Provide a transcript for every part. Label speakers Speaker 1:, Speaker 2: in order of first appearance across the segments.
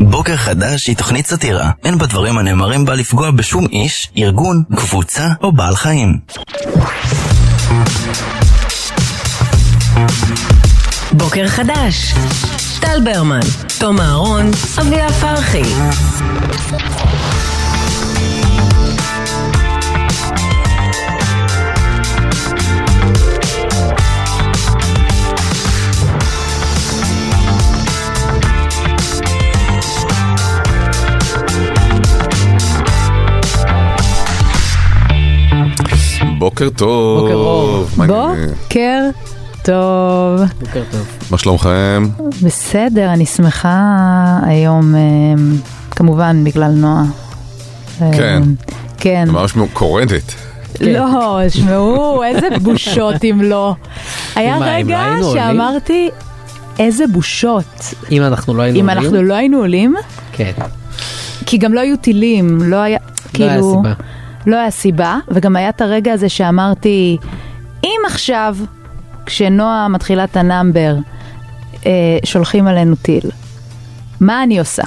Speaker 1: בוקר חדש היא תוכנית סאטירה. אין בדברים הנאמרים בה לפגוע בשום איש, ארגון, קבוצה או בעל חיים.
Speaker 2: בוקר חדש. טל ברמן, תום אהרון, אביה פרחי.
Speaker 3: בוקר טוב.
Speaker 4: בוקר אור.
Speaker 3: מה העניינים?
Speaker 4: בוקר טוב.
Speaker 5: בוקר טוב.
Speaker 3: מה שלומכם?
Speaker 4: בסדר, אני שמחה היום, אה, כמובן בגלל נועה. אה,
Speaker 3: כן.
Speaker 4: כן.
Speaker 3: זה ממש קורנת.
Speaker 4: לא, שמעו, איזה בושות אם לא.
Speaker 5: מה,
Speaker 4: היה
Speaker 5: אם לא
Speaker 4: רגע
Speaker 5: היינו עולים?
Speaker 4: שאמרתי, איזה בושות.
Speaker 5: אם אנחנו לא היינו
Speaker 4: אם
Speaker 5: עולים,
Speaker 4: אנחנו לא היינו עולים,
Speaker 5: כן,
Speaker 4: כי גם לא היו טילים, לא היה,
Speaker 5: לא היה
Speaker 4: כאילו,
Speaker 5: סיבה.
Speaker 4: לא היה סיבה, וגם היה את הרגע הזה שאמרתי, אם עכשיו, כשנועה מתחילה את הנאמבר, אה, שולחים עלינו טיל, מה אני עושה?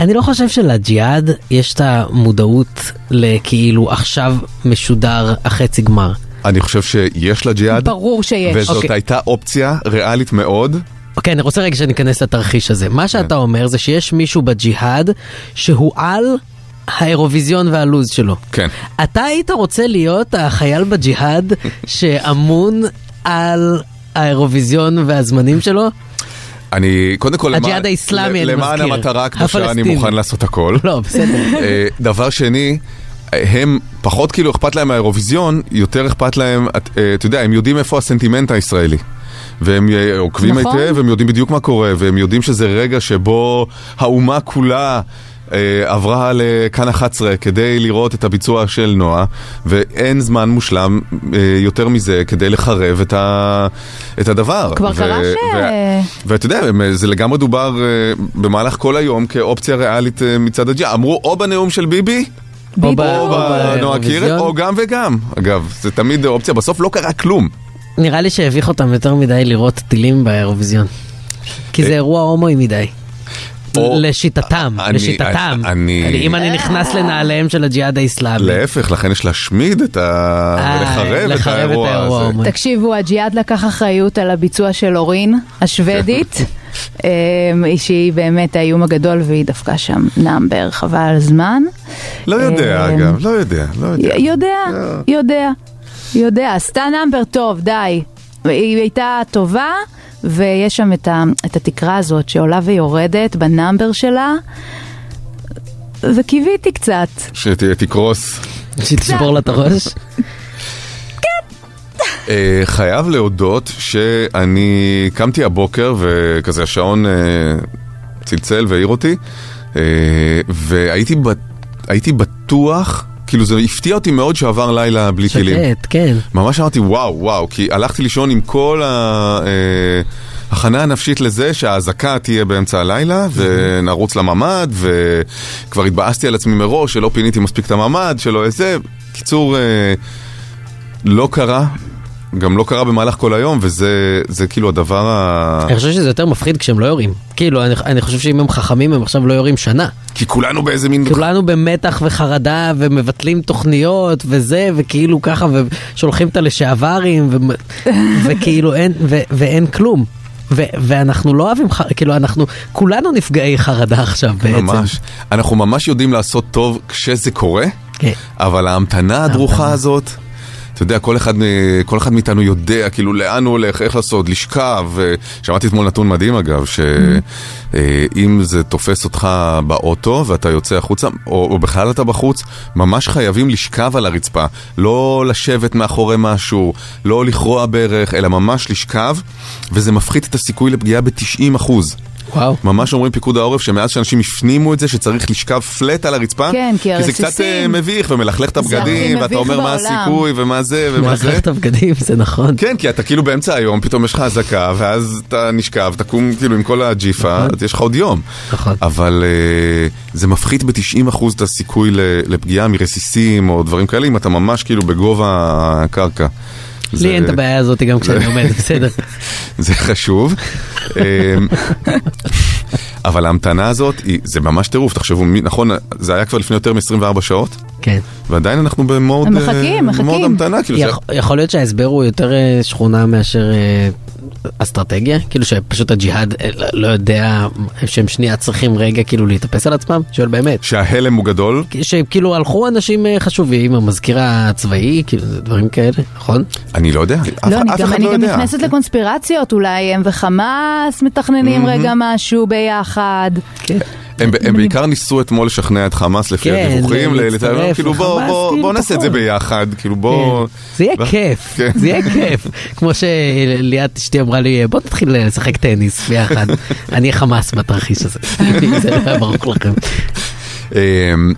Speaker 5: אני לא חושב שלג'יהאד יש את המודעות לכאילו עכשיו משודר החצי גמר.
Speaker 3: אני חושב שיש לה ג'יהאד,
Speaker 4: ברור שיש.
Speaker 3: וזאת
Speaker 5: אוקיי.
Speaker 3: הייתה אופציה ריאלית מאוד.
Speaker 5: אוקיי, אני רוצה רגע שניכנס לתרחיש הזה. מה שאתה אומר זה שיש מישהו בג'יהאד שהוא על האירוויזיון והלוז שלו.
Speaker 3: כן.
Speaker 5: אתה היית רוצה להיות החייל בג'יהאד שאמון על האירוויזיון והזמנים שלו?
Speaker 3: אני, קודם כל, למען-
Speaker 5: הג'יהאד האיסלאמי, אני
Speaker 3: למען
Speaker 5: מזכיר.
Speaker 3: המטרה הקדושה אני
Speaker 5: הפלסטיני.
Speaker 3: מוכן לעשות הכל.
Speaker 5: לא, בסדר.
Speaker 3: אה, דבר שני, הם פחות כאילו אכפת להם מהאירוויזיון, יותר אכפת להם, את- אה, אתה יודע, הם יודעים איפה הסנטימנט הישראלי. והם אה, עוקבים
Speaker 4: נכון.
Speaker 3: היטב, הם יודעים בדיוק מה קורה, והם יודעים שזה רגע שבו האומה כולה... אה, עברה לכאן 11 כדי לראות את הביצוע של נועה, ואין זמן מושלם אה, יותר מזה כדי לחרב את, ה, את הדבר.
Speaker 4: כבר קרה ש-
Speaker 3: ואתה יודע, הם- זה לגמרי דובר אה, במהלך כל היום כאופציה ריאלית אה, מצד הג'יהאד. אמרו או בנאום של ביבי,
Speaker 5: או
Speaker 4: בדיוק.
Speaker 5: ב-
Speaker 3: או בנועה קירל,
Speaker 5: באירוויזיון.
Speaker 3: או גם וגם. אגב, זה תמיד אופציה, בסוף לא קרה כלום.
Speaker 5: נראה לי שהביך אותם יותר מדי לראות טילים באירוויזיון. כי זה אירוע הומואי מדי.
Speaker 3: אה, או-
Speaker 5: לשיטתם,
Speaker 3: אני-
Speaker 5: לשיטתם.
Speaker 3: אני- אה,
Speaker 5: אני- אם אני נכנס לנעליהם של הג'יהאד האיסלאמי.
Speaker 3: להפך, לכן יש להשמיד את ה...
Speaker 5: אה,
Speaker 3: ולחרב את האירוע הזה.
Speaker 5: ההומואי.
Speaker 4: תקשיבו, הג'יהאד לקח אחריות על הביצוע של אורין השוודית, אה, שהיא באמת האיום הגדול והיא דווקא שם נאמבר, חבל על הזמן.
Speaker 3: לא יודע,
Speaker 4: אה,
Speaker 3: אגב, לא יודע, לא יודע. לא.
Speaker 4: י- יודע, יודע, יודע, עשתה נאמבר טוב, די. היא הייתה טובה, ויש שם את, ה, את התקרה הזאת שעולה ויורדת בנאמבר שלה, וקיוויתי קצת.
Speaker 3: שתקרוס.
Speaker 5: שתשבור לה את הראש.
Speaker 3: אה, חייב להודות שאני קמתי הבוקר וכזה השעון אה, צלצל והעיר אותי אה, והייתי ב- הייתי בטוח, כאילו זה הפתיע אותי מאוד שעבר לילה בלי טילים.
Speaker 5: שקט, כן.
Speaker 3: ממש אמרתי וואו וואו, כי הלכתי לישון עם כל אה, ההכנה הנפשית לזה שהאזעקה תהיה באמצע הלילה ונרוץ לממ"ד וכבר התבאסתי על עצמי מראש שלא פיניתי מספיק את הממ"ד, שלא איזה. קיצור, אה, לא קרה, גם לא קרה במהלך כל היום וזה זה כאילו הדבר ה...
Speaker 5: אני חושב שזה יותר מפחיד כשהם לא יורים. כאילו, אני- אני חושב שאם הם חכמים הם עכשיו לא יורים שנה.
Speaker 3: כי כולנו באיזה מין...
Speaker 5: כולנו במתח וחרדה ומבטלים תוכניות וזה וכאילו ככה ושולחים את הלשעברים ו- וכאילו אין ו- ואין כלום. ו- ואנחנו לא אוהבים, ח- כאילו אנחנו כולנו נפגעי חרדה עכשיו בעצם.
Speaker 3: כן, ממש. אנחנו ממש יודעים לעשות טוב כשזה קורה.
Speaker 5: כן.
Speaker 3: אבל ההמתנה הדרוכה הזאת, אתה יודע, כל אחד, מ- כל אחד מאיתנו יודע כאילו לאן הוא הולך, איך לעשות, לשכב. אה, שמעתי אתמול נתון מדהים אגב,
Speaker 5: Mm-hmm.
Speaker 3: שאם זה תופס אותך באוטו ואתה יוצא החוצה, או, או בכלל אתה בחוץ, ממש חייבים לשכב על הרצפה. לא לשבת מאחורי משהו, לא לכרוע ברך, אלא ממש לשכב, וזה מפחית את הסיכוי לפגיעה ב-90 אחוז.
Speaker 5: וואו.
Speaker 3: ממש אומרים פיקוד העורף שמאז שאנשים הפנימו את זה שצריך לשכב פלט על הרצפה,
Speaker 4: כן, כי
Speaker 3: זה קצת אה,
Speaker 4: הרסיסים-
Speaker 3: מביך ומלכלך את
Speaker 4: זה
Speaker 3: הבגדים,
Speaker 4: הכי
Speaker 3: ואתה
Speaker 4: מביך
Speaker 3: אומר מה
Speaker 4: בעולם.
Speaker 3: הסיכוי ומה זה ומה
Speaker 5: מלכלך
Speaker 3: זה.
Speaker 5: את הבגדים, זה נכון.
Speaker 3: כן, כי אתה כאילו באמצע היום, פתאום יש לך אזעקה, ואז אתה נשכב, תקום כאילו עם כל הג'יפה, אז יש לך עוד יום.
Speaker 5: נכון.
Speaker 3: אבל אה, זה מפחית ב-90% את הסיכוי ל- לפגיעה מרסיסים או דברים כאלה, אם אתה ממש כאילו בגובה הקרקע. זה-
Speaker 5: לי אין את הבעיה הזאת גם כשאני עומד, בסדר.
Speaker 3: זה חשוב. אמ, אבל ההמתנה הזאת, היא, זה ממש טירוף, תחשבו, מי- נכון, זה היה כבר לפני יותר מ-24 שעות,
Speaker 5: כן.
Speaker 3: ועדיין אנחנו במוד...
Speaker 4: הם מחכים,
Speaker 3: אה, במוד
Speaker 4: מחכים.
Speaker 3: המתנה, כאילו, זה...
Speaker 5: יכ- יכול להיות שההסבר הוא יותר אה, שכונה מאשר אה, אסטרטגיה? כאילו שפשוט הג'יהאד אה, לא- לא יודע שהם שנייה צריכים רגע כאילו להתאפס על עצמם? שואל באמת.
Speaker 3: שההלם הוא גדול.
Speaker 5: שכאילו הלכו אנשים אה, חשובים, המזכיר הצבאי, כאילו זה דברים כאלה, נכון?
Speaker 3: אני לא יודע, אף,
Speaker 4: לא, אני
Speaker 3: אף
Speaker 4: גם,
Speaker 3: אחד
Speaker 4: אני
Speaker 3: לא
Speaker 4: גם
Speaker 3: יודע.
Speaker 4: נכנסת לקונספירציות, אולי הם וחמאס מתכננים רגע משהו ביחד.
Speaker 5: כן.
Speaker 3: הם, הם בעיקר ניסו אתמול לשכנע את חמאס לפי
Speaker 5: כן,
Speaker 3: הדיווחים, ל-
Speaker 5: להצטרף
Speaker 3: לתאר- כאילו בוא,
Speaker 5: לחמאס,
Speaker 3: בוא,
Speaker 5: כאילו,
Speaker 3: בוא נעשה את זה
Speaker 5: פחות. כן.
Speaker 3: ביחד, כאילו בוא...
Speaker 5: זה יהיה
Speaker 3: ו-
Speaker 5: כיף,
Speaker 3: כן.
Speaker 5: זה יהיה כיף. כמו שליאת אשתי אמרה לי, בוא נתחיל לשחק טניס ביחד. אני אהיה חמאס בתרחיש הזה, אם זה לא היה ברור לכם.
Speaker 3: אמ,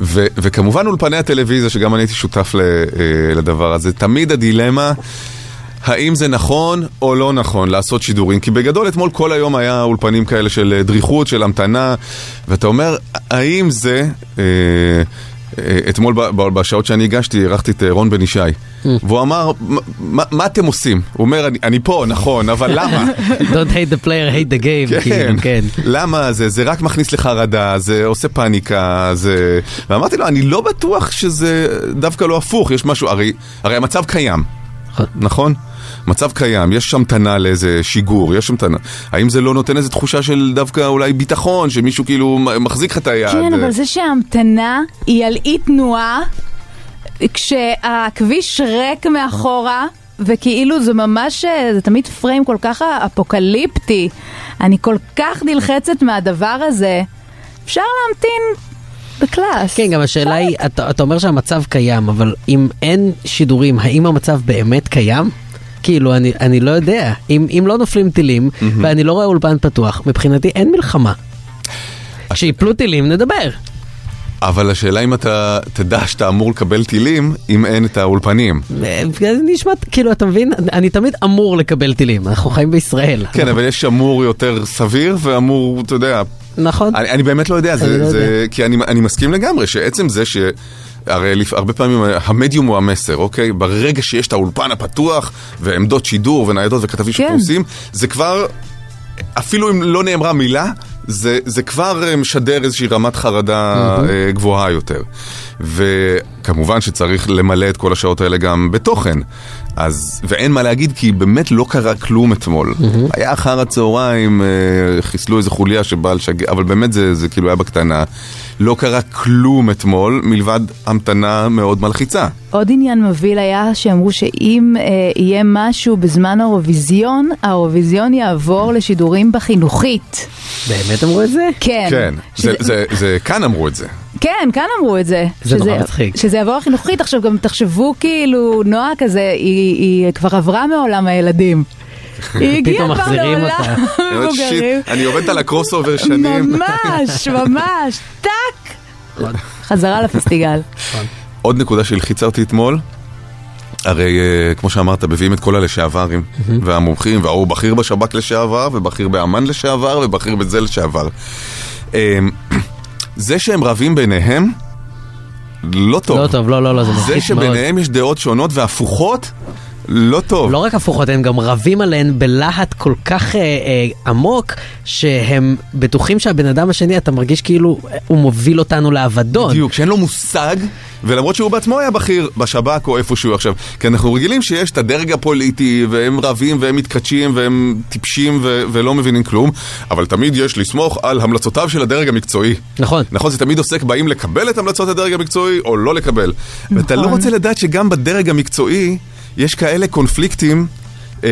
Speaker 3: ו- וכמובן אולפני הטלוויזיה, שגם אני הייתי שותף ל- אה, לדבר הזה, תמיד הדילמה, האם זה נכון או לא נכון לעשות שידורים, כי בגדול אתמול כל היום היה אולפנים כאלה של אה, דריכות, של המתנה, ואתה אומר, האם זה... אה, אה, אתמול ב- ב- בשעות שאני הגשתי, אירחתי את אה, רון בן ישי, והוא אמר, "מה- מה- מה אתם עושים? הוא אומר, "אני- אני פה, נכון, אבל למה?
Speaker 5: Don't hate the player, hate the game, כאילו, כן.
Speaker 3: למה זה? זה רק מכניס לחרדה, זה עושה פאניקה, זה... ואמרתי לו, אני לא בטוח שזה דווקא לא הפוך, יש משהו, הרי, הרי המצב קיים,
Speaker 5: נכון.
Speaker 3: נכון? מצב קיים, יש המתנה לאיזה שיגור, יש המתנה. האם זה לא נותן איזו תחושה של דווקא אולי ביטחון, שמישהו כאילו מ- מחזיק לך את היד?
Speaker 4: כן, אבל זה שההמתנה היא על אי תנועה, כשהכביש ריק מאחורה, וכאילו זה ממש, אה, זה תמיד פריים כל כך אפוקליפטי. אני כל כך נלחצת מהדבר הזה. אפשר להמתין בקלאס.
Speaker 5: כן, גם השאלה היא, אתה, אתה אומר שהמצב קיים, אבל אם אין שידורים, האם המצב באמת קיים? כאילו, אני, אני לא יודע. אם, אם לא נופלים טילים, mm-hmm. ואני לא רואה אולפן פתוח, מבחינתי אין מלחמה. כשיפלו אה, טילים, נדבר.
Speaker 3: אבל השאלה אם אתה תדע שאתה אמור לקבל טילים, אם אין את האולפנים.
Speaker 5: אה, זה נשמע, כאילו, אתה מבין? אני תמיד אמור לקבל טילים, אנחנו חיים בישראל.
Speaker 3: כן, אבל יש אמור יותר סביר, ואמור, אתה יודע,
Speaker 5: נכון?
Speaker 3: אני, אני באמת לא יודע, זה,
Speaker 5: אני לא
Speaker 3: זה, כי אני, אני מסכים לגמרי שעצם זה ש... הרי לפ... הרבה פעמים המדיום הוא המסר, אוקיי? ברגע שיש את האולפן הפתוח ועמדות שידור וניידות וכתבים
Speaker 4: כן.
Speaker 3: שפרוסים, זה כבר, אפילו אם לא נאמרה מילה, זה, זה כבר אה, משדר איזושהי רמת חרדה אה, גבוהה יותר. וכמובן שצריך למלא את כל השעות האלה גם בתוכן. אז, ואין מה להגיד, כי באמת לא קרה כלום אתמול. היה אחר הצהריים, אה, חיסלו איזה חוליה שבאה לשגע, אבל באמת זה, זה כאילו היה בקטנה. לא קרה כלום אתמול, מלבד המתנה מאוד מלחיצה.
Speaker 4: עוד עניין מבהיל היה שאמרו שאם אה, יהיה משהו בזמן האירוויזיון, האירוויזיון יעבור לשידורים בחינוכית.
Speaker 5: באמת אמרו את זה?
Speaker 4: כן.
Speaker 3: כן,
Speaker 4: שזה,
Speaker 3: זה, זה, זה, כאן אמרו את זה.
Speaker 4: כן, כאן אמרו את זה.
Speaker 5: זה נורא מצחיק.
Speaker 4: שזה יעבור לחינוכית. עכשיו גם תחשבו כאילו, נועה כזה, היא, היא כבר עברה מעולם הילדים. היא הגיעה
Speaker 5: פתאום
Speaker 4: כבר
Speaker 5: מחזירים
Speaker 4: לעולם
Speaker 5: אותה.
Speaker 3: אה, שיט,
Speaker 4: המבוגרים.
Speaker 3: אני עובדת על הקרוס אובר שנים.
Speaker 4: ממש, ממש, טאק. חזרה לפסטיגל.
Speaker 3: עוד נקודה שהלחיצה אותי אתמול, הרי אה, כמו שאמרת, מביאים את כל הלשעברים והמומחים, וההוא בכיר בשב"כ לשעבר, ובכיר באמ"ן לשעבר, ובכיר בזה לשעבר. אה, זה שהם רבים ביניהם, לא טוב.
Speaker 5: לא טוב, לא, לא, לא, זה
Speaker 3: זה
Speaker 5: מרחיק מאוד.
Speaker 3: שביניהם יש דעות שונות והפוכות, לא טוב.
Speaker 5: לא רק הפוכות, הם גם רבים עליהן בלהט כל כך אה, אה, עמוק, שהם בטוחים שהבן אדם השני, אתה מרגיש כאילו אה, הוא מוביל אותנו לאבדון.
Speaker 3: בדיוק, שאין לו מושג, ולמרות שהוא בעצמו היה בכיר בשב"כ או איפשהו עכשיו. כי אנחנו רגילים שיש את הדרג הפוליטי, והם רבים והם מתכתשים והם טיפשים ו- ולא מבינים כלום, אבל תמיד יש לסמוך על המלצותיו של הדרג המקצועי.
Speaker 5: נכון.
Speaker 3: נכון, זה תמיד עוסק באם לקבל את המלצות הדרג המקצועי או לא לקבל. ואתה לא
Speaker 4: נכון.
Speaker 3: רוצה לדעת שגם בדרג המקצועי יש כאלה קונפליקטים. אה,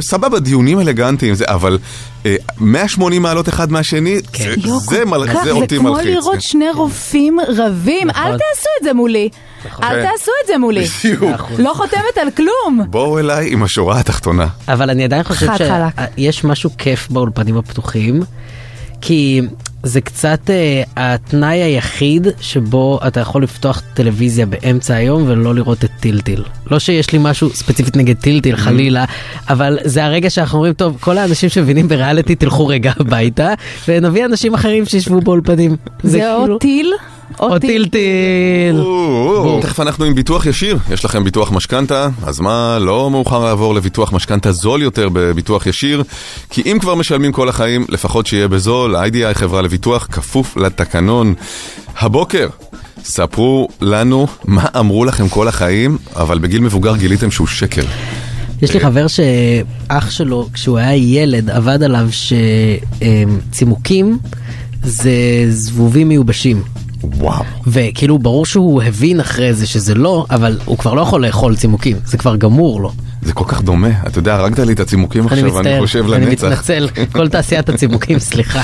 Speaker 3: סבבה, דיונים אלגנטיים, זה, אבל אה, 180 מעלות אחד מהשני, זה,
Speaker 5: יואו,
Speaker 3: אה, זה, מל-
Speaker 4: כן. לא כך,
Speaker 3: זה אותי
Speaker 4: כמו
Speaker 3: מלחיץ. כן.
Speaker 4: לראות שני רופאים רבים, אל
Speaker 5: נכון.
Speaker 4: תעשו את זה מולי. אל
Speaker 3: כן.
Speaker 4: תעשו את זה מולי.
Speaker 3: בדיוק.
Speaker 4: לא חותמת על כלום.
Speaker 3: בואו אליי עם השורה התחתונה.
Speaker 5: אבל אני עדיין חושב
Speaker 4: חד חלק.
Speaker 5: שיש משהו כיף באולפנים הפתוחים, כי זה קצת אה, התנאי היחיד שבו אתה יכול לפתוח טלוויזיה באמצע היום ולא לראות את טילטיל. לא שיש לי משהו ספציפית נגד טילטיל חלילה, אבל זה הרגע שאנחנו אומרים, טוב, כל האנשים שמבינים בריאליטי תלכו רגע הביתה, ונביא אנשים אחרים שישבו באולפנים.
Speaker 4: זה או
Speaker 5: כאילו-
Speaker 4: טיל, או
Speaker 5: או
Speaker 4: טיל.
Speaker 5: טילטיל.
Speaker 3: או, תכף אנחנו עם ביטוח ישיר, יש לכם ביטוח משכנתה, אז מה, לא מאוחר לעבור לביטוח משכנתה זול יותר בביטוח ישיר, כי אם כבר משלמים כל החיים, לפחות שיהיה בזול, ה-IDI חברה לביטוח כפוף לתקנון. הבוקר, ספרו לנו מה אמרו לכם כל החיים, אבל בגיל מבוגר גיליתם שהוא שקר.
Speaker 5: יש לי חבר שאח שלו, כשהוא היה ילד, עבד עליו שצימוקים זה זבובים מיובשים.
Speaker 3: וואו.
Speaker 5: וכאילו ברור שהוא הבין אחרי זה שזה לא, אבל הוא כבר לא יכול לאכול צימוקים, זה כבר גמור לו.
Speaker 3: זה כל כך דומה, אתה יודע, הרגת לי את הצימוקים
Speaker 5: אני
Speaker 3: עכשיו, אני חושב
Speaker 5: מצטער, אני
Speaker 3: לנצח.
Speaker 5: מתנצל, כל תעשיית הצימוקים, סליחה.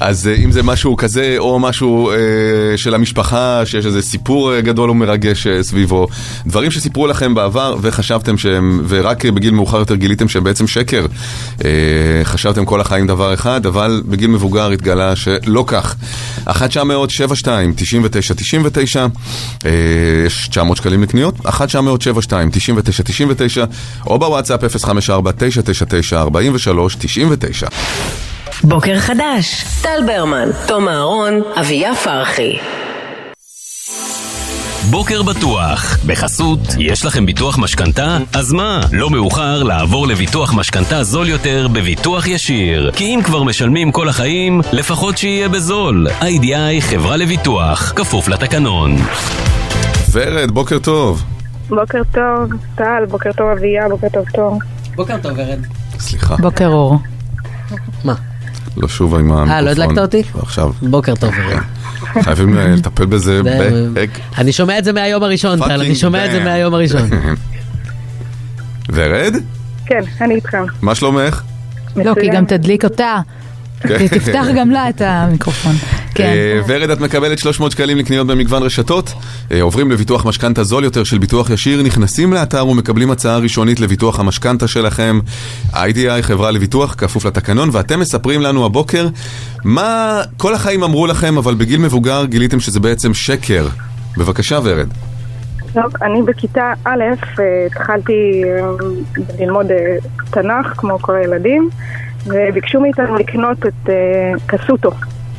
Speaker 3: אז אה, אם זה משהו כזה, או משהו אה, של המשפחה, שיש איזה סיפור אה, גדול ומרגש אה, סביבו, דברים שסיפרו לכם בעבר וחשבתם שהם, ורק אה, בגיל מאוחר יותר גיליתם שהם בעצם שקר. אה, חשבתם כל החיים דבר אחד, אבל בגיל מבוגר התגלה שלא כך. 1 900 72 99 99 אה, יש 900 שקלים לקניות, 1 900 72 99 99 או בוואטסאפ 054 999 43 99 כאילו.
Speaker 2: בוקר חדש, טל ברמן, תום אהרון, אביה פרחי.
Speaker 6: בוקר בטוח, בחסות, יש לכם ביטוח משכנתה? אז מה, לא מאוחר לעבור לביטוח משכנתה זול יותר בביטוח ישיר. כי אם כבר משלמים כל החיים, לפחות שיהיה בזול. איי-די-איי חברה לביטוח, כפוף לתקנון.
Speaker 3: ורד, בוקר טוב.
Speaker 7: בוקר טוב, טל, בוקר טוב אביה, בוקר טוב תום.
Speaker 5: בוקר טוב ורד.
Speaker 3: סליחה,
Speaker 4: בוקר אור.
Speaker 5: מה?
Speaker 3: לא שוב עם המיקרופון.
Speaker 5: אה, לא הדלקת אותי?
Speaker 3: עכשיו.
Speaker 5: בוקר טוב ורד.
Speaker 3: חייבים אה, לטפל בזה
Speaker 5: זה-
Speaker 3: בהק.
Speaker 5: אני שומע את זה מהיום הראשון, טל, נכון, אני
Speaker 3: Fucking
Speaker 5: שומע את זה
Speaker 3: damn.
Speaker 5: מהיום הראשון.
Speaker 3: ורד,
Speaker 7: כן, אני איתכם.
Speaker 3: מה שלומך?
Speaker 4: לא, כי
Speaker 7: מצוין.
Speaker 4: גם תדליק אותה.
Speaker 3: כן.
Speaker 4: תפתח גם לה את המיקרופון. כן.
Speaker 3: אה, ורד, את מקבלת 300 שקלים לקניות במגוון רשתות, אה, עוברים לביטוח משכנתה זול יותר של ביטוח ישיר, נכנסים לאתר ומקבלים הצעה ראשונית לביטוח המשכנתה שלכם. איי-די-איי חברה לביטוח, כפוף לתקנון, ואתם מספרים לנו הבוקר מה כל החיים אמרו לכם, אבל בגיל מבוגר גיליתם שזה בעצם שקר. בבקשה, ורד.
Speaker 7: טוב, אני בכיתה א', אה, התחלתי אה, ללמוד אה, תנ"ך, כמו כל הילדים, וביקשו מאיתנו לקנות את אה, קסוטו.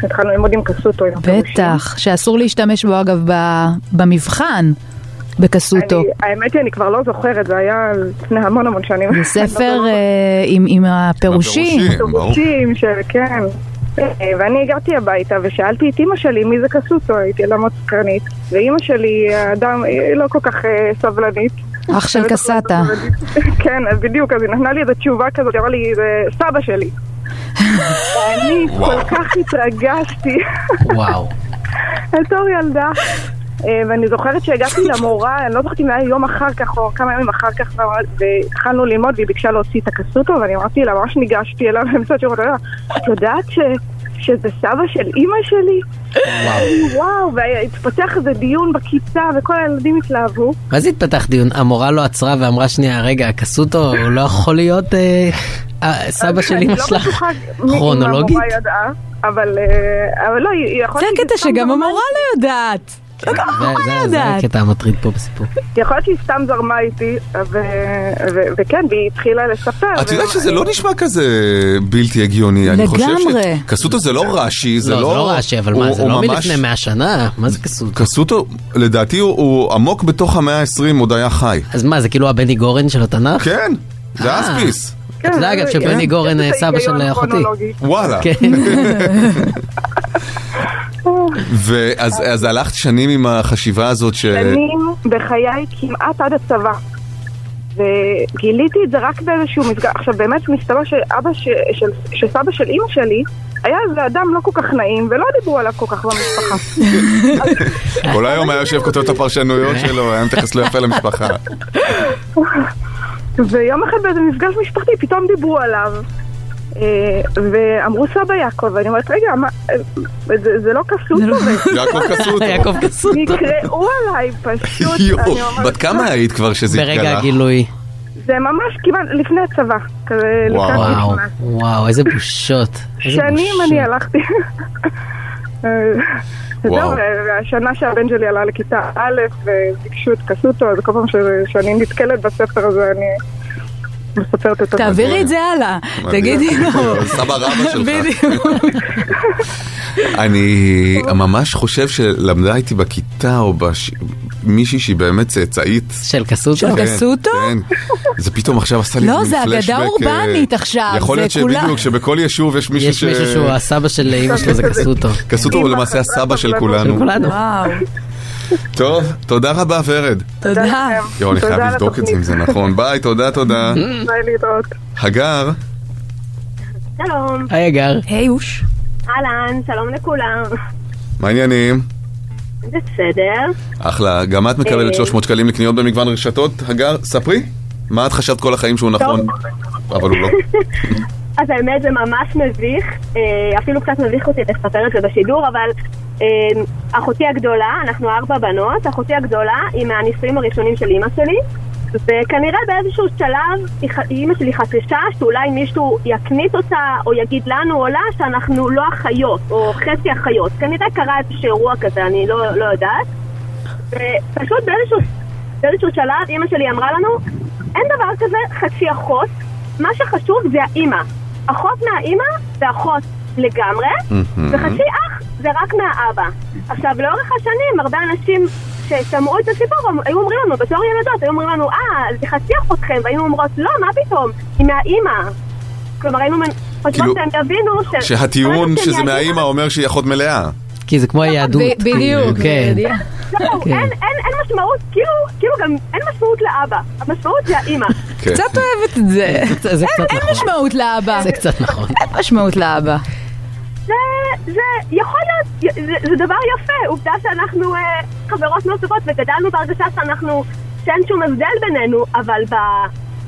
Speaker 7: התחלנו ללמוד עם קסוטו. עם הפירושים.
Speaker 4: בטח, שאסור להשתמש בו אגב ב- במבחן, בכסותו.
Speaker 7: אני- האמת היא, אני כבר לא זוכרת, זה היה לפני המון המון שנים.
Speaker 8: לא
Speaker 4: זה ספר אה, עם- עם הפירושים.
Speaker 3: הפירושים. ברור.
Speaker 7: פירושים של, כן. אה, ואני הגעתי הביתה ושאלתי את אימא שלי מי זה קסוטו, הייתי למה סקרנית. ואימא שלי, האדם, היא לא כל כך אה, סבלנית.
Speaker 4: אח של
Speaker 8: לא
Speaker 4: קסטה.
Speaker 7: כן, אז בדיוק, אז היא נתנה לי איזו תשובה כזאת, היא אמרה לי, זה סבא שלי. ואני כל כך התרגשתי
Speaker 5: וואו.
Speaker 7: בתור ילדה. אה, ואני זוכרת שהגעתי למורה, אני לא זוכרת אם היה יום אחר כך או כמה ימים אחר כך, ואמר- והתחלנו ללמוד והיא ביקשה להוציא את הקסוטו, ואני אמרתי לה, ממש ניגשתי אליו באמצע השירות, אני אמרתי לה, את יודעת ש... שזה סבא של אימא שלי? וואו, והתפתח איזה דיון בכיתה וכל הילדים התלהבו.
Speaker 5: מה זה התפתח דיון? המורה לא עצרה ואמרה שנייה, רגע, הקסוטו הוא לא יכול להיות אה, אה, סבא של
Speaker 7: אני
Speaker 5: אמא
Speaker 7: לא
Speaker 5: שלך.
Speaker 7: בטוחה מי- אם
Speaker 5: כרונולוגית?
Speaker 7: המורה ידעה, אבל אה, אבל לא, היא היא יכול
Speaker 4: זה
Speaker 7: להיות
Speaker 4: הקטע
Speaker 7: שהיא סתם
Speaker 4: שגם
Speaker 7: זרמה-
Speaker 4: המורה לא יודעת.
Speaker 7: כן, לא
Speaker 5: זה- זה- זה
Speaker 4: יודעת.
Speaker 5: הקטע המטריד פה בסיפור.
Speaker 7: יכול להיות שהיא סתם זרמה איתי, ו- ו- וכן, והיא התחילה לספר.
Speaker 3: את יודעת
Speaker 7: ו-
Speaker 3: שזה לא נשמע כזה בלתי הגיוני, אני חושב
Speaker 4: לגמרי.
Speaker 3: שקסוטו זה לא רש"י, זה
Speaker 5: לא,
Speaker 3: לא...
Speaker 5: זה לא רש"י, אבל
Speaker 3: הוא-
Speaker 5: מה, זה
Speaker 3: הוא
Speaker 5: לא
Speaker 3: ממש-
Speaker 5: מלפני 100 שנה? מה זה קסוטו?
Speaker 3: קסוטו, לדעתי הוא- הוא עמוק בתוך המאה ה-20 עוד היה חי.
Speaker 5: אז מה, זה כאילו הבני גורן של התנ"ך?
Speaker 3: כן, זה
Speaker 5: אה.
Speaker 3: אספיס.
Speaker 7: כן,
Speaker 5: אתה יודע, אגב,
Speaker 7: זה-
Speaker 5: שבני
Speaker 7: כן.
Speaker 5: גורן, אה,
Speaker 7: יש את
Speaker 5: סבא של
Speaker 7: ההיגיון
Speaker 5: אחותי.
Speaker 7: הכרונולוגי.
Speaker 3: וואלה.
Speaker 5: כן.
Speaker 3: ואז אז הלכת שנים עם החשיבה הזאת ש...
Speaker 7: שנים בחיי כמעט עד הצבא. וגיליתי את זה רק באיזשהו מסגר. עכשיו, באמת מסתבר שאבא ש... של... שסבא של אימא שלי היה איזה אדם לא כל כך נעים, ולא דיברו עליו כל כך במשפחה.
Speaker 3: כל היום היה יושב כותב את הפרשנויות שלו, היה מתייחס לא יפה למשפחה.
Speaker 7: ויום אחד באיזה מפגש משפחתי פתאום דיברו עליו. אה, ואמרו סבא יעקב, ואני אומרת, רגע, מה, אה, זה, זה לא קסוטו,
Speaker 3: יעקב קסוטו.
Speaker 5: יעקב קסוטו.
Speaker 7: נקראו עליי פשוט, אני
Speaker 3: יואו,
Speaker 7: אומרת,
Speaker 3: בת כמה היית כבר שזה
Speaker 5: ברגע
Speaker 3: התגלה?
Speaker 5: הגילוי.
Speaker 7: זה ממש כמעט לפני הצבא, כזה
Speaker 3: וואו.
Speaker 7: לקראת
Speaker 5: וואו,
Speaker 7: נכנס.
Speaker 5: וואו, איזה בושות. איזה
Speaker 7: שנים
Speaker 5: בושות.
Speaker 7: אני הלכתי. אה,
Speaker 3: וואו.
Speaker 7: זהו, והשנה שהבן שלי עלה לכיתה א', וביקשו את קסוטו, אז כל פעם ש- שאני נתקלת בספר הזה, אני מספרת אותו.
Speaker 4: תעבירי את זה הלאה, תגידי לו.
Speaker 3: סבא רבא שלך.
Speaker 4: בדיוק.
Speaker 3: אני ממש חושב שלמדה איתי בכיתה או בש... מישהי שהיא באמת צאצאית.
Speaker 5: של קסוטו?
Speaker 4: של קסוטו?
Speaker 3: כן, זה פתאום עכשיו עשה לי
Speaker 4: לא,
Speaker 3: איזה
Speaker 4: זה
Speaker 3: מין
Speaker 4: אגדה
Speaker 3: פלשבק, אה,
Speaker 4: אורבנית עכשיו,
Speaker 3: יכול
Speaker 4: זה
Speaker 3: להיות
Speaker 4: כולה-
Speaker 3: שבדיוק, שבכל יישוב יש מישהו
Speaker 5: יש
Speaker 3: ש...
Speaker 5: מישהו שהוא הסבא של אמא שלו, זה קסוטו.
Speaker 3: קסוטו הוא
Speaker 7: אמא,
Speaker 3: למעשה הסבא של
Speaker 7: אמא.
Speaker 5: של
Speaker 3: כולנו.
Speaker 5: כולנו.
Speaker 4: וואו,
Speaker 3: טוב, תודה רבה ורד.
Speaker 4: תודה.
Speaker 3: יואו, אני חייב
Speaker 7: תודה על
Speaker 3: לבדוק את זה אם זה נכון. ביי, תודה, תודה.
Speaker 7: ביי להתראות.
Speaker 3: הגר,
Speaker 8: שלום,
Speaker 5: היי גר.
Speaker 4: היי אוש.
Speaker 8: אהלן, שלום לכולם.
Speaker 3: מה העניינים?
Speaker 8: בסדר.
Speaker 3: אחלה, גם את מקבלת
Speaker 4: אה.
Speaker 3: 300 שקלים לקניות במגוון רשתות. הגר, ספרי, מה את חשבת כל החיים שהוא נכון? אבל הוא לא.
Speaker 8: אז האמת זה ממש מביך, אה, אפילו קצת מביך אותי לספר את זה בשידור, אבל אה, אחותי הגדולה, אנחנו ארבע בנות, אחותי הגדולה היא מהנישואים הראשונים של אימא שלי, וכנראה באיזשהו שלב היא ח- אימא שלי חששה שאולי מישהו יקנית אותה או יגיד לנו או לה שאנחנו לא אחיות, או חצי אחיות. כנראה קרה איזשהו אירוע כזה, אני לא, לא יודעת. ופשוט באיזשהו, באיזשהו שלב אימא שלי אמרה לנו, אין דבר כזה חצי אחות, מה שחשוב זה האימא. אחות מהאימא זה אחות לגמרי, וחצי אח זה רק מהאבא. עכשיו, לאורך השנים, הרבה אנשים ששמעו את הסיפור הם- היו אומרים לנו, בתור ילדות, היו אומרים לנו, אה, זה חצי אחותכם, והיינו אומרות, לא, מה פתאום, היא מהאימא. כלומר, היינו מנ-
Speaker 3: כאילו,
Speaker 8: חושבות שהם יבינו ש...
Speaker 3: שהטיעון
Speaker 8: ברגע שהם
Speaker 3: שזה
Speaker 8: יבינו-
Speaker 3: מהאימא אומר שהיא אחות מלאה.
Speaker 5: כי זה כמו היהדות.
Speaker 4: אה, ב- בדיוק.
Speaker 5: כן.
Speaker 4: בדיוק.
Speaker 8: זהו,
Speaker 5: כן.
Speaker 8: לא, אין, אין, אין משמעות, כאילו, כאילו גם אין משמעות לאבא, המשמעות זה האימא.
Speaker 3: כן.
Speaker 4: קצת אוהבת את זה.
Speaker 5: זה- זה
Speaker 4: אין-
Speaker 5: קצת
Speaker 4: אין
Speaker 5: נכון.
Speaker 4: משמעות לאבא.
Speaker 5: זה קצת נכון.
Speaker 4: אין משמעות לאבא.
Speaker 8: זה, זה יכול להיות, זה, זה דבר יפה, עובדה שאנחנו אה, חברות נוספות וגדלנו בהרגשה שאנחנו, שאין שום הבדל בינינו, אבל ב,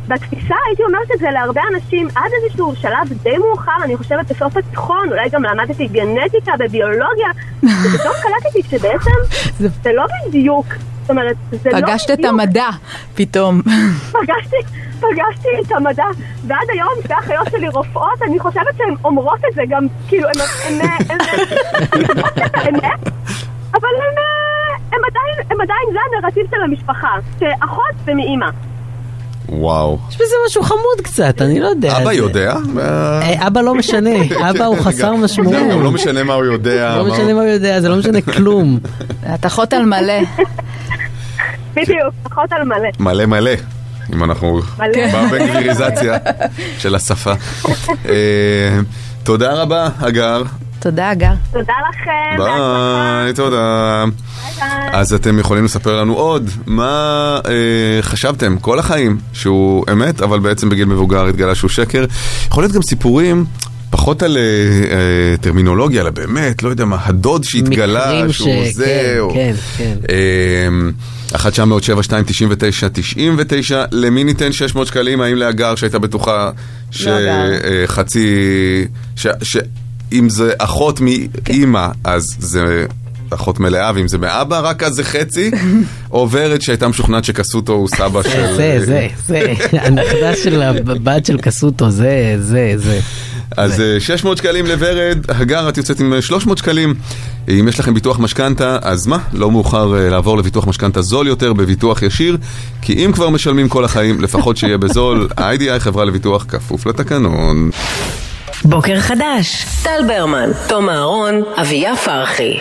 Speaker 8: בתפיסה הייתי אומרת את זה להרבה אנשים עד איזשהו שלב די מאוחר, אני חושבת בסוף התיכון, אולי גם למדתי גנטיקה וביולוגיה, ופתאום קלטתי שבעצם זה לא בדיוק, זאת אומרת, זה לא
Speaker 4: פגשת את
Speaker 8: בדיוק.
Speaker 4: המדע פתאום.
Speaker 8: פגשתי, פגשתי את המדע, ועד היום שתי האחיות שלי רופאות, אני חושבת שהן אומרות את זה גם, כאילו, הן- הן הן- הן אומרות את האמת, אבל הן, אה, הן עדיין, הן עדיין, זה הנרטיב של המשפחה, שאחות זה מאימא.
Speaker 3: וואו.
Speaker 5: יש בזה משהו חמוד קצת, אני לא יודע.
Speaker 3: אבא
Speaker 5: זה-
Speaker 3: יודע? אה,
Speaker 5: אה, אבא לא משנה, אבא הוא חסר
Speaker 3: גם-
Speaker 5: משמעות.
Speaker 3: זהו, גם לא משנה מה הוא יודע.
Speaker 5: לא
Speaker 3: מה הוא-
Speaker 5: משנה מה הוא יודע, זה לא משנה כלום.
Speaker 4: את אחות על מלא.
Speaker 8: בדיוק, אחות על מלא.
Speaker 3: מלא מלא, אם אנחנו
Speaker 4: כן.
Speaker 8: מלא.
Speaker 3: בבנגליזציה של השפה. אה, תודה רבה, הגר.
Speaker 4: תודה, הגר.
Speaker 8: תודה לכם, בהצלחה,
Speaker 3: ביי, תודה.
Speaker 8: ביי.
Speaker 3: אז אתם יכולים לספר לנו עוד מה אה, חשבתם כל החיים שהוא אמת, אבל בעצם בגיל מבוגר התגלה שהוא שקר. יכול להיות גם סיפורים. פחות על אה, אה, טרמינולוגיה, אלא באמת, לא יודע מה, הדוד שהתגלה,
Speaker 5: מקרים
Speaker 3: לא, שהוא
Speaker 5: ש-
Speaker 3: זה,
Speaker 5: כן,
Speaker 3: או... אה,
Speaker 5: כן, כן.
Speaker 3: אחת 907 299 99 למי ניתן 600 שקלים? האם להגר שהייתה
Speaker 5: לא
Speaker 3: בטוחה שחצי... שאם זה אחות מאימא, אז זה אחות מלאה, ואם זה מאבא, רק אז זה חצי? או ורד שהייתה משוכנעת שקסוטו הוא סבא של...
Speaker 5: זה, זה, זה, הנכדה של הבת של קסוטו, זה, זה, זה.
Speaker 3: אז אה, 600 שקלים לוורד, הגר, את יוצאת עם אה, 300 שקלים. אם יש לכם ביטוח משכנתה, אז מה? לא מאוחר אה, לעבור לביטוח משכנתה זול יותר בביטוח ישיר, כי אם כבר משלמים כל החיים, לפחות שיהיה בזול. ה-IDI חברה לביטוח כפוף לתקנון.
Speaker 2: בוקר חדש, טל ברמן, תום אהרון, אביה פרחי.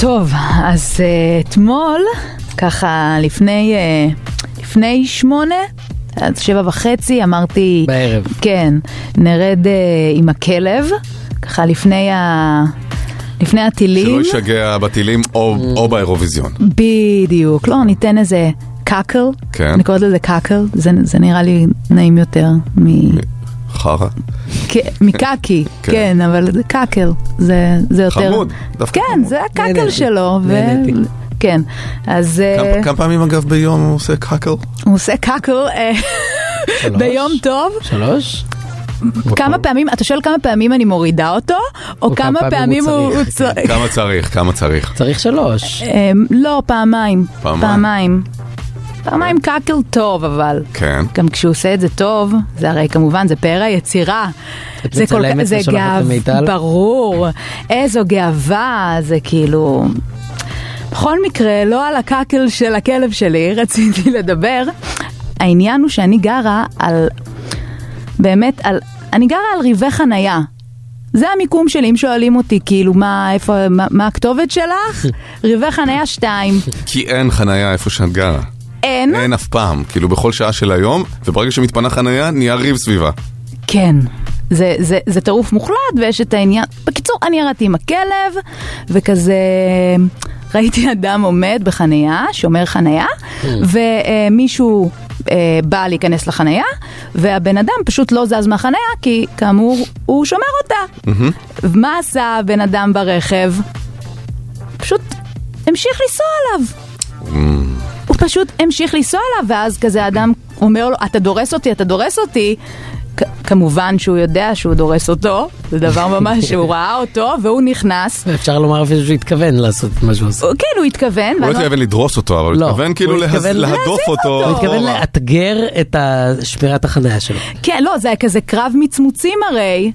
Speaker 4: טוב, אז אה, אתמול, ככה לפני, אה, לפני שמונה, עד שבע וחצי, אמרתי...
Speaker 5: בערב.
Speaker 4: כן, נרד אה, עם הכלב, ככה לפני, ה... לפני
Speaker 3: שלא
Speaker 4: הטילים.
Speaker 3: ישגע בטילים או או באירוויזיון.
Speaker 4: בדיוק, לא, ניתן איזה קאקל,
Speaker 3: כן.
Speaker 4: אני קוראת לזה קאקל, זה, זה נראה לי נעים יותר מ...
Speaker 3: חרא.
Speaker 4: כן, מקקי,
Speaker 3: כן.
Speaker 4: כן, אבל זה קאקל, זה זה יותר...
Speaker 3: חמוד, דווקא
Speaker 4: כן,
Speaker 3: חמוד.
Speaker 4: זה הקאקל
Speaker 5: נהניתי.
Speaker 4: שלו, ו...
Speaker 5: נהניתי.
Speaker 4: כן, אז אה,
Speaker 3: כמה- כמה פעמים אגב ביום הוא עושה קאקל?
Speaker 4: הוא עושה קאקל אה,
Speaker 5: שלוש?
Speaker 4: ביום טוב.
Speaker 5: שלוש?
Speaker 4: כמה פעמים, אתה שואל כמה פעמים אני מורידה אותו, נכון. או כמה פעמים הוא הוא צריך? כן,
Speaker 3: כמה צריך, כמה צריך.
Speaker 5: צריך שלוש.
Speaker 4: אה, לא, פעמיים.
Speaker 3: פעמיים.
Speaker 4: פעמיים. פעמיים קאקל טוב, אבל.
Speaker 3: כן.
Speaker 4: גם כשהוא עושה את זה טוב, זה הרי כמובן, זה פאר היצירה.
Speaker 5: את מצלמת
Speaker 4: זה
Speaker 5: ושולחת
Speaker 4: גאו-
Speaker 5: למיטל?
Speaker 4: ברור. איזו גאווה, זה כאילו... בכל מקרה, לא על הקקל של הכלב שלי רציתי לדבר. העניין הוא שאני גרה על... באמת, על... אני גרה על ריבי חנייה. זה המיקום שלי, אם שואלים אותי, כאילו, מה, איפה, מה, מה הכתובת שלך? ריבי חנייה 2.
Speaker 3: כי אין חנייה איפה שאת גרה.
Speaker 4: אין?
Speaker 3: אין אף פעם, כאילו בכל שעה של היום, וברגע שמתפנה חנייה, נהיה ריב סביבה.
Speaker 5: Mm.
Speaker 4: כן. זה, זה, זה טירוף מוחלט, ויש את העניין... בקיצור, אני ירדתי עם הכלב, וכזה... ראיתי אדם עומד בחנייה, שומר חנייה, ומישהו אה, בא להיכנס לחנייה, והבן אדם פשוט לא זז מהחנייה, כי כאמור, הוא שומר אותה. מה עשה הבן אדם ברכב? פשוט המשיך לנסוע עליו. הוא פשוט המשיך לנסוע עליו, ואז כזה האדם אומר לו, אתה דורס אותי, אתה דורס אותי. כ- כמובן שהוא יודע שהוא דורס אותו, זה דבר ממש שהוא ראה אותו, והוא נכנס.
Speaker 5: אפשר לומר אפילו שהוא התכוון לעשות מה שהוא עושה.
Speaker 4: הוא- כן, הוא התכוון.
Speaker 3: הוא
Speaker 4: ואני
Speaker 3: לא
Speaker 4: אומרת,
Speaker 3: התכוון לדרוס אותו, אבל
Speaker 5: לא,
Speaker 3: הוא התכוון כאילו
Speaker 5: הוא
Speaker 3: להז-
Speaker 5: התכוון
Speaker 3: להדוף
Speaker 4: להזיז
Speaker 3: אותו.
Speaker 4: אותו.
Speaker 5: הוא התכוון
Speaker 3: אחורה.
Speaker 5: לאתגר את ה- שמירת החניה שלו.
Speaker 4: כן, לא, זה היה כזה קרב מצמוצים הרי,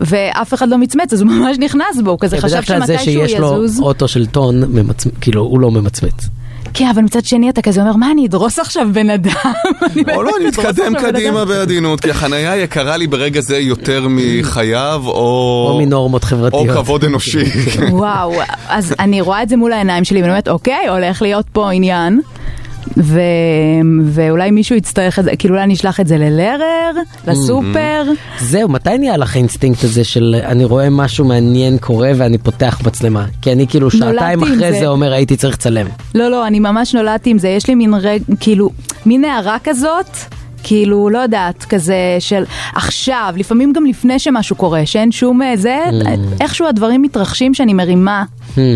Speaker 4: ואף אחד לא מצמץ, אז הוא ממש נכנס בו, הוא כזה חשב
Speaker 5: כן, בדרך כלל זה
Speaker 4: שמתי שהוא
Speaker 5: שיש לו
Speaker 4: יזוז.
Speaker 5: אוטו של טון, ממצמ- כאילו הוא לא ממצמץ.
Speaker 4: כן, אבל מצד שני אתה כזה אומר, מה, אני אדרוס עכשיו בן אדם? אני
Speaker 3: או לא, אני
Speaker 4: באמת אדרוס
Speaker 3: מתקדם
Speaker 4: עכשיו בן אדם?"
Speaker 3: קדימה בעדינות, כי החנייה יקרה לי ברגע זה יותר מחייו,
Speaker 5: או
Speaker 3: או...
Speaker 5: מנורמות
Speaker 3: או
Speaker 5: חברתיות.
Speaker 3: כבוד אנושי.
Speaker 4: וואו, אז אני רואה את זה מול העיניים שלי ואני אומרת, אוקיי, הולך להיות פה עניין. ו... ואולי מישהו יצטרך את זה, כאילו אולי אני אשלח את זה ללרר,
Speaker 5: Mm-hmm.
Speaker 4: לסופר.
Speaker 5: זהו, מתי נהיה לך האינסטינקט הזה של אני רואה משהו מעניין קורה ואני פותח מצלמה? כי אני כאילו
Speaker 4: נולדתי
Speaker 5: שעתיים
Speaker 4: עם
Speaker 5: אחרי
Speaker 4: זה.
Speaker 5: זה אומר הייתי צריך לצלם.
Speaker 4: לא, לא, אני ממש נולדתי עם זה, יש לי מין רג... כאילו, מין הערה כזאת. כאילו, לא יודעת, כזה של עכשיו, לפעמים גם לפני שמשהו קורה, שאין שום אה, זה, איכשהו הדברים מתרחשים שאני מרימה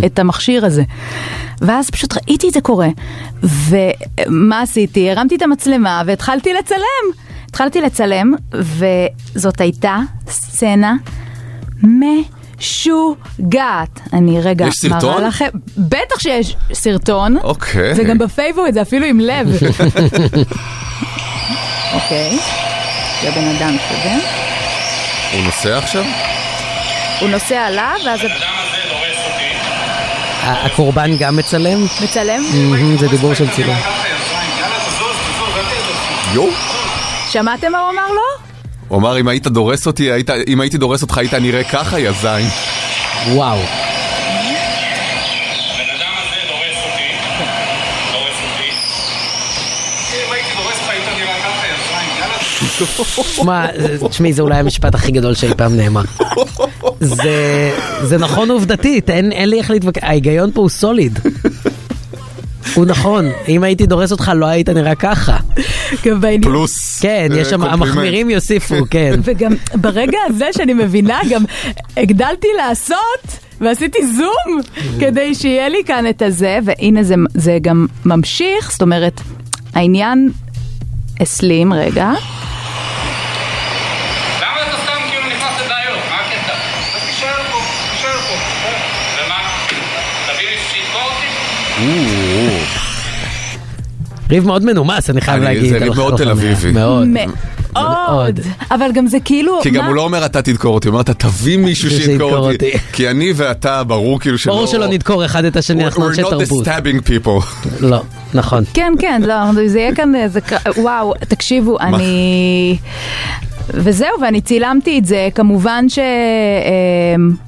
Speaker 4: את המכשיר הזה. ואז פשוט ראיתי את זה קורה, ומה עשיתי? הרמתי את המצלמה והתחלתי לצלם. התחלתי לצלם, וזאת הייתה סצנה משוגעת. אני רגע
Speaker 3: יש סרטון?
Speaker 4: מראה לכם, בטח שיש סרטון.
Speaker 3: אוקיי.
Speaker 4: זה גם בפייבוריט, זה אפילו עם לב. אוקיי, זה בן אדם כזה.
Speaker 3: הוא נוסע עכשיו?
Speaker 4: הוא נוסע עליו, ואז
Speaker 5: ה- הקורבן גם מצלם?
Speaker 4: מצלם.
Speaker 5: מהמם, זה דיבור של צילום.
Speaker 3: יואו.
Speaker 4: שמעתם מה הוא אמר לו?
Speaker 3: הוא אמר, אם היית דורס אותי, היית- אם הייתי דורס אותך, היית נראה ככה, יא זין.
Speaker 5: וואו. שמע, זה- תשמעי, זה אולי המשפט הכי גדול שאי פעם נאמר. זה, זה נכון עובדתית, אין, אין לי איך להתווכח, ההיגיון פה הוא סוליד. הוא נכון, אם הייתי דורס אותך לא היית נראה ככה.
Speaker 4: גם בעניין.
Speaker 3: פלוס.
Speaker 5: כן,
Speaker 3: אה,
Speaker 5: יש שם,
Speaker 3: קומפלימנט.
Speaker 5: המחמירים יוסיפו, כן.
Speaker 4: וגם ברגע הזה שאני מבינה, גם הגדלתי לעשות ועשיתי זום כדי שיהיה לי כאן את הזה, והנה זה, זה גם ממשיך, זאת אומרת, העניין הסלים, רגע.
Speaker 9: למה אתה סתם כאילו נכנס לבעיות? מה הקטע? אז תישאר פה, תישאר פה. ומה? תביא לי שיתקור אותי?
Speaker 5: ריב מאוד מנומס, אני חייב
Speaker 3: אני-
Speaker 5: להגיד.
Speaker 3: זה ריב
Speaker 5: על-
Speaker 3: מאוד
Speaker 5: על
Speaker 3: תל
Speaker 5: החניה.
Speaker 3: אביבי.
Speaker 5: מאוד.
Speaker 4: מאוד. אבל גם זה כאילו...
Speaker 3: כי גם
Speaker 4: מה-
Speaker 3: הוא לא אומר אתה תדקור אותי, הוא אומר אתה תביא מישהו
Speaker 5: מישהו
Speaker 3: שידקור
Speaker 5: שידקור
Speaker 3: אותי.
Speaker 5: אותי.
Speaker 3: כי אני ואתה, ברור כאילו שלא...
Speaker 5: ברור שלא נדקור אחד את השני, אנחנו
Speaker 3: We're
Speaker 5: אנשי
Speaker 3: not the
Speaker 5: תרבות.
Speaker 3: stabbing people.
Speaker 5: לא, נכון.
Speaker 4: כן, כן, לא, זה יהיה כאן איזה קרב, וואו, תקשיבו, אני... וזהו, ואני צילמתי את זה, כמובן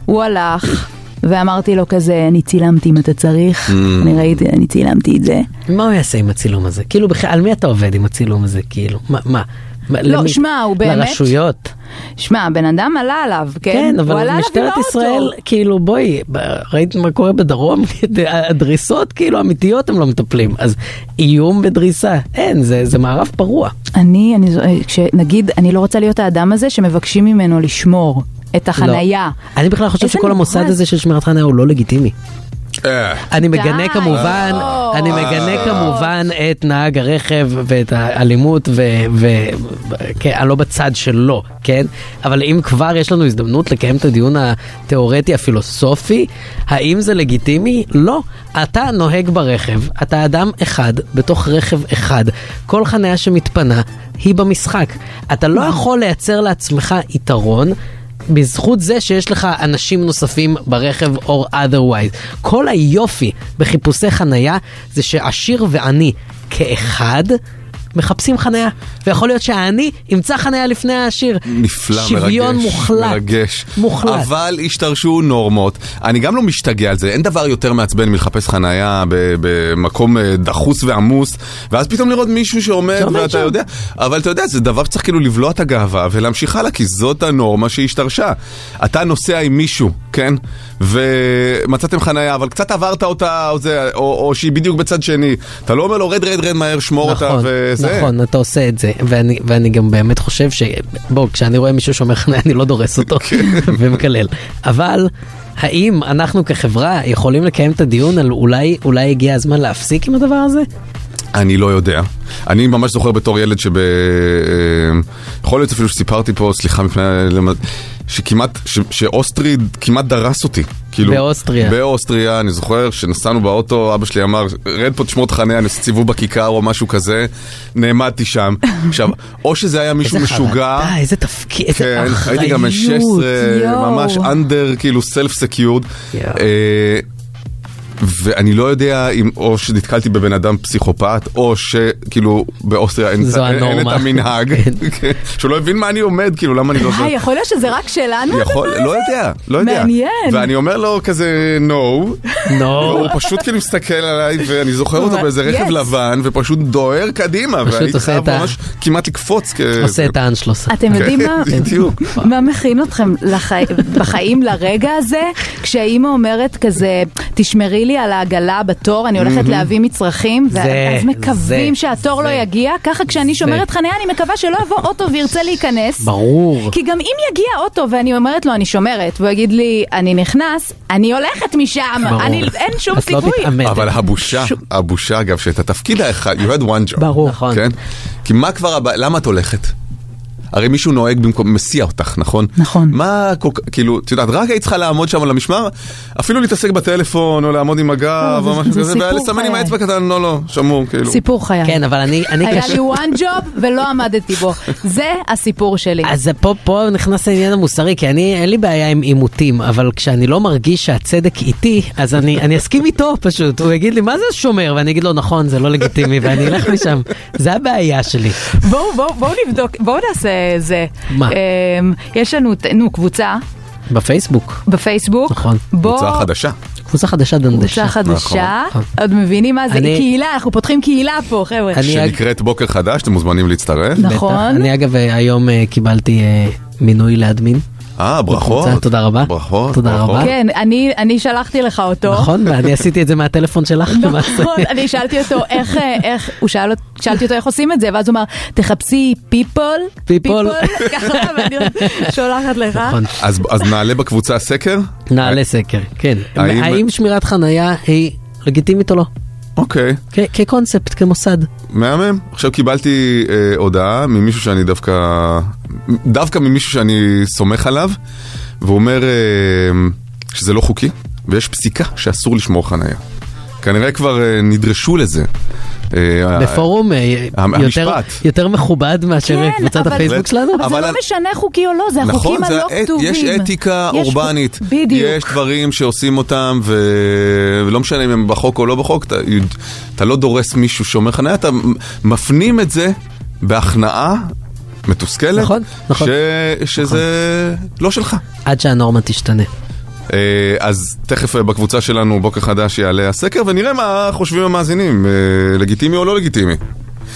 Speaker 4: שהוא הלך, ואמרתי לו כזה, אני צילמתי אם אתה
Speaker 3: Mm.
Speaker 4: צריך, אני ראיתי, אני צילמתי את זה.
Speaker 5: מה הוא יעשה עם הצילום הזה? כאילו, בכלל, על מי אתה עובד עם הצילום הזה? כאילו, מה? מה? מה,
Speaker 4: לא,
Speaker 5: למי?
Speaker 4: שמע, הוא באמת-
Speaker 5: לרשויות.
Speaker 4: שמע, הבן אדם עלה עליו, כן?
Speaker 5: כן,
Speaker 4: הוא עלה
Speaker 5: אבל
Speaker 4: עליו
Speaker 5: משטרת
Speaker 4: עם האוטו.
Speaker 5: ישראל, כאילו, בואי, ב- ראית מה קורה בדרום? הדריסות, כאילו, אמיתיות הם לא מטפלים. אז איום בדריסה, אין, זה זה מערב פרוע.
Speaker 4: אני, אני, זו- כשנגיד, אני לא רוצה להיות האדם הזה שמבקשים ממנו לשמור את החנייה.
Speaker 5: לא. אני בכלל חושב
Speaker 4: איזה
Speaker 5: שכל המוסד
Speaker 4: נורא.
Speaker 5: הזה של שמירת חניה הוא לא לגיטימי.
Speaker 3: אה,
Speaker 5: אני
Speaker 4: די,
Speaker 5: מגנה כמובן,
Speaker 4: לא.
Speaker 5: אני מגנה כמובן את נהג הרכב ואת האלימות ואני לא בצד שלו, כן? אבל אם כבר יש לנו הזדמנות לקיים את הדיון התיאורטי הפילוסופי, האם זה לגיטימי? לא. אתה נוהג ברכב, אתה אדם אחד בתוך רכב אחד. כל חניה שמתפנה היא במשחק. אתה לא יכול לייצר לעצמך יתרון. בזכות זה שיש לך אנשים נוספים ברכב or otherwise. כל היופי בחיפושי חנייה זה שעשיר ועני כאחד מחפשים חנייה, ויכול להיות שהעני ימצא חנייה לפני העשיר.
Speaker 3: נפלא, מרגש.
Speaker 5: שוויון מוחלט.
Speaker 3: מרגש.
Speaker 5: מוחלט.
Speaker 3: אבל השתרשו נורמות. אני גם לא משתגע על זה, אין דבר יותר מעצבן מלחפש חנייה ב- במקום אה, דחוס ועמוס, ואז פתאום לראות מישהו שעומד,
Speaker 5: שעומד
Speaker 3: ואתה
Speaker 5: שם.
Speaker 3: יודע, אבל אתה יודע, זה דבר שצריך כאילו לבלוע את הגאווה ולהמשיך הלאה, כי זאת הנורמה שהשתרשה. אתה נוסע עם מישהו, כן? ומצאתם חנייה, אבל קצת עברת אותה, או, זה, או, או שהיא בדיוק בצד שני. אתה לא אומר לו, רד, רד, רד מהר, שמור אותה,
Speaker 5: נכון,
Speaker 3: וזה.
Speaker 5: נכון, אתה עושה את זה, ואני, ואני גם באמת חושב ש... בוא, כשאני רואה מישהו שאומר חניה, אני לא דורס אותו
Speaker 3: כן.
Speaker 5: ומקלל. אבל האם אנחנו כחברה יכולים לקיים את הדיון על אולי, אולי הגיע הזמן להפסיק עם הדבר הזה?
Speaker 3: אני לא יודע. אני ממש זוכר בתור ילד שב... אה, יכול להיות אפילו שסיפרתי פה, סליחה מפני... למד- שכמעט, ש, שאוסטרי כמעט דרס אותי. כאילו,
Speaker 5: באוסטריה.
Speaker 3: באוסטריה, אני זוכר שנסענו באוטו, אבא שלי אמר, רד פה תשמור את חניה, אני עושה סיבוב בכיכר או משהו כזה, נעמדתי שם. עכשיו, או שזה היה מישהו
Speaker 5: איזה
Speaker 3: משוגע,
Speaker 5: חרדה, איזה תפקיד, איזה
Speaker 3: כן,
Speaker 5: אחריות.
Speaker 3: הייתי גם בן 16,
Speaker 4: יואו.
Speaker 3: ממש אנדר, כאילו סלף סקיורד.
Speaker 5: יואו.
Speaker 3: ואני לא יודע אם או שנתקלתי בבן אדם פסיכופת, או שכאילו באוסטריה אין,
Speaker 5: זו
Speaker 3: אין, אין את
Speaker 5: הנורמה.
Speaker 3: המנהג,
Speaker 5: כן.
Speaker 3: כן, שהוא לא הבין מה אני עומד, כאילו למה אני לא...
Speaker 4: אה, יכול להיות שזה רק שלנו?
Speaker 3: יכול, לא יודע, לא יודע.
Speaker 4: מעניין.
Speaker 3: ואני אומר לו כזה no,
Speaker 5: נו,
Speaker 3: והוא פשוט כאילו מסתכל עליי, ואני זוכר אותו
Speaker 4: Yes.
Speaker 3: באיזה רכב לבן, ופשוט דוהר קדימה,
Speaker 5: פשוט
Speaker 3: והייתי
Speaker 5: עושה
Speaker 3: חייב
Speaker 5: את ה-
Speaker 3: ממש כמעט לקפוץ. כ- כן.
Speaker 5: עושה את האנשלוס.
Speaker 4: אתם יודעים מה,
Speaker 3: בדיוק.
Speaker 4: מה מכין אתכם לחי... בחיים לרגע הזה? כשהאימא אומרת כזה, תשמרי לי על העגלה בתור, אני הולכת להביא מצרכים,
Speaker 5: זה,
Speaker 4: ואז מקווים
Speaker 5: זה,
Speaker 4: שהתור
Speaker 5: זה.
Speaker 4: לא יגיע, ככה כשאני שומרת חניה אני מקווה שלא יבוא אוטו וירצה להיכנס.
Speaker 5: ברור.
Speaker 4: כי גם אם יגיע אוטו ואני אומרת לו אני שומרת, והוא יגיד לי אני נכנס, אני הולכת משם,
Speaker 5: ברור.
Speaker 4: אמ, אני, אין שום
Speaker 5: את לא
Speaker 4: סיכוי.
Speaker 5: מתעמדת.
Speaker 3: אבל הבושה, הבושה אגב, שאת התפקיד האחד, you had one job.
Speaker 5: ברור. נכון.
Speaker 3: כן? כי מה כבר הבעיה, למה את הולכת? הרי מישהו נוהג במקום, מסיע אותך, נכון?
Speaker 4: נכון.
Speaker 3: מה, כל כך- כאילו, את יודעת, רק היית צריכה לעמוד שם על המשמר, אפילו להתעסק בטלפון, או לעמוד עם
Speaker 5: אה,
Speaker 3: הגב,
Speaker 4: לא,
Speaker 3: או
Speaker 4: זה-
Speaker 3: משהו
Speaker 4: זה
Speaker 3: כזה,
Speaker 4: סיפור
Speaker 3: ולסמן עם
Speaker 4: חיי.
Speaker 3: האצבע קטן, לא, לא, שמור, כאילו.
Speaker 4: סיפור חיי.
Speaker 5: כן, אבל אני, אני
Speaker 4: היה
Speaker 5: קשה-
Speaker 4: לי one job ולא עמדתי בו. זה הסיפור שלי.
Speaker 5: אז זה פה, פה נכנס העניין המוסרי, כי אני, אין לי בעיה עם עימותים, אבל כשאני לא מרגיש שהצדק איתי, אז אני, אני אסכים איתו פשוט. הוא יגיד לי, מה זה שומר? ואני אגיד לו, נכון, זה לא לגיטימי, ואני אלך משם. זה הבעיה שלי.
Speaker 4: בואו בואו בואו נבדוק, בואו נעשה זה.
Speaker 5: מה?
Speaker 4: אמ, יש לנו, ת- נו, קבוצה
Speaker 5: בפייסבוק,
Speaker 4: בפייסבוק.
Speaker 5: נכון.
Speaker 4: בוא,
Speaker 3: קבוצה חדשה.
Speaker 5: קבוצה חדשה דנדשה.
Speaker 4: קבוצה חדשה.
Speaker 5: נכון.
Speaker 4: עוד מבינים מה זה?
Speaker 5: אני-
Speaker 4: קהילה, אנחנו פותחים קהילה פה, חבר'ה.
Speaker 5: אני-
Speaker 3: שנקראת בוקר חדש, אתם מוזמנים להצטרף.
Speaker 5: בטח.
Speaker 4: נכון.
Speaker 5: אני אגב אה, היום אה, קיבלתי אה, מינוי לאדמין.
Speaker 3: אה, ברכות.
Speaker 5: בקבוצה, תודה רבה.
Speaker 3: ברכות.
Speaker 5: תודה
Speaker 3: ברכות.
Speaker 5: רבה.
Speaker 4: כן, אני- אני שלחתי לך אותו.
Speaker 5: נכון, ואני עשיתי את זה מהטלפון שלך למעשה.
Speaker 4: נכון, אני שאלתי אותו איך, אה, איך, הוא שאל, אות- שאלתי אותו איך עושים את זה, ואז הוא אמר, תחפשי פיפול,
Speaker 5: People.
Speaker 4: ככה, ואני שולחת לך.
Speaker 5: נכון.
Speaker 3: אז אז נעלה בקבוצה סקר?
Speaker 5: נעלה סקר, כן.
Speaker 3: האם-
Speaker 5: האם שמירת חנייה היא לגיטימית או לא?
Speaker 3: אוקיי. אה,
Speaker 5: כ- כקונספט, כמוסד.
Speaker 3: מהמם. עכשיו קיבלתי אה, הודעה ממישהו שאני דווקא... דווקא ממישהו שאני סומך עליו, והוא אומר אה, שזה לא חוקי, ויש פסיקה שאסור לשמור חנייה. כנראה כבר אה, נדרשו לזה. אה,
Speaker 5: בפורום אה,
Speaker 3: המ-
Speaker 5: יותר-
Speaker 3: המשפט.
Speaker 5: יותר מכובד מאשר
Speaker 4: כן,
Speaker 5: קבוצת
Speaker 4: אבל-
Speaker 5: הפייסבוק שלנו?
Speaker 4: אבל זה
Speaker 3: אבל
Speaker 4: לא
Speaker 3: אני-
Speaker 4: משנה חוקי או לא, זה החוקים
Speaker 3: נכון, זה
Speaker 4: הלא
Speaker 3: האת-
Speaker 4: כתובים.
Speaker 3: יש אתיקה
Speaker 4: יש חוק-
Speaker 3: אורבנית. יש
Speaker 4: בדיוק.
Speaker 3: דברים שעושים אותם, ו... ולא משנה אם הם בחוק או לא בחוק, אתה, אתה לא דורס מישהו שאומר חניה, אתה מפנים את זה בהכנעה מתוסכלת,
Speaker 5: נכון, נכון.
Speaker 3: ש... שזה
Speaker 4: נכון.
Speaker 3: לא שלך.
Speaker 5: עד שהנורמה תשתנה.
Speaker 3: אה, אז תכף אה, בקבוצה שלנו, בוקר חדש, יעלה הסקר, ונראה מה חושבים המאזינים, אה, לגיטימי או לא לגיטימי.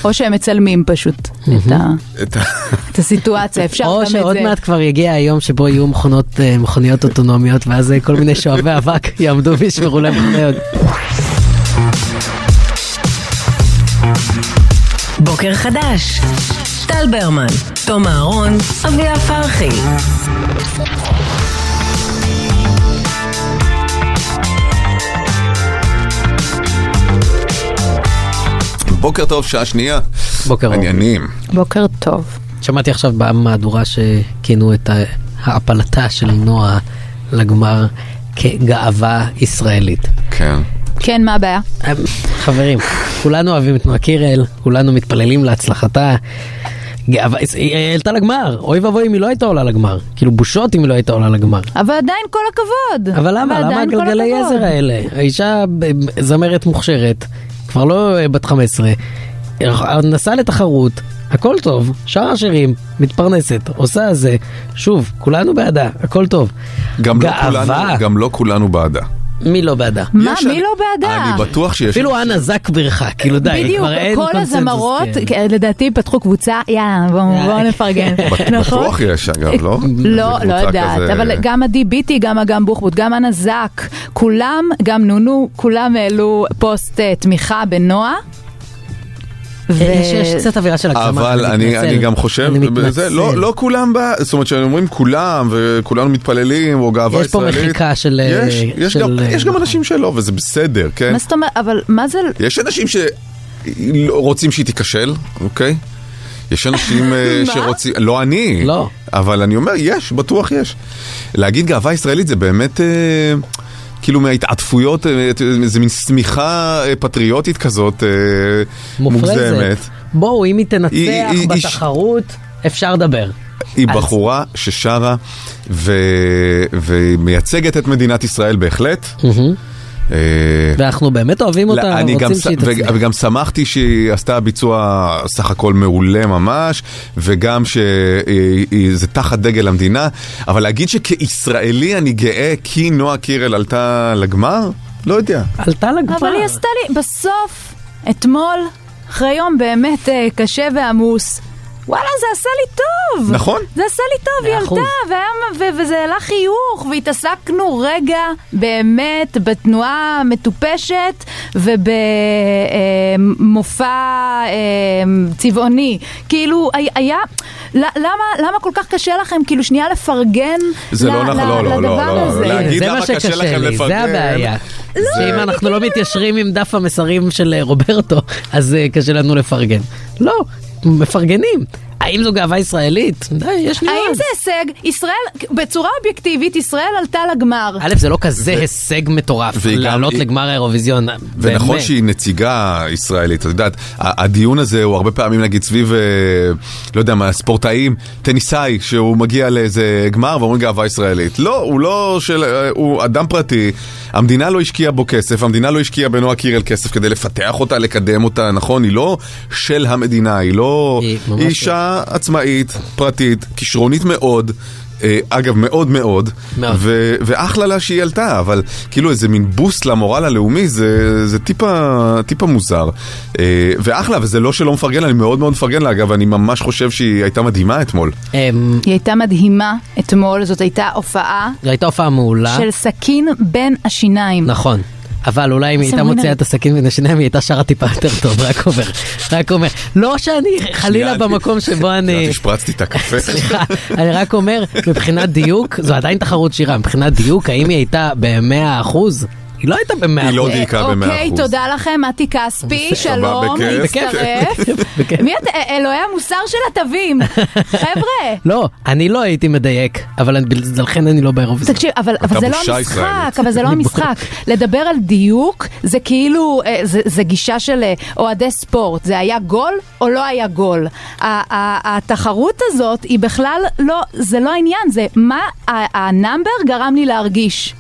Speaker 4: או שהם מצלמים פשוט את ה-
Speaker 3: את ה-
Speaker 4: את הסיטואציה, אפשר גם
Speaker 5: או
Speaker 4: את זה.
Speaker 5: שעוד מעט כבר יגיע היום שבו יהיו מכונות, אה, מכוניות אוטונומיות, ואז אה, כל מיני שואבי אבק יעמדו וישמרו להם חניות.
Speaker 2: בוקר חדש. טל ברמן, תום אהרון, אביה פרחי.
Speaker 3: בוקר טוב, שעה שנייה.
Speaker 5: בוקר אור.
Speaker 3: עניינים.
Speaker 4: בוקר טוב.
Speaker 5: שמעתי עכשיו במהדורה שכינו את ה- העפלתה של נועה לגמר כגאווה ישראלית.
Speaker 3: כן.
Speaker 4: כן, מה הבעיה?
Speaker 5: אה, חברים, כולנו אוהבים את נועה קירל, כולנו מתפללים להצלחתה. אבל היא העלתה לגמר, אוי ואבוי אם היא לא הייתה עולה לגמר. כאילו בושות אם היא לא הייתה עולה לגמר.
Speaker 4: אבל עדיין כל הכבוד.
Speaker 5: אבל למה? למה
Speaker 4: עדיין כל
Speaker 5: הגלגלי
Speaker 4: הכבוד.
Speaker 5: עזר האלה? האישה ב- זמרת מוכשרת, כבר לא אה, בת 15, נסעה לתחרות, הכל טוב, שרה שירים, מתפרנסת, עושה זה, שוב, כולנו בעדה, הכל טוב.
Speaker 3: גם לא,
Speaker 5: גאווה.
Speaker 3: כולנו, גם לא כולנו בעדה.
Speaker 5: מי לא בעדה?
Speaker 4: מה,
Speaker 3: יש-
Speaker 4: מי לא בעדה?
Speaker 3: אני בטוח שיש...
Speaker 5: אפילו אנה זק בירכה, כאילו די,
Speaker 4: בדיוק,
Speaker 5: כבר אין
Speaker 4: כל
Speaker 5: קונצנזוס,
Speaker 4: הזמרות,
Speaker 5: כן.
Speaker 4: כן, לדעתי, פתחו קבוצה, יאללה, בואו בואו
Speaker 5: יאללה.
Speaker 4: נפרגן.
Speaker 3: בט-
Speaker 4: נכון?
Speaker 3: בטוח יש, אגב, לא?
Speaker 4: לא,
Speaker 3: זה
Speaker 4: לא
Speaker 3: קבוצה
Speaker 4: יודעת,
Speaker 3: כזה-
Speaker 4: אבל גם עדי ביטי, גם אגם בוחבוט, גם אנה זק, כולם, גם נונו, כולם העלו פוסט אה, תמיכה בנועה. ו-
Speaker 5: יש יש קצת אווירה של הגזמה,
Speaker 3: אבל אני,
Speaker 5: מתנצל.
Speaker 3: אני גם חושב,
Speaker 5: אני
Speaker 3: בזה,
Speaker 5: מתנצל.
Speaker 3: לא, לא כולם, ב... זאת אומרת שהם אומרים כולם וכולנו מתפללים או גאווה
Speaker 5: יש פה
Speaker 3: ישראלית.
Speaker 5: מחיקה של, אה,
Speaker 3: יש, יש,
Speaker 5: של,
Speaker 3: גם,
Speaker 5: אה,
Speaker 3: יש גם
Speaker 5: נכון.
Speaker 3: אנשים שלא וזה בסדר, כן?
Speaker 4: מה זאת אומרת, אבל מה זה,
Speaker 3: יש אנשים שרוצים שהיא תיכשל, אוקיי? יש אנשים אה, שרוצים, לא אני,
Speaker 5: לא.
Speaker 3: אבל אני אומר, יש, בטוח יש. להגיד גאווה ישראלית זה באמת, אה, כאילו מההתעטפויות, אה, את- זה מין שמיכה אה, פטריוטית כזאת, אה, מוגזמת.
Speaker 5: מופרזת. בואו, אם היא
Speaker 3: היא-
Speaker 5: תנצח
Speaker 3: היא- היא-
Speaker 5: בתחרות, אפשר לדבר.
Speaker 3: היא
Speaker 5: אז-
Speaker 3: בחורה ששרה ו... ומייצגת את מדינת ישראל בהחלט. אה,
Speaker 5: ואנחנו באמת אוהבים
Speaker 3: לא,
Speaker 5: אותה,
Speaker 3: אני גם
Speaker 5: רוצים
Speaker 3: ס-
Speaker 5: שהיא
Speaker 3: וג-
Speaker 5: תצליח.
Speaker 3: וגם שמחתי שהיא עשתה ביצוע סך הכל מעולה ממש, וגם שזה תחת דגל המדינה, אבל להגיד שכישראלי אני גאה כי נועה קירל עלתה לגמר? לא יודע.
Speaker 5: עלתה לגמר.
Speaker 4: אבל היא עשתה לי, בסוף, אתמול, אחרי יום באמת אה, קשה ועמוס, וואלה, זה עשה לי טוב.
Speaker 3: נכון.
Speaker 4: זה עשה לי טוב, היא
Speaker 5: מאה אחוז.
Speaker 4: עלתה, והיה- ו- וזה העלה חיוך, והתעסקנו רגע באמת בתנועה אה, המטופשת ובמופע אה, צבעוני. כאילו, הי- היה... ל- למה, למה כל כך קשה לכם, כאילו, שנייה לפרגן
Speaker 3: זה
Speaker 4: ל-
Speaker 3: לא נכון,
Speaker 4: ל-
Speaker 3: לא, לא,
Speaker 4: לדבר
Speaker 3: לא, לא,
Speaker 4: הזה?
Speaker 3: לא, להגיד
Speaker 5: זה
Speaker 3: למה
Speaker 5: מה
Speaker 3: קשה
Speaker 5: שקשה
Speaker 3: לכם
Speaker 5: לי,
Speaker 3: לפרגן.
Speaker 5: זה הבעיה. שאם אנחנו לא מתיישרים עם דף המסרים של אה, רוברטו, אז אה, קשה לנו לפרגן. לא, מפרגנים. האם זו גאווה ישראלית? די, יש ניואנס.
Speaker 4: האם זה הישג? ישראל, בצורה אובייקטיבית, ישראל עלתה לגמר.
Speaker 5: א', זה לא כזה הישג מטורף,
Speaker 3: והיא גם-
Speaker 5: לעלות
Speaker 3: היא-
Speaker 5: לגמר האירוויזיון,
Speaker 3: ונכון
Speaker 5: באמת.
Speaker 3: שהיא נציגה ישראלית, את יודעת, ה- הדיון הזה הוא הרבה פעמים נגיד סביב, אה, לא יודע מה, ספורטאים, טניסאי, שהוא מגיע לאיזה גמר ואומרים גאווה ישראלית. לא, הוא לא של... אה, הוא אדם פרטי, המדינה לא השקיעה בו כסף, המדינה לא השקיעה בנועה קירל כסף כדי לפתח אותה, לקדם אותה, נכון? היא לא של המדינה, היא לא...
Speaker 5: היא ממש לא.
Speaker 3: היא אישה עצמאית, פרטית, כישרונית מאוד. אה, אגב, מאוד מאוד,
Speaker 5: מאוד.
Speaker 3: ו- ואחלה לה שהיא עלתה, אבל כאילו איזה מין בוסט למורל הלאומי, זה, זה טיפה, טיפה מוזר. אה, ואחלה, וזה לא שלא מפרגן, לה, אני מאוד מאוד מפרגן לה, אגב, אני ממש חושב שהיא הייתה מדהימה אתמול.
Speaker 5: אמ,
Speaker 4: היא הייתה מדהימה אתמול, זאת הייתה הופעה
Speaker 5: זו הייתה הופעה מעולה.
Speaker 4: של סכין בין השיניים.
Speaker 5: אה? נכון. אבל אולי אם היא הייתה
Speaker 4: סמרנה.
Speaker 5: מוציאה את הסכין בין השיניים, היא הייתה שרה טיפה יותר טוב, רק אומר. רק אומר. לא שאני חלילה
Speaker 3: שנייה,
Speaker 5: במקום שבו
Speaker 3: את
Speaker 5: אני...
Speaker 3: יודעת, השפרצתי את הקפה.
Speaker 5: סליחה, אני רק אומר, מבחינת דיוק, זו עדיין תחרות שירה, מבחינת דיוק, האם היא הייתה ב-100 אחוז? היא לא הייתה ב-100
Speaker 3: היא לא
Speaker 5: אחוז.
Speaker 3: דייקה ב-100%.
Speaker 4: אוקיי, תודה לכם, מתי כספי, שלום,
Speaker 3: בכיף.
Speaker 4: להצטרף.
Speaker 5: בכיף.
Speaker 4: מי את? אה, אלוהי המוסר של התווים. חבר'ה,
Speaker 5: לא, אני לא הייתי מדייק, אבל אני- לכן אני לא באירוויזיון.
Speaker 4: תקשיב, אבל אבל זה לא
Speaker 3: בושה
Speaker 4: המשחק,
Speaker 3: ישראלית.
Speaker 4: אבל זה לא
Speaker 5: אני
Speaker 4: המשחק. לדבר על דיוק זה כאילו, אה, זה- זה גישה של אה, אוהדי ספורט, זה היה גול או לא היה גול. ה- ה- התחרות הזאת היא בכלל לא, זה לא העניין, זה מה ה- הנאמבר גרם לי להרגיש.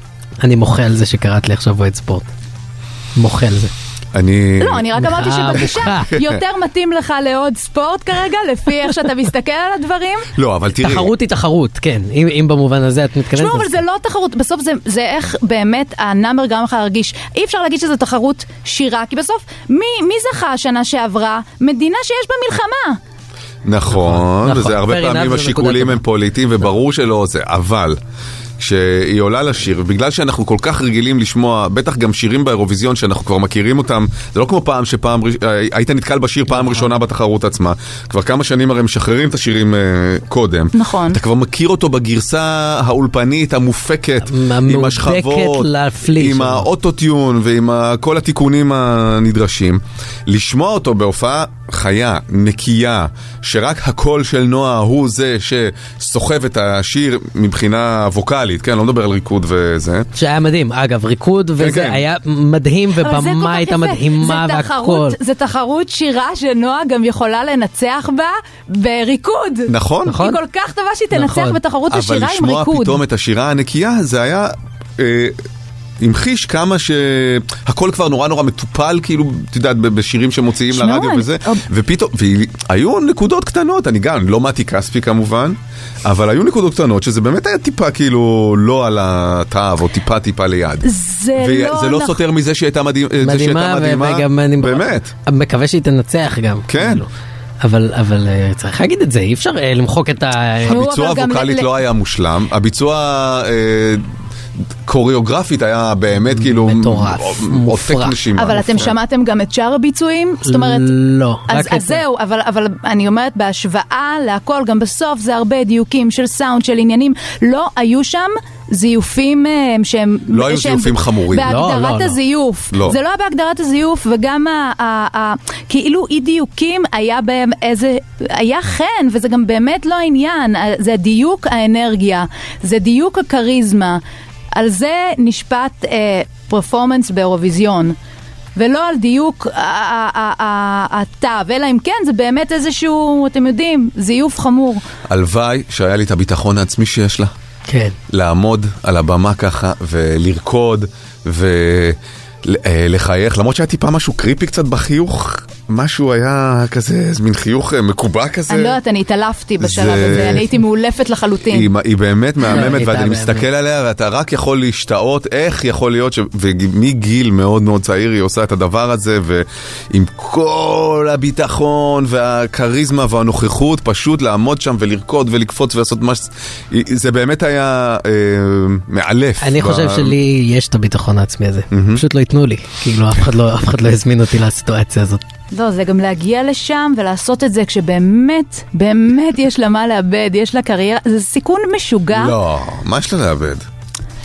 Speaker 5: אני מוחה על זה שקראת לי עכשיו אוהד ספורט. מוחה על זה.
Speaker 3: אני...
Speaker 4: לא, אני רק אמרתי
Speaker 5: אה,
Speaker 4: שבגישה
Speaker 5: בוכה.
Speaker 4: יותר מתאים לך לעוד ספורט כרגע, לפי איך שאתה מסתכל על הדברים.
Speaker 3: לא, אבל תראי,
Speaker 5: תחרות היא תחרות, כן. אם אם במובן הזה את מתכוונת...
Speaker 4: תשמעו,
Speaker 5: אז
Speaker 4: אבל זה לא תחרות, בסוף זה, זה איך באמת הנאמבר גרם לך להרגיש. אי אפשר להגיד שזו תחרות שירה, כי בסוף, מי, מי זכה השנה שעברה? מדינה שיש בה מלחמה.
Speaker 3: נכון,
Speaker 5: נכון,
Speaker 3: וזה הרבה
Speaker 5: fair enough,
Speaker 3: פעמים
Speaker 5: זו נקודה
Speaker 3: השיקולים
Speaker 5: טובה.
Speaker 3: הם פוליטיים, וברור שלא זה, אבל... כשהיא עולה לשיר, בגלל שאנחנו כל כך רגילים לשמוע, בטח גם שירים באירוויזיון שאנחנו כבר מכירים אותם, זה לא כמו פעם שפעם, ראש- אה, היית נתקל בשיר
Speaker 5: נכון.
Speaker 3: פעם ראשונה בתחרות עצמה, כבר כמה שנים הרי משחררים את השירים אה, קודם.
Speaker 4: נכון.
Speaker 3: אתה כבר מכיר אותו בגרסה האולפנית, המופקת, עם
Speaker 5: המהודקת
Speaker 3: השכבות,
Speaker 5: להפליא
Speaker 3: עם
Speaker 5: שם.
Speaker 3: האוטוטיון ועם ה- כל התיקונים הנדרשים. לשמוע אותו בהופעה חיה, נקייה, שרק הקול של נועה הוא זה שסוחב את השיר מבחינה ווקאלית, כן? לא מדבר על ריקוד וזה.
Speaker 5: שהיה מדהים, אגב, ריקוד וזה
Speaker 3: כן.
Speaker 5: היה מדהים,
Speaker 4: לא- אבל זה כל
Speaker 5: ובמה
Speaker 4: כך
Speaker 5: הייתה
Speaker 4: יפה.
Speaker 5: מדהימה
Speaker 4: זה
Speaker 5: והכל.
Speaker 4: תחרות- זה תחרות שירה שנועה גם יכולה לנצח בה בריקוד.
Speaker 3: נכון.
Speaker 5: נכון.
Speaker 4: היא כל כך טובה שהיא תנצח
Speaker 5: נכון.
Speaker 4: בתחרות
Speaker 3: אבל
Speaker 4: השירה עם
Speaker 3: לשמוע
Speaker 4: ריקוד.
Speaker 3: פתאום את השירה הנקייה זה היה... אה, המחיש כמה שהכל כבר נורא נורא מטופל, כאילו, את יודעת, ב- בשירים שמוציאים
Speaker 4: שמעו,
Speaker 3: לרדיו
Speaker 4: אני-
Speaker 3: וזה,
Speaker 4: אוב-
Speaker 3: ופתאום, והיו נקודות קטנות, אני גם, לא מתי כספי כמובן, אבל היו נקודות קטנות שזה באמת היה טיפה כאילו לא על התאו, או טיפה טיפה ליד.
Speaker 4: זה
Speaker 3: וזה לא
Speaker 4: נכון.
Speaker 3: סותר מזה שהיא הייתה מדהימה, זה שהיא
Speaker 5: מדהימה,
Speaker 3: הייתה
Speaker 5: ו-
Speaker 3: מדהימה,
Speaker 5: וגם אני
Speaker 3: באמת.
Speaker 5: מקווה שהיא תנצח גם.
Speaker 3: כן.
Speaker 5: כאילו. אבל, אבל אה, צריך להגיד את זה, אי אפשר אה, למחוק את ה...
Speaker 4: נו,
Speaker 3: הביצוע
Speaker 4: אבל גם
Speaker 3: הווקאלית
Speaker 4: ל-
Speaker 3: לא היה מושלם, הביצוע אה, קוריאוגרפית היה באמת כאילו...
Speaker 5: מטורף,
Speaker 3: עותק
Speaker 5: מופרע.
Speaker 3: נשימה.
Speaker 4: אבל אתם שמעתם גם את שאר הביצועים? זאת אומרת...
Speaker 5: לא.
Speaker 4: אז,
Speaker 5: רק את
Speaker 4: אז
Speaker 5: זה.
Speaker 4: זהו, אבל, אבל אני אומרת בהשוואה להכל, גם בסוף זה הרבה דיוקים של סאונד, של עניינים. לא היו שם זיופים אה, שהם...
Speaker 3: לא היו
Speaker 4: שהם
Speaker 3: זיופים חמורים.
Speaker 4: בהגדרת
Speaker 5: לא, לא, לא.
Speaker 4: הזיוף.
Speaker 3: לא.
Speaker 4: זה לא היה בהגדרת הזיוף, וגם ה, ה, ה, כאילו אי דיוקים היה בהם איזה... היה חן, וזה גם באמת לא העניין. אה, זה דיוק האנרגיה, זה דיוק הכריזמה. על זה נשפט אה, פרפורמנס באירוויזיון. ולא על דיוק אה, ה- ה- ה- ה- התו, אלא אם כן זה באמת איזשהו, אתם יודעים, זיוף חמור.
Speaker 3: הלוואי שהיה לי את הביטחון העצמי שיש לה.
Speaker 5: כן.
Speaker 3: לעמוד על הבמה ככה ולרקוד ולחייך, למרות שהיה טיפה משהו קריפי קצת בחיוך, משהו היה כזה, איזה מין חיוך אה, מקובע כזה.
Speaker 4: אני לא יודעת, אני התעלפתי בשלב
Speaker 3: זה-
Speaker 4: הזה, אני הייתי מאולפת
Speaker 3: היא,
Speaker 4: לחלוטין.
Speaker 3: היא באמת מהממת,
Speaker 5: לא, היא
Speaker 3: ואני
Speaker 5: באמת.
Speaker 3: מסתכל עליה, ואתה רק יכול להשתאות איך יכול להיות, ש... ומגיל מאוד מאוד צעיר היא עושה את הדבר הזה, ועם כל הביטחון והכריזמה והנוכחות, פשוט לעמוד שם ולרקוד ולקפוץ ולעשות מה ש... היא- זה באמת היה אה, מאלף.
Speaker 5: אני
Speaker 3: ב-
Speaker 5: חושב שלי יש את הביטחון העצמי הזה, פשוט לא ייתנו לי, כאילו אף אחד לא- אף אחד לא הזמין אותי לסיטואציה הזאת.
Speaker 4: לא, זה גם להגיע לשם ולעשות את זה כשבאמת, באמת יש לה מה לאבד, יש לה קריירה, זה סיכון משוגע.
Speaker 3: לא, מה יש לה לאבד?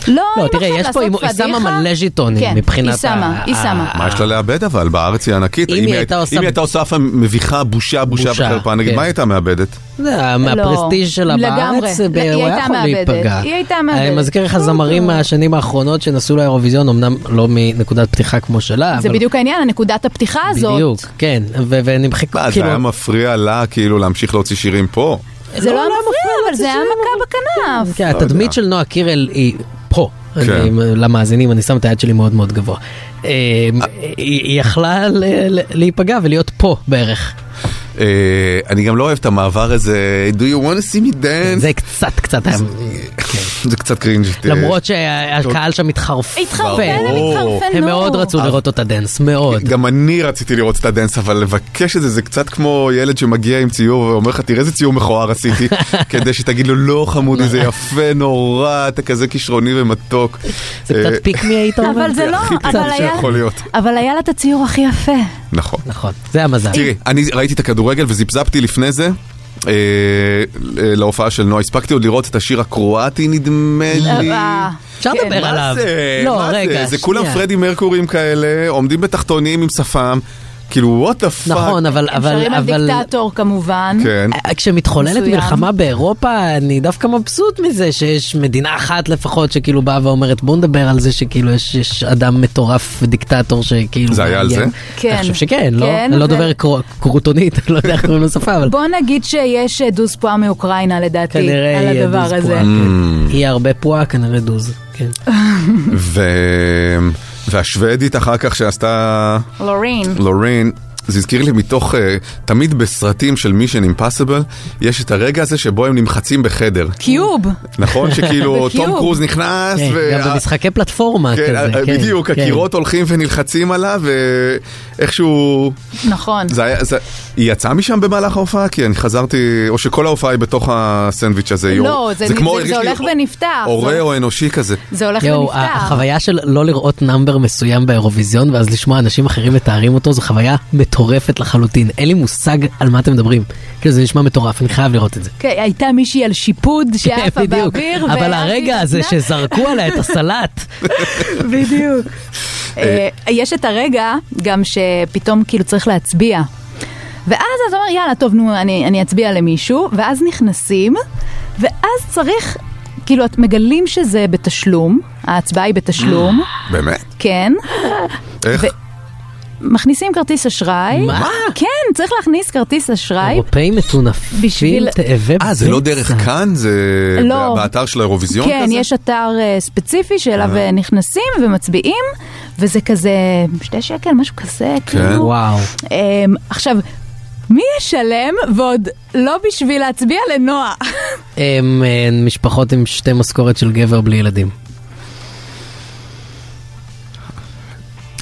Speaker 4: לא,
Speaker 5: לא,
Speaker 4: אם
Speaker 5: תראה,
Speaker 4: עכשיו
Speaker 5: יש פה,
Speaker 4: לעשות
Speaker 5: היא שמה
Speaker 4: פדיחה-
Speaker 5: מלא
Speaker 4: כן,
Speaker 5: ז'יטונים מבחינת
Speaker 4: היא שמה,
Speaker 5: ה-
Speaker 4: היא
Speaker 5: ה-
Speaker 4: שמה.
Speaker 3: מה יש לה לאבד אבל? בארץ היא ענקית.
Speaker 5: אם היא
Speaker 3: היית-
Speaker 5: הייתה עושה-
Speaker 3: אם היא הייתה עושה אף פעם מביכה, בושה, בושה
Speaker 5: בושה,
Speaker 3: וחרפה, נגיד,
Speaker 5: כן.
Speaker 3: מה היא הייתה מאבדת?
Speaker 5: זה, מהפרסטיג' שלה
Speaker 4: לא, לגמרי.
Speaker 5: בארץ,
Speaker 4: לא, היא
Speaker 5: הוא היה
Speaker 4: הייתה
Speaker 5: יכול
Speaker 4: מאבדת.
Speaker 5: להיפגע.
Speaker 4: היא הייתה
Speaker 5: אני
Speaker 4: מאבדת.
Speaker 5: מזכיר לך זמרים מהשנים האחרונות שנסעו לאירוויזיון, אמנם לא מנקודת פתיחה כמו שלה,
Speaker 4: זה
Speaker 5: אבל-
Speaker 4: בדיוק העניין, נקודת הפתיחה הזאת.
Speaker 5: בדיוק, כן, ו- ונמחקו,
Speaker 3: מה, זה
Speaker 5: כאילו,
Speaker 3: היה מפריע לה כאילו להמשיך להוציא שירים פה?
Speaker 4: זה לא היה מפריע, אבל זה היה
Speaker 5: שזה-
Speaker 4: מכה בכנף.
Speaker 5: כן,
Speaker 3: לא יודע.
Speaker 5: התדמית של נועה קירל היא פה.
Speaker 3: כן.
Speaker 5: אני- למאזינים, אני שם את היד שלי מאוד מאוד גבוה. אה, היא היא יכלה ל- ל- להיפגע ולהיות פה בערך.
Speaker 3: אה, אני גם לא אוהב את המעבר הזה, do you want to see me dance?
Speaker 5: זה קצת קצת היה...
Speaker 3: זה קצת קרינג'. אה,
Speaker 5: כן. למרות שהקהל שם התחרפן.
Speaker 4: התחרפן, הם
Speaker 3: ברור.
Speaker 4: התחרפנו.
Speaker 5: הם מאוד רצו לראות אותה דנס, מאוד.
Speaker 3: אה. גם אני רציתי לראות את הדנס, אבל לבקש את זה, זה קצת כמו ילד שמגיע עם ציור ואומר לך, תראה איזה ציור מכוער עשיתי, כדי שתגיד לו, לא חמודי, זה יפה, נורא, אתה כזה כישרוני ומתוק.
Speaker 5: זה
Speaker 3: אה,
Speaker 5: קצת פיקמי היית אומר?
Speaker 4: אבל זה לא,
Speaker 3: הכי
Speaker 4: אבל
Speaker 3: פיקנטי
Speaker 4: היה-
Speaker 3: שיכול להיות.
Speaker 4: אבל היה לה את הציור הכי יפה.
Speaker 3: נכון.
Speaker 5: נכון, זה המזל.
Speaker 3: תראי, אני ראיתי את הכדורגל וזיפזפתי לפני זה. אה, אה, להופעה של נועה, הספקתי עוד לראות את השיר הקרואטי נדמה לי.
Speaker 4: אה,
Speaker 5: אפשר
Speaker 4: כן.
Speaker 5: לדבר לא עליו.
Speaker 3: מה זה?
Speaker 5: לא,
Speaker 3: מה
Speaker 5: רגע,
Speaker 3: זה? זה
Speaker 5: שנייה.
Speaker 3: כולם פרדי מרקורים כאלה, עומדים בתחתונים עם שפם, כאילו, וואט דה פאק.
Speaker 5: נכון, אבל...
Speaker 4: הם
Speaker 5: אבל-
Speaker 4: שרים על
Speaker 5: אבל-
Speaker 4: דיקטטור כמובן.
Speaker 3: כן.
Speaker 5: אה, כשמתחוללת
Speaker 4: מצוין.
Speaker 5: מלחמה באירופה, אני דווקא מבסוט מזה שיש מדינה אחת לפחות שכאילו באה ואומרת בוא נדבר על זה שכאילו יש, יש אדם מטורף ודיקטטור שכאילו...
Speaker 3: זה היה על
Speaker 5: מאיים."
Speaker 3: זה?
Speaker 4: כן.
Speaker 5: אני חושב שכן, לא?
Speaker 4: כן,
Speaker 5: אני לא
Speaker 4: ו-
Speaker 5: דובר קרו- קרוטונית, אני לא יודע איך קוראים לשפה, אבל
Speaker 4: בוא נגיד שיש אה, דוז פועה מאוקראינה לדעתי,
Speaker 5: כנראה
Speaker 4: על
Speaker 5: יהיה דוז
Speaker 4: הדבר הזה.
Speaker 5: פועה.
Speaker 3: Mm,
Speaker 5: כן. יהיה הרבה פועה, כנראה דוז. כן.
Speaker 3: ו... והשוודית אחר כך שעשתה
Speaker 4: לורין.
Speaker 3: לורין, זה הזכיר לי מתוך, אה, תמיד בסרטים של מישן אימפסיבל, יש את הרגע הזה שבו הם נמחצים בחדר.
Speaker 4: קיוב.
Speaker 3: נכון? שכאילו
Speaker 4: בקיוב.
Speaker 3: תום קרוז נכנס,
Speaker 5: כן,
Speaker 3: וה-
Speaker 5: גם במשחקי פלטפורמה
Speaker 3: כן,
Speaker 5: כזה.
Speaker 3: אה,
Speaker 5: כן,
Speaker 3: בדיוק,
Speaker 5: כן.
Speaker 3: הקירות הולכים ונלחצים עליו, ואיכשהו...
Speaker 4: נכון.
Speaker 3: זה היה, זה... היא יצאה משם במהלך ההופעה? כי אני חזרתי, או שכל ההופעה היא בתוך הסנדוויץ' הזה. היא-
Speaker 4: לא, זה- זה-
Speaker 3: הרגיש
Speaker 4: זה
Speaker 3: לי
Speaker 4: הולך
Speaker 3: או-
Speaker 4: ונפתח.
Speaker 3: הורה
Speaker 4: זה-
Speaker 3: או אנושי כזה.
Speaker 4: זה הולך
Speaker 5: יואו, אה- ה-
Speaker 4: ונפתח.
Speaker 5: החוויה של לא לראות נאמבר מסוים באירוויזיון ואז לשמוע אנשים אחרים מתארים אותו זו חוויה מטורפת לחלוטין. אין לי מושג על מה אתם מדברים. כאילו זה נשמע מטורף, אני חייב לראות את זה.
Speaker 4: כן, הייתה מישהי על שיפוד שעפה
Speaker 5: כן, בדיוק.
Speaker 4: באוויר.
Speaker 5: אבל
Speaker 4: ואז היא
Speaker 5: הרגע הזה
Speaker 4: נתנה-
Speaker 5: שזרקו עליה את הסלט.
Speaker 4: בדיוק. אה, יש את הרגע גם שפתאום כאילו צריך להצביע. ואז אתה אומר, יאללה, טוב, נו, אני, אני אצביע למישהו, ואז נכנסים, ואז צריך, כאילו, את מגלים שזה בתשלום, ההצבעה היא בתשלום,
Speaker 3: Mm, באמת?
Speaker 4: כן,
Speaker 3: איך?
Speaker 4: מכניסים כרטיס אשראי.
Speaker 5: מה?
Speaker 4: כן, צריך להכניס כרטיס אשראי.
Speaker 5: אירופאים אוקיי, מטונפים,
Speaker 4: בשביל-
Speaker 5: תאבי
Speaker 3: אה, זה לא דרך
Speaker 5: בצע.
Speaker 3: כאן? זה
Speaker 4: לא.
Speaker 3: באתר של האירוויזיון
Speaker 4: כן,
Speaker 3: כזה?
Speaker 4: יש אתר אה, ספציפי שאליו אה, נכנסים ומצביעים, וזה כזה שתי שקל, משהו כזה,
Speaker 3: כן.
Speaker 4: כאילו.
Speaker 5: וואו.
Speaker 4: אמ, עכשיו, מי ישלם ועוד לא בשביל להצביע לנועה?
Speaker 5: הם אה, משפחות עם שתי משכורת של גבר בלי ילדים.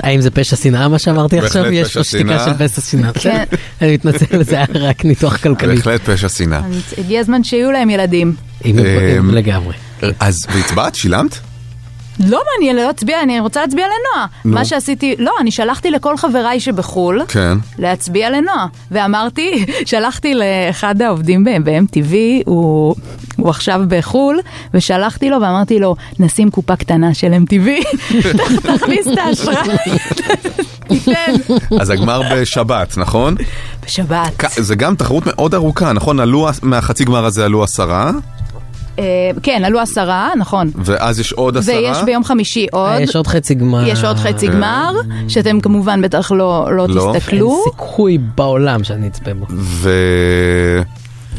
Speaker 5: האם זה פשע שנאה מה שאמרתי
Speaker 3: בהחלט
Speaker 5: עכשיו? יש
Speaker 3: פשע
Speaker 5: פה שתיקה
Speaker 3: שנאה.
Speaker 5: של פשע שנאה.
Speaker 4: כן.
Speaker 5: אני מתנצל, זה היה רק ניתוח כלכלי.
Speaker 3: בהחלט פשע שנאה.
Speaker 4: אז הגיע הזמן שיהיו להם ילדים.
Speaker 5: אם
Speaker 3: אה,
Speaker 5: הם- לגמרי.
Speaker 3: אז והצבעת? שילמת?
Speaker 4: לא מעניין, לא אצביע, אני רוצה להצביע לנועה. מה שעשיתי, לא, אני שלחתי לכל חבריי שבחו"ל.
Speaker 3: כן.
Speaker 4: להצביע לנועה. ואמרתי, שלחתי לאחד העובדים ב- ב-MTV, הוא, הוא עכשיו בחו"ל, ושלחתי לו ואמרתי לו, נשים קופה קטנה של MTV, תכניס את האשראי, תיתן,
Speaker 3: אז הגמר בשבת, נכון?
Speaker 4: בשבת.
Speaker 3: כ- זה גם תחרות מאוד ארוכה, נכון? עלו, מהחצי גמר הזה עלו עשרה,
Speaker 4: אה, כן, עלו עשרה, נכון.
Speaker 3: ואז יש עוד עשרה. אה.
Speaker 4: ויש ביום חמישי עוד.
Speaker 5: אה, יש עוד חצי גמר.
Speaker 4: יש עוד חצי גמר, שאתם כמובן בטח לא, לא,
Speaker 3: לא.
Speaker 5: אין
Speaker 4: תסתכלו.
Speaker 5: סיכוי בעולם שאני אצפה בו.
Speaker 3: ו...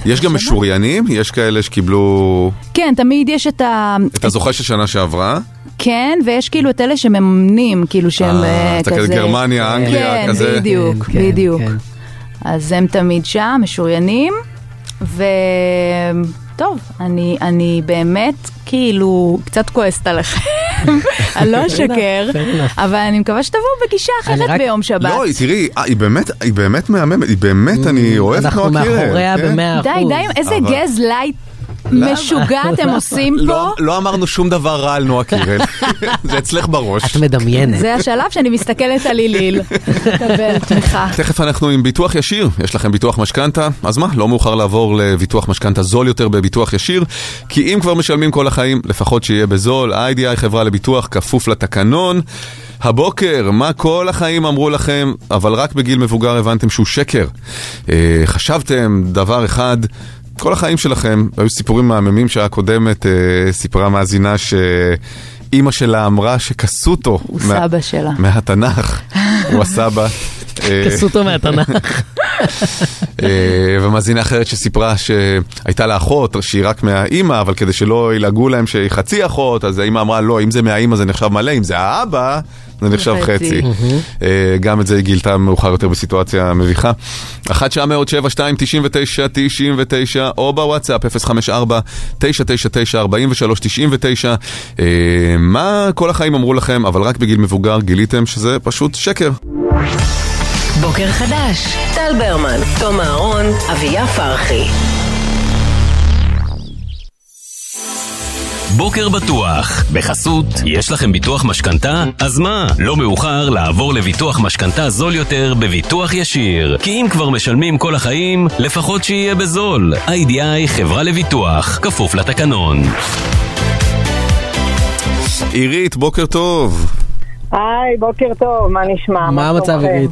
Speaker 3: יש גם משוריינים, יש כאלה שקיבלו
Speaker 4: כן, תמיד יש את ה...
Speaker 3: את הזוכה של שנה שעברה.
Speaker 4: כן, ויש כאילו את אלה שמממנים, כאילו שהם
Speaker 3: אה,
Speaker 4: אה,
Speaker 3: אתה
Speaker 4: כזה...
Speaker 3: כזה גרמניה, אנגליה,
Speaker 4: כן,
Speaker 3: כזה.
Speaker 4: בדיוק,
Speaker 5: כן, כן,
Speaker 4: בדיוק.
Speaker 5: כן.
Speaker 4: אז הם תמיד שם, משוריינים, וטוב, אני, אני באמת כאילו קצת כועסת עליכם, אני לא אשקר,
Speaker 5: enough.
Speaker 4: אבל אני מקווה שתבואו בגישה
Speaker 5: אני
Speaker 4: אחרת
Speaker 5: רק-
Speaker 4: ביום שבת.
Speaker 3: לא, היא- תראי, אה, היא באמת, היא באמת מהממת, היא באמת, אני אוהב את
Speaker 5: אנחנו
Speaker 3: נועה קירל.
Speaker 5: מאחוריה
Speaker 3: כן?
Speaker 5: במאה
Speaker 4: די,
Speaker 5: אחוז.
Speaker 4: די, איזה
Speaker 3: אבל-
Speaker 4: גז לייט
Speaker 3: למה?
Speaker 4: משוגע אתם
Speaker 5: למה?
Speaker 4: עושים פה.
Speaker 3: לא, לא אמרנו שום דבר רע על נועה קירל, זה אצלך בראש.
Speaker 5: את מדמיינת.
Speaker 4: זה השלב שאני מסתכלת על היליל, לקבל תמיכה.
Speaker 3: תכף אנחנו עם ביטוח ישיר, יש לכם ביטוח משכנתה, אז מה, לא מאוחר לעבור לביטוח משכנתה זול יותר בביטוח ישיר, כי אם כבר משלמים כל החיים, לפחות שיהיה בזול, איי-די-איי חברה לביטוח כפוף לתקנון. הבוקר, מה כל החיים אמרו לכם, אבל רק בגיל מבוגר הבנתם שהוא שקר. אה, חשבתם דבר אחד, כל החיים שלכם, היו סיפורים מהממים שהקודמת אה, סיפרה מאזינה ש... אימא שלה אמרה שכסותו
Speaker 4: הוא סבא שלה.
Speaker 3: מהתנ"ך, הוא הסבא. אה,
Speaker 5: כסו אותו מהתנ"ך.
Speaker 3: אה, ומאזינה אחרת שסיפרה שהייתה לה אחות שהיא רק מהאימא, אבל כדי שלא ילעגו להם שהיא חצי אחות, אז האימא אמרה, לא, אם זה מהאימא זה נחשב מלא, אם זה האבא, זה נחשב
Speaker 4: חצי.
Speaker 3: חצי. אה, גם את זה היא גילתה מאוחר יותר בסיטואציה מביכה. 1 שעה מאות 7 2 99 99 או בוואטסאפ 054 999 43 99 אה, מה כל החיים אמרו לכם, אבל רק בגיל מבוגר גיליתם שזה פשוט שקר.
Speaker 2: בוקר חדש, טל ברמן, תום אהרון, אביה פרחי.
Speaker 10: בוקר בטוח, בחסות, יש לכם ביטוח משכנתה? אז מה, לא מאוחר לעבור לביטוח משכנתה זול יותר בביטוח ישיר. כי אם כבר משלמים כל החיים, לפחות שיהיה בזול. איי-די-איי חברה לביטוח, כפוף לתקנון.
Speaker 3: עירית, בוקר טוב.
Speaker 11: היי, בוקר טוב, מה נשמע?
Speaker 5: מה המצב,
Speaker 11: שלומכם?
Speaker 5: עירית?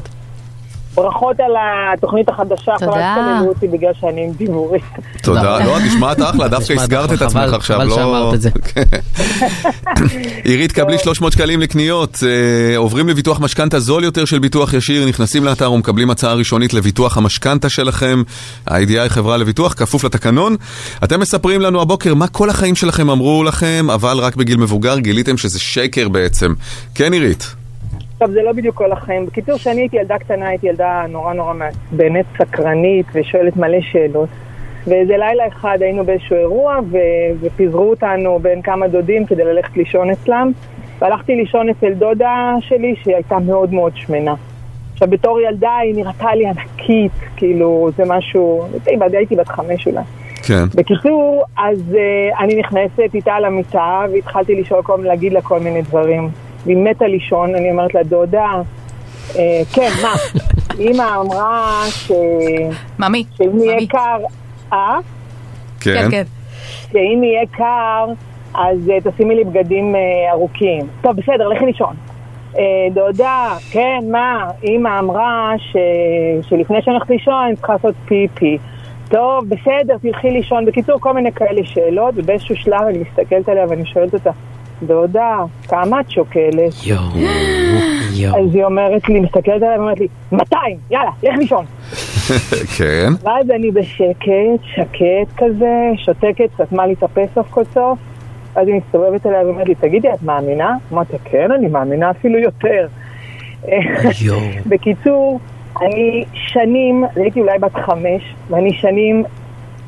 Speaker 11: ברכות על התוכנית החדשה,
Speaker 4: תודה.
Speaker 11: כל הצטלמו אותי בגלל שאני עם דיבורים.
Speaker 3: תודה.
Speaker 5: תודה.
Speaker 3: לא, את נשמעת אחלה, דווקא
Speaker 5: נשמעת
Speaker 3: הסגרת
Speaker 5: אחלה,
Speaker 3: את עצמך
Speaker 5: חבל-
Speaker 3: עכשיו.
Speaker 5: חבל
Speaker 3: לא-
Speaker 5: שאמרת את זה.
Speaker 3: כן. עירית, קבלי 300 שקלים לקניות. אה, עוברים לביטוח משכנתה זול יותר של ביטוח ישיר, נכנסים לאתר ומקבלים הצעה ראשונית לביטוח המשכנתה שלכם. ה-IDI חברה לביטוח, כפוף לתקנון. אתם מספרים לנו הבוקר מה כל החיים שלכם אמרו לכם, אבל רק בגיל מבוגר גיליתם שזה שקר בעצם. כן, עירית?
Speaker 11: עכשיו, זה לא בדיוק כל החיים. בקיצור, כשאני הייתי ילדה קטנה, הייתי ילדה נורא נורא מעצבנת, סקרנית, ושואלת מלא שאלות. ואיזה לילה אחד היינו באיזשהו אירוע, ו- ופיזרו אותנו בין כמה דודים כדי ללכת לישון אצלם. והלכתי לישון אצל דודה שלי, שהיא הייתה מאוד מאוד שמנה. עכשיו, בתור ילדה היא נראתה לי ענקית, כאילו, זה משהו... הייתי בת חמש אולי.
Speaker 3: כן.
Speaker 11: בקיצור, אז uh, אני נכנסת איתה למיטה, והתחלתי לשאול כל מיני, להגיד לה כל מיני דברים. והיא מתה לישון, אני אומרת לה, דודה, uh, כן, מה? אימא אמרה ש...
Speaker 4: ממי,
Speaker 11: שאם יהיה
Speaker 4: ממי.
Speaker 11: קר... אה?
Speaker 3: כן.
Speaker 4: כן, כן.
Speaker 11: שאם יהיה קר, אז אה, תשימי לי בגדים אה, ארוכים. טוב, בסדר, לכי לישון. אה, דודה, כן, מה? אימא אמרה ש... שלפני שאני הולכת לישון אני צריכה לעשות פיפי. טוב, בסדר, תלכי לישון. בקיצור, כל מיני כאלה שאלות, ובאיזשהו שלב אני מסתכלת עליה ואני שואלת אותה, דודה, כמה את שוקלת?
Speaker 5: יואו, יואו.
Speaker 11: אז היא אומרת לי, מסתכלת עליי ואומרת לי, 200, יאללה, לך לישון.
Speaker 3: כן.
Speaker 11: ואז אני בשקט, שקט כזה, שותקת, סתמה לי את הפה סוף כל סוף. אז היא מסתובבת אליי ואומרת לי, תגידי, את מאמינה? אמרתי, כן, אני מאמינה אפילו יותר.
Speaker 5: יואו.
Speaker 11: בקיצור, אני שנים, הייתי אולי בת חמש, ואני שנים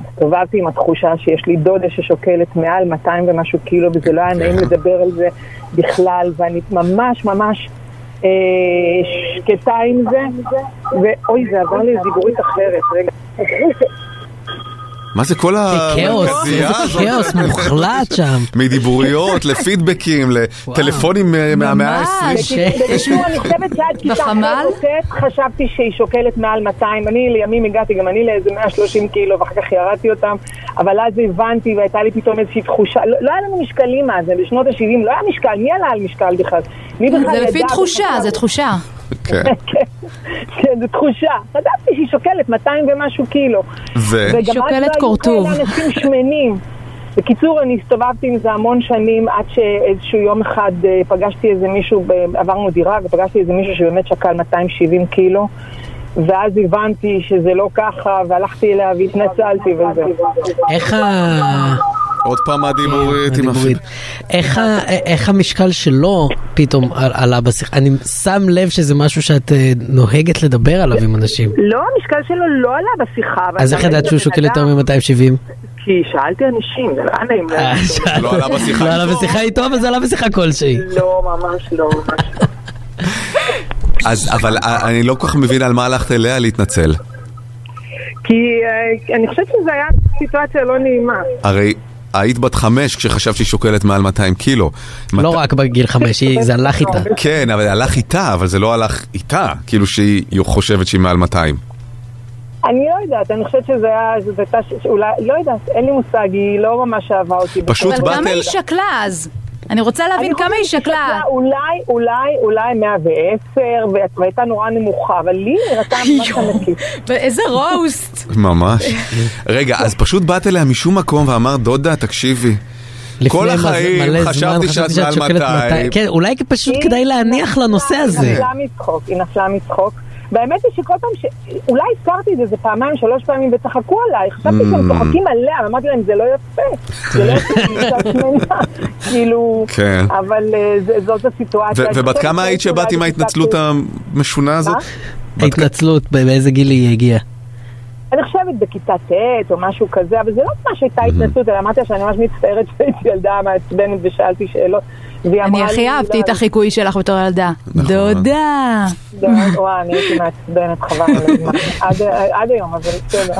Speaker 11: הסתובבתי עם התחושה שיש לי דודה ששוקלת מעל 200 ומשהו קילו, וזה לא היה נעים לדבר על זה בכלל, ואני ממש ממש אה, שקטה עם זה, ואוי, זה עבר לי דיבורית אחרת, רגע.
Speaker 3: מה זה כל
Speaker 5: זה כאוס,
Speaker 3: המרכזייה
Speaker 5: איזה
Speaker 3: הזאת?
Speaker 5: כאוס מוחלט שם.
Speaker 3: מדיבוריות, לפידבקים, לטלפונים אה, מהמאה ה-20.
Speaker 5: ש-
Speaker 11: בקיצור, אני חושבת שעד
Speaker 4: נכון,
Speaker 11: כיתה
Speaker 4: בחמ"ל?
Speaker 11: ח' חשבתי שהיא שוקלת מעל 200. אני לימים הגעתי, גם אני לאיזה 130 קילו, ואחר כך ירדתי אותם. אבל אז הבנתי, והייתה לי פתאום איזושהי תחושה, לא, לא היה לנו משקלים אז, בשנות ה-70 לא היה משקל, מי עלה על משקל בכלל? מי בכלל
Speaker 4: זה
Speaker 11: ידע
Speaker 4: לפי
Speaker 11: בכלל?
Speaker 4: תחושה, זה תחושה.
Speaker 3: כן.
Speaker 11: כן, כן, זו תחושה. חשבתי שהיא שוקלת 200 ומשהו קילו.
Speaker 3: ו...
Speaker 11: וגם אז
Speaker 4: שוקלת
Speaker 11: לא היו
Speaker 4: קורטוב.
Speaker 11: כאלה אנשים שמנים. בקיצור, אני הסתובבתי עם זה המון שנים, עד שאיזשהו יום אחד אה, פגשתי איזה מישהו, ב- עברנו דירה, ופגשתי איזה מישהו שבאמת שקל 270 קילו, ואז הבנתי שזה לא ככה, והלכתי אליה והתנצלתי וזה.
Speaker 5: איך ה...
Speaker 3: עוד פעם
Speaker 5: כן,
Speaker 3: הדיבורית עם הפיד...
Speaker 5: הדיבורית. איך ה- איך המשקל שלו פתאום על- עלה בשיחה? אני שם לב שזה משהו שאת אה, נוהגת לדבר עליו עם אנשים.
Speaker 11: לא, המשקל שלו לא עלה בשיחה. אבל
Speaker 5: אז איך
Speaker 11: גם
Speaker 5: ידעת
Speaker 11: אני
Speaker 5: שהוא
Speaker 11: בן
Speaker 5: שוקל יותר
Speaker 11: אדם-
Speaker 5: מ-270?
Speaker 11: כי שאלתי אנשים, זה לא היה נעים. להם.
Speaker 3: לא עלה בשיחה
Speaker 5: לא עלה
Speaker 3: איתו.
Speaker 5: בשיחה איתו, אבל זה עלה בשיחה כלשהי.
Speaker 11: לא, ממש לא. ממש לא.
Speaker 3: אז אבל אה, אני לא כל כך מבין על מה הלכת אליה להתנצל.
Speaker 11: כי אה, אני חושבת שזו הייתה סיטואציה לא נעימה.
Speaker 3: הרי היית בת חמש כשחשבת שהיא שוקלת מעל 200 קילו.
Speaker 5: לא
Speaker 3: מת-
Speaker 5: רק בגיל חמש, היא- זה הלך איתה.
Speaker 3: כן, אבל הלך איתה, אבל זה לא הלך איתה, כאילו שהיא חושבת שהיא מעל 200.
Speaker 11: אני לא יודעת, אני חושבת שזה היה, זו הייתה, ש- אולי, לא יודעת, אין לי מושג, היא לא ממש אהבה אותי.
Speaker 3: פשוט
Speaker 11: בכלל.
Speaker 3: באת
Speaker 4: אבל כמה
Speaker 3: אל-
Speaker 4: היא שקלה אז? אני רוצה
Speaker 11: אני
Speaker 4: להבין
Speaker 11: חושבת
Speaker 4: כמה היא שקלה.
Speaker 11: אולי, אולי, אולי 110, ו- והייתה נורא נמוכה, אבל לי היא נראתה ממש ענקית.
Speaker 4: איזה רוסט.
Speaker 3: ממש. רגע, אז פשוט באת אליה משום מקום ואמרת, דודה, תקשיבי.
Speaker 5: לפני
Speaker 3: כל
Speaker 5: מלא-
Speaker 3: החיים
Speaker 5: מלא זמן
Speaker 3: חשבתי שאת מעל
Speaker 5: שוקלת
Speaker 3: 200.
Speaker 5: כן, אולי פשוט כדאי להניח לנושא
Speaker 11: היא
Speaker 5: הזה.
Speaker 11: נפלה מצחוק, היא נפלה מצחוק. והאמת היא שכל פעם ש... אולי הזכרתי את זה איזה פעמיים, שלוש פעמים, וצחקו עליי. חשבתי שהם צוחקים עליה, ואמרתי להם, זה לא יפה. זה לא יפה, היא אישה שמנה." כאילו...
Speaker 3: כן.
Speaker 11: אבל אה, זה- זאת
Speaker 3: ו-
Speaker 11: הסיטואציה.
Speaker 3: ובת כמה היית שבאת עם ההתנצלות המשונה הזאת?
Speaker 11: מה?
Speaker 5: ההתנצלות, באיזה גיל היא הגיעה.
Speaker 11: אני חושבת בכיתה ט' או משהו כזה, אבל זה לא ממש הייתה התנצלות, אלא אמרתי לה שאני ממש מצטערת שהייתי ילדה מעצבנת ושאלתי שאלות. והיא אמרה
Speaker 4: אני
Speaker 11: לי,
Speaker 4: הכי אהבתי
Speaker 11: לא,
Speaker 4: את החיקוי שלך בתור ילדה. דודה.
Speaker 11: לא, וואי, אני הייתי מעצבנת, חבל על הזמן. עד- עד היום, אבל בסדר.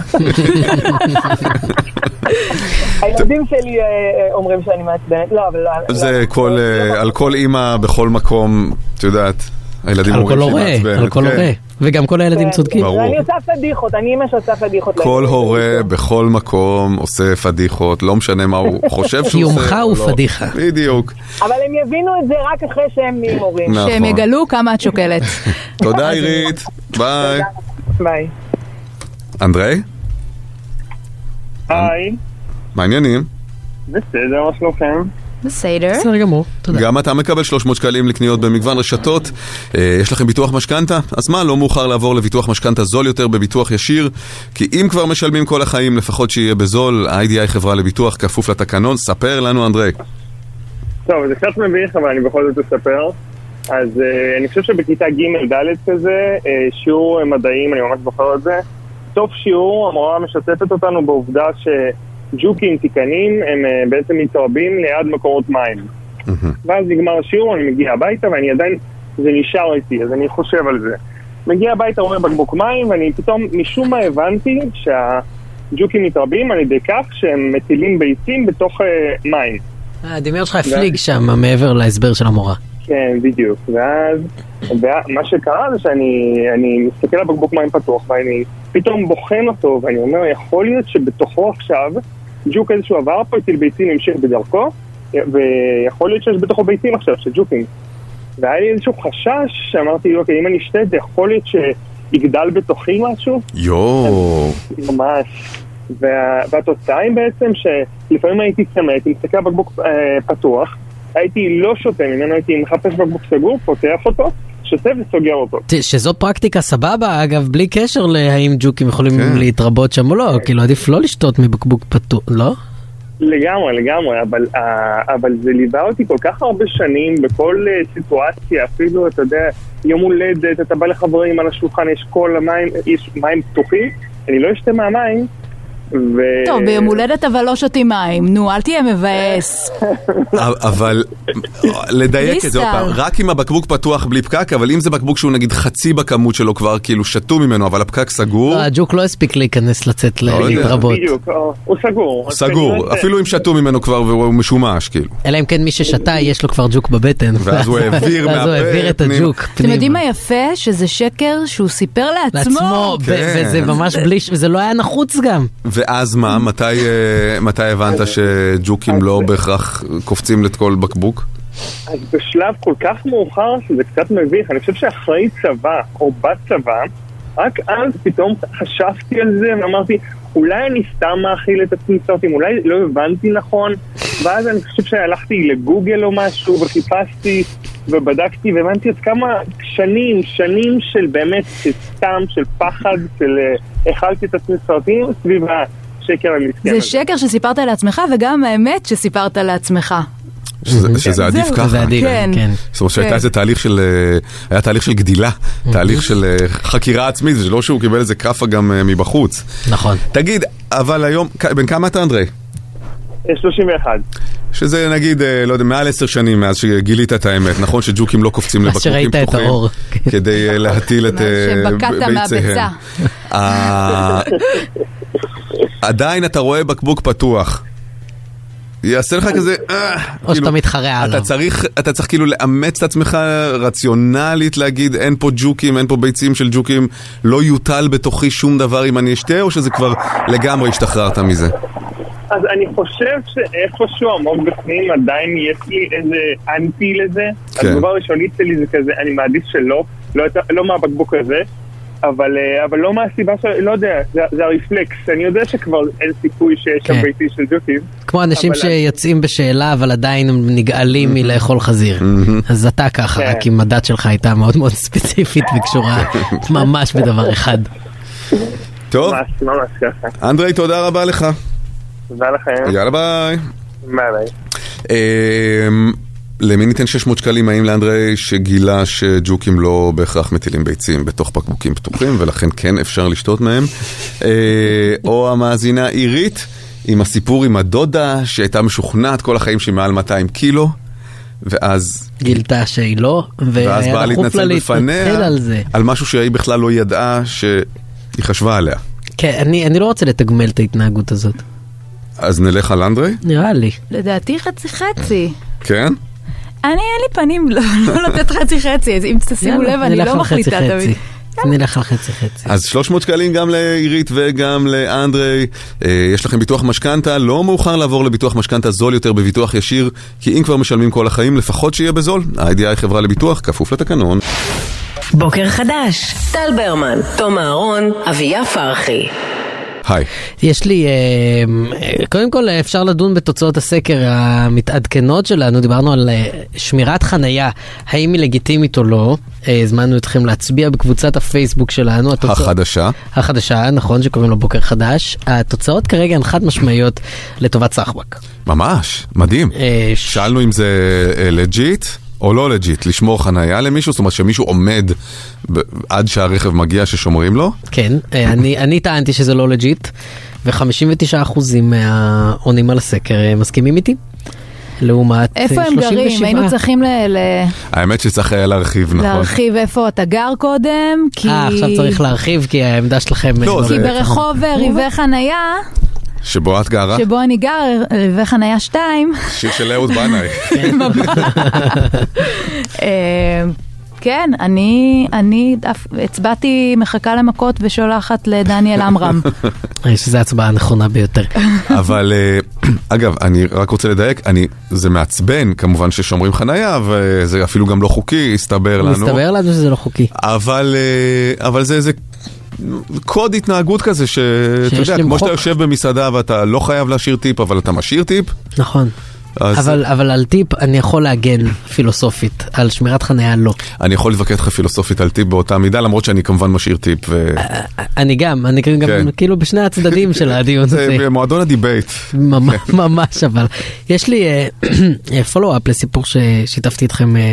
Speaker 11: הילדים שלי אה, אה, אומרים שאני מעצבנת, לא, אבל לא.
Speaker 3: זה
Speaker 11: לא.
Speaker 3: כל, אה, על כל אימא בכל מקום, את יודעת, הילדים
Speaker 5: על כל
Speaker 3: אומרים
Speaker 5: הורה,
Speaker 3: שהיא מעצבנת.
Speaker 5: על כל
Speaker 3: כן.
Speaker 5: הורה. וגם כל הילדים
Speaker 11: כן.
Speaker 5: צודקים.
Speaker 3: ברור.
Speaker 11: ואני עושה פדיחות, אני אימא שעושה פדיחות.
Speaker 3: כל
Speaker 11: לילדים.
Speaker 3: הורה בכל מקום עושה פדיחות, לא משנה מה הוא חושב שהוא עושה.
Speaker 5: יומך
Speaker 3: או
Speaker 5: הוא
Speaker 3: לא.
Speaker 5: פדיחה.
Speaker 3: בדיוק.
Speaker 11: אבל הם יבינו את זה רק אחרי שהם נהיים הורים.
Speaker 3: נכון.
Speaker 4: שהם יגלו כמה את שוקלת.
Speaker 3: תודה עירית, ביי.
Speaker 11: ביי.
Speaker 3: אנדרי,
Speaker 12: היי,
Speaker 3: מה העניינים?
Speaker 12: בסדר, מה שלומכם?
Speaker 4: בסדר.
Speaker 5: בסדר גמור, תודה.
Speaker 3: גם אתה מקבל 300 שקלים לקניות במגוון רשתות. אה, יש לכם ביטוח משכנתה? אז מה, לא מאוחר לעבור לביטוח משכנתה זול יותר בביטוח ישיר? כי אם כבר משלמים כל החיים, לפחות שיהיה בזול. ה-IDI חברה לביטוח כפוף לתקנון. ספר לנו, אנדרי.
Speaker 12: טוב, זה קצת מביך, אבל אני בכל זאת אספר. אז אה, אני חושב שבכיתה ג'-ד' כזה, אה, שיעור מדעים, אני ממש זוכר את זה. סוף שיעור, המורה משתפת אותנו בעובדה שג'וקים תיקנים הם אה, בעצם מתרבים ליד מקורות מים. ואז נגמר השיעור, אני מגיע הביתה ואני עדיין, זה נשאר איתי, אז אני חושב על זה. מגיע הביתה, רואה בקבוק מים, ואני פתאום, משום מה הבנתי שהג'וקים מתרבים על ידי כך שהם מטילים ביצים בתוך אה, מים.
Speaker 5: הדמיון אה, שלך הפליג שם מעבר להסבר של המורה.
Speaker 12: כן, בדיוק. ואז, ומה שקרה זה שאני אני מסתכל על בקבוק מים פתוח, ואני פתאום בוחן אותו, ואני אומר, יכול להיות שבתוכו עכשיו, ג'וק איזשהו עבר פה, הטיל ביצים המשיך בדרכו, ויכול להיות שיש בתוכו ביצים עכשיו, של ג'וקים. והיה לי איזשהו חשש, שאמרתי, אוקיי, אם אני אשתה את זה, יכול להיות שיגדל בתוכי משהו?
Speaker 3: יואו.
Speaker 12: ממש. וה, והתוצאה היא בעצם שלפעמים הייתי צמא, הייתי מסתכל על בקבוק אה, פתוח, הייתי לא שותה ממנו, הייתי מחפש בקבוק סגור, פותח אותו, שותה וסוגר אותו.
Speaker 5: ת- שזו פרקטיקה סבבה, אגב, בלי קשר להאם ג'וקים יכולים
Speaker 3: כן.
Speaker 5: להתרבות שם או לא, כאילו עדיף לא לשתות מבקבוק פתוח, לא?
Speaker 12: לגמרי, לגמרי, אבל, אה, אבל זה ליווה אותי כל כך הרבה שנים בכל אה, סיטואציה, אפילו, אתה יודע, יום הולדת, אתה בא לחברים על השולחן, יש כל המים, יש מים פתוחים, אני לא אשתה מהמים, ו...
Speaker 4: טוב,
Speaker 11: אה,
Speaker 4: ביום הולדת אבל לא שותים מים. נו, אל תהיה מבאס.
Speaker 3: אבל לדייק
Speaker 4: בלי
Speaker 3: את זה עוד
Speaker 4: סל.
Speaker 3: פעם, רק אם הבקבוק פתוח בלי פקק, אבל אם זה בקבוק שהוא נגיד חצי בכמות שלו כבר, כאילו שתו ממנו, אבל הפקק סגור,
Speaker 5: לא, הג'וק לא הספיק להיכנס לצאת ל-
Speaker 3: לא יודע.
Speaker 5: להתרבות.
Speaker 12: בדיוק, אה, הוא סגור.
Speaker 3: סגור, אפילו אם שתו ממנו כבר והוא משומש, כאילו.
Speaker 5: אלא אם כן מי ששתה יש לו כבר ג'וק בבטן.
Speaker 3: ואז הוא העביר
Speaker 5: ואז הוא
Speaker 3: מהפה
Speaker 5: העביר את
Speaker 3: פנימה.
Speaker 5: הג'וק
Speaker 4: אתם
Speaker 5: פנימה.
Speaker 4: יודעים מה יפה? שזה שקר שהוא סיפר לעצמו.
Speaker 5: לעצמו,
Speaker 3: כן.
Speaker 5: ב- לא, וזה ממש בלי, ש- וזה לא היה נחוץ גם.
Speaker 3: ואז מה, מתי, אה, מתי הבנת שג'וקים לא בהכרח קופצים לכל בקבוק?
Speaker 12: אז בשלב כל כך מאוחר שזה קצת מביך, אני חושב שאחרי צבא או בצבא, רק אז פתאום חשבתי על זה ואמרתי, אולי אני סתם מאכיל את עצמי סרטים, אולי לא הבנתי נכון, ואז אני חושב שהלכתי לגוגל או משהו וחיפשתי ובדקתי והבנתי עד כמה שנים, שנים של באמת, של סתם, של פחד, של אה, האכלתי את עצמי סרטים סביב השקר המסכן
Speaker 4: זה
Speaker 12: הזה.
Speaker 4: שקר שסיפרת לעצמך, וגם האמת שסיפרת לעצמך.
Speaker 3: שזה, שזה עדיף
Speaker 4: זהו.
Speaker 3: ככה.
Speaker 4: זה עדיף, אה, כן. כן.
Speaker 3: זאת אומרת
Speaker 4: כן.
Speaker 3: שהייתה איזה תהליך של, אה, היה תהליך של גדילה, תהליך של אה, חקירה עצמית, זה לא שהוא קיבל איזה כאפה גם אה, מבחוץ.
Speaker 5: נכון.
Speaker 3: תגיד, אבל היום, כ- בן כמה אתה אנדרי?
Speaker 4: אה,
Speaker 12: 31.
Speaker 3: שזה נגיד, אה, לא יודע, מעל עשר שנים מאז שגילית את האמת, נכון שג'וקים לא קופצים
Speaker 5: מאז
Speaker 3: לבקבוקים
Speaker 5: שראית את
Speaker 3: פתוחים,
Speaker 5: האור.
Speaker 3: כדי אה, להטיל את אה, ב-
Speaker 4: כן, שבקעת
Speaker 3: ביציהם.
Speaker 4: מהביצה.
Speaker 3: אה, עדיין אתה רואה בקבוק פתוח. יעשה לך כזה, אה,
Speaker 5: או שאתה מתחרע
Speaker 3: אתה
Speaker 5: עליו.
Speaker 3: צריך, אתה צריך כאילו לאמץ את עצמך רציונלית להגיד אין פה ג'וקים, אין פה ביצים של ג'וקים, לא יוטל בתוכי שום דבר אם אני אשתה, או שזה כבר לגמרי השתחררת מזה?
Speaker 12: אז אני חושב שאיפשהו עמוק בפנים עדיין יש לי איזה אנטי לזה.
Speaker 3: כן.
Speaker 12: כן. הדבר הראשונית שלי זה כזה, אני מעדיף שלא, לא, את- לא מהבקבוק הזה, אבל, אה, אבל לא מהסיבה של, לא יודע, זה, זה הרפלקס. אני יודע שכבר אין סיכוי שיש
Speaker 5: כן.
Speaker 12: שם ביתי של ג'וקים.
Speaker 5: כמו אנשים
Speaker 12: אבל-
Speaker 5: שיוצאים בשאלה אבל עדיין הם
Speaker 3: Mm-hmm.
Speaker 5: נגעלים מלאכול חזיר. אז אתה ככה,
Speaker 12: כן.
Speaker 5: רק אם הדת שלך הייתה מאוד מאוד ספציפית וקשורה ממש בדבר אחד.
Speaker 3: טוב,
Speaker 12: ממש, ממש ככה.
Speaker 3: אנדרי, תודה רבה לך.
Speaker 12: תודה לכם.
Speaker 3: יאללה ביי.
Speaker 12: ביי ביי.
Speaker 3: אמ, למי ניתן 600 שקלים? האם לאנדרי שגילה שג'וקים לא בהכרח מטילים ביצים בתוך בקבוקים פתוחים ולכן כן אפשר לשתות מהם? אה, או המאזינה עירית עם הסיפור עם הדודה שהייתה משוכנעת כל החיים שהיא מעל 200 קילו ואז...
Speaker 5: גילתה שהיא לא,
Speaker 3: ואז באה
Speaker 5: והיה דחוף לה
Speaker 3: להתנצל
Speaker 5: להתנצל
Speaker 3: בפניה
Speaker 5: על זה.
Speaker 3: על משהו שהיא בכלל לא ידעה שהיא חשבה עליה.
Speaker 5: כן, אני אני לא רוצה לתגמל את ההתנהגות הזאת.
Speaker 3: אז נלך על אנדרי?
Speaker 5: נראה לי.
Speaker 4: לדעתי חצי חצי.
Speaker 3: כן?
Speaker 4: אני, אין לי פנים לא לא לתת חצי חצי, אז אם תשימו
Speaker 5: יאללה,
Speaker 4: לב, אני
Speaker 5: נלך
Speaker 4: לא
Speaker 5: על חצי
Speaker 4: מחליטה
Speaker 5: חצי.
Speaker 4: תמיד.
Speaker 5: נלך על חצי חצי.
Speaker 3: אז 300 שקלים גם לעירית וגם לאנדרי. אה, יש לכם ביטוח משכנתה, לא מאוחר לעבור לביטוח משכנתה זול יותר בביטוח ישיר, כי אם כבר משלמים כל החיים, לפחות שיהיה בזול. ה-IDI היא חברה לביטוח, כפוף לתקנון.
Speaker 2: בוקר חדש, טל ברמן, תום אהרון, אביה פרחי.
Speaker 3: היי.
Speaker 5: יש לי, אה, אה, קודם כל אה, אפשר לדון בתוצאות הסקר המתעדכנות שלנו, דיברנו על אה, שמירת חנייה, האם היא לגיטימית או לא, אה, הזמנו אתכם להצביע בקבוצת הפייסבוק שלנו. התוצאות-
Speaker 3: החדשה.
Speaker 5: החדשה, נכון, שקוראים לו בוקר חדש. התוצאות כרגע הן חד משמעיות לטובת סחבק.
Speaker 3: ממש, מדהים. שאלנו אם זה לג'יט או לא לג'יט, לשמור חנייה למישהו, זאת אומרת שמישהו עומד ב- עד שהרכב מגיע ששומרים לו.
Speaker 5: כן, אה, אני, אני טענתי שזה לא לג'יט, ו-59% מהעונים על הסקר אה, מסכימים איתי. לעומת אה, 37.
Speaker 4: איפה הם גרים? היינו צריכים ל- ל-
Speaker 3: האמת שצריך היה להרחיב, נכון.
Speaker 4: להרחיב איפה אתה גר קודם, כי...
Speaker 5: אה, עכשיו צריך להרחיב כי העמדה שלכם...
Speaker 3: לא,
Speaker 5: אה,
Speaker 4: כי
Speaker 3: זה-
Speaker 4: ברחוב ריבי חנייה,
Speaker 3: שבו את גרה?
Speaker 4: שבו אני גר, אה, ריבי חנייה 2,
Speaker 3: שיר של אהוד בנאי.
Speaker 4: אה, כן, אני, אני דף- הצבעתי מחכה למכות ושולחת לדניאל עמרם.
Speaker 5: אני חושב שזו ההצבעה הנכונה ביותר.
Speaker 3: אבל אה, אגב, אני רק רוצה לדייק, אני, זה מעצבן כמובן ששומרים חנייה, וזה אפילו גם לא חוקי, הסתבר לנו.
Speaker 5: מסתבר לנו שזה לא חוקי.
Speaker 3: אבל, אה, אבל זה איזה קוד התנהגות כזה, שאתה
Speaker 5: שיש
Speaker 3: יודע, כמו
Speaker 5: למחוק.
Speaker 3: שאתה יושב במסעדה ואתה לא חייב להשאיר טיפ, אבל אתה משאיר טיפ.
Speaker 5: נכון.
Speaker 3: אז
Speaker 5: אבל, אבל על טיפ אני יכול להגן פילוסופית, על שמירת חניה לא.
Speaker 3: אני יכול להתווכח איתך פילוסופית על טיפ באותה מידה, למרות שאני כמובן משאיר טיפ. ו...
Speaker 5: אני גם, אני גם,
Speaker 3: כן.
Speaker 5: גם כאילו בשני הצדדים אה, של הדיון הזה.
Speaker 3: זה במועדון הדיבייט.
Speaker 5: ממש, ממש אבל. יש לי פולו-אפ לסיפור ששיתפתי אתכם אה,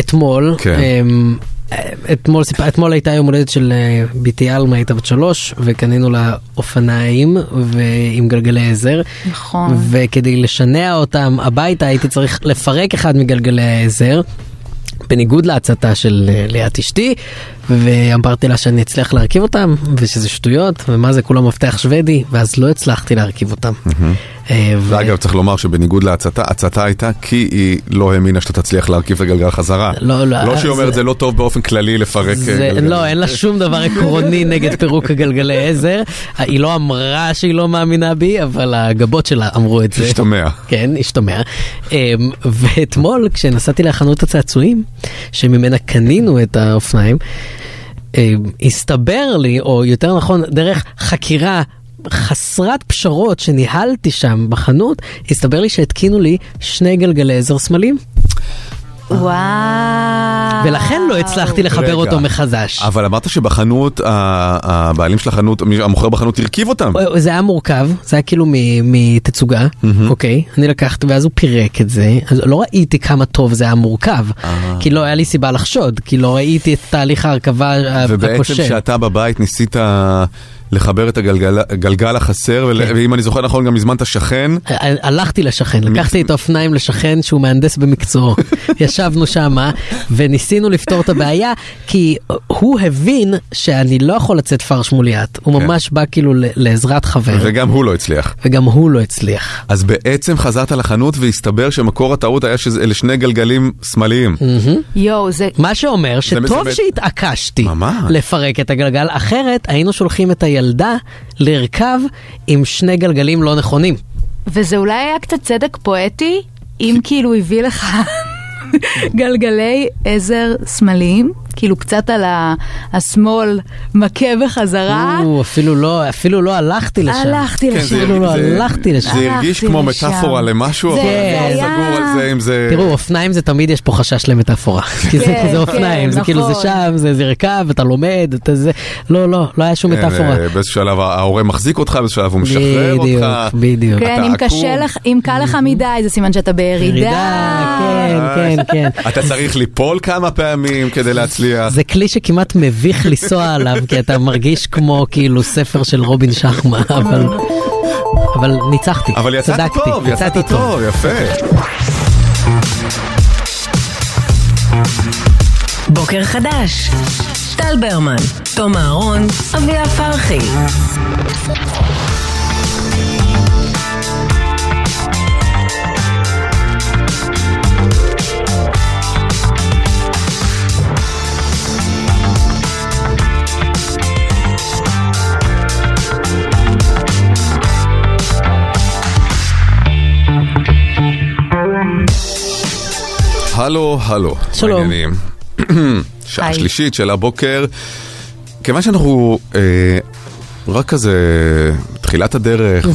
Speaker 5: אתמול.
Speaker 3: כן.
Speaker 5: אמ, אה, אתמול, סיפ- אתמול הייתה יום הולדת של אה, בתי עלמה, הייתה בת שלוש, וקנינו לה אופניים ועם גלגלי עזר.
Speaker 4: נכון.
Speaker 5: וכדי לשנע אותם הביתה הייתי צריך לפרק אחד מגלגלי העזר. בניגוד להצתה של אה, ליאת אשתי, ואמרתי לה שאני אצליח להרכיב אותם, ושזה שטויות, ומה זה כולם מפתח שוודי, ואז לא הצלחתי להרכיב אותם.
Speaker 3: ואגב, צריך לומר שבניגוד להצתה, הצתה הייתה כי היא לא האמינה שאתה תצליח להרכיב את הגלגל חזרה.
Speaker 5: לא, לא,
Speaker 3: לא שהיא אומרת
Speaker 5: זה-
Speaker 3: זה לא טוב באופן כללי לפרק אה,
Speaker 5: זה,
Speaker 3: גלגל.
Speaker 5: לא, אין לה שום דבר עקרוני נגד פירוק הגלגלי עזר. היא לא אמרה שהיא לא מאמינה בי, אבל הגבות שלה אמרו את זה.
Speaker 3: השתמע.
Speaker 5: כן, השתמע. אמ, ואתמול, כשנסעתי לחנות הצעצועים, שממנה קנינו את האופניים, אמ, הסתבר לי, או יותר נכון, דרך חקירה חסרת פשרות שניהלתי שם בחנות, הסתבר לי שהתקינו לי שני גלגלי עזר שמאליים,
Speaker 4: וואו.
Speaker 5: ולכן לא הצלחתי לחבר
Speaker 3: רגע.
Speaker 5: אותו מחדש.
Speaker 3: אבל אמרת שבחנות, ה- הבעלים של החנות, מי- המוכר בחנות הרכיב אותם.
Speaker 5: זה היה מורכב, זה היה כאילו מ- מתצוגה, אוקיי? אני לקחתי ואז הוא פירק את זה, אז לא ראיתי כמה טוב זה היה מורכב,
Speaker 3: אה.
Speaker 5: כי לא היה לי סיבה לחשוד, כי לא ראיתי את תהליך ההרכבה ה-
Speaker 3: ובעצם
Speaker 5: הכושל.
Speaker 3: כשאתה בבית ניסית לחבר את הגלגל הגלגל החסר, ול-
Speaker 5: כן.
Speaker 3: ואם אני זוכר נכון גם הזמנת שכן.
Speaker 5: ה- אה, הלכתי לשכן, לקחתי את האופניים לשכן שהוא מהנדס במקצועו. ישבנו שמה וניסינו לפתור את הבעיה, כי הוא הבין שאני לא יכול לצאת פרש מול יד, הוא ממש בא כאילו ל- לעזרת חבר,
Speaker 3: וגם הוא לא הצליח.
Speaker 5: וגם הוא לא הצליח.
Speaker 3: אז בעצם חזרת לחנות והסתבר שמקור הטעות היה שאלה שני גלגלים שמאליים.
Speaker 4: יואו, זה...
Speaker 5: מה שאומר שטוב
Speaker 3: באמת-
Speaker 5: שהתעקשתי לפרק את הגלגל, אחרת היינו שולחים את הילדה לרכב עם שני גלגלים לא נכונים.
Speaker 4: וזה אולי היה קצת צדק פואטי, אם כאילו הביא לך גלגלי עזר שמאליים, כאילו קצת על ה- השמאל מכה בחזרה.
Speaker 5: או, אפילו לא, אפילו לא הלכתי לשם.
Speaker 4: אה? הלכתי
Speaker 3: כן,
Speaker 5: לשם.
Speaker 3: זה-
Speaker 5: אפילו לא
Speaker 3: זה-
Speaker 5: הלכתי לשם.
Speaker 3: זה הרגיש כמו מטאפורה למשהו,
Speaker 5: זה-
Speaker 3: אבל אני
Speaker 5: זה
Speaker 3: לא
Speaker 5: היה-
Speaker 3: סגור על זה אם זה...
Speaker 5: תראו, אופניים זה תמיד יש פה חשש למטאפורה. כי זה-
Speaker 3: כן,
Speaker 5: כי זה אופניים, זה כאילו זה
Speaker 4: נכון.
Speaker 5: שם, זה זה רכב, אתה לומד, אתה זה... לא, לא, לא היה שום
Speaker 3: כן,
Speaker 5: מטאפורה.
Speaker 3: אה, באיזשהו שלב ההורה מחזיק אותך, באיזשהו שלב הוא משחרר אותך.
Speaker 5: בדיוק, בדיוק.
Speaker 4: כן,
Speaker 3: אתה
Speaker 4: אם
Speaker 3: עקום.
Speaker 4: קשה לך, אם קל לך מדי, זה סימן שאתה בירידה.
Speaker 5: Mm-hmm.
Speaker 3: אה,
Speaker 5: כן, כן, כן.
Speaker 3: אתה צריך ליפול כמה פעמים כדי להצליח.
Speaker 5: זה כלי שכמעט מביך לנסוע עליו, כי אתה מרגיש כמו כאילו ספר של רובין שחמה, אבל... אבל ניצחתי,
Speaker 3: אבל יצאת
Speaker 5: צדקתי,
Speaker 3: טוב, יצאת
Speaker 5: יצאתי
Speaker 3: טוב, יפה.
Speaker 2: בוקר חדש. טל ברמן, תום אהרון, אביה פרחי.
Speaker 3: נכון. הלו, הלו.
Speaker 5: שלום.
Speaker 3: מה העניינים? שעה
Speaker 5: היי.
Speaker 3: שלישית של הבוקר. כיוון שאנחנו אה, רק כזה תחילת הדרך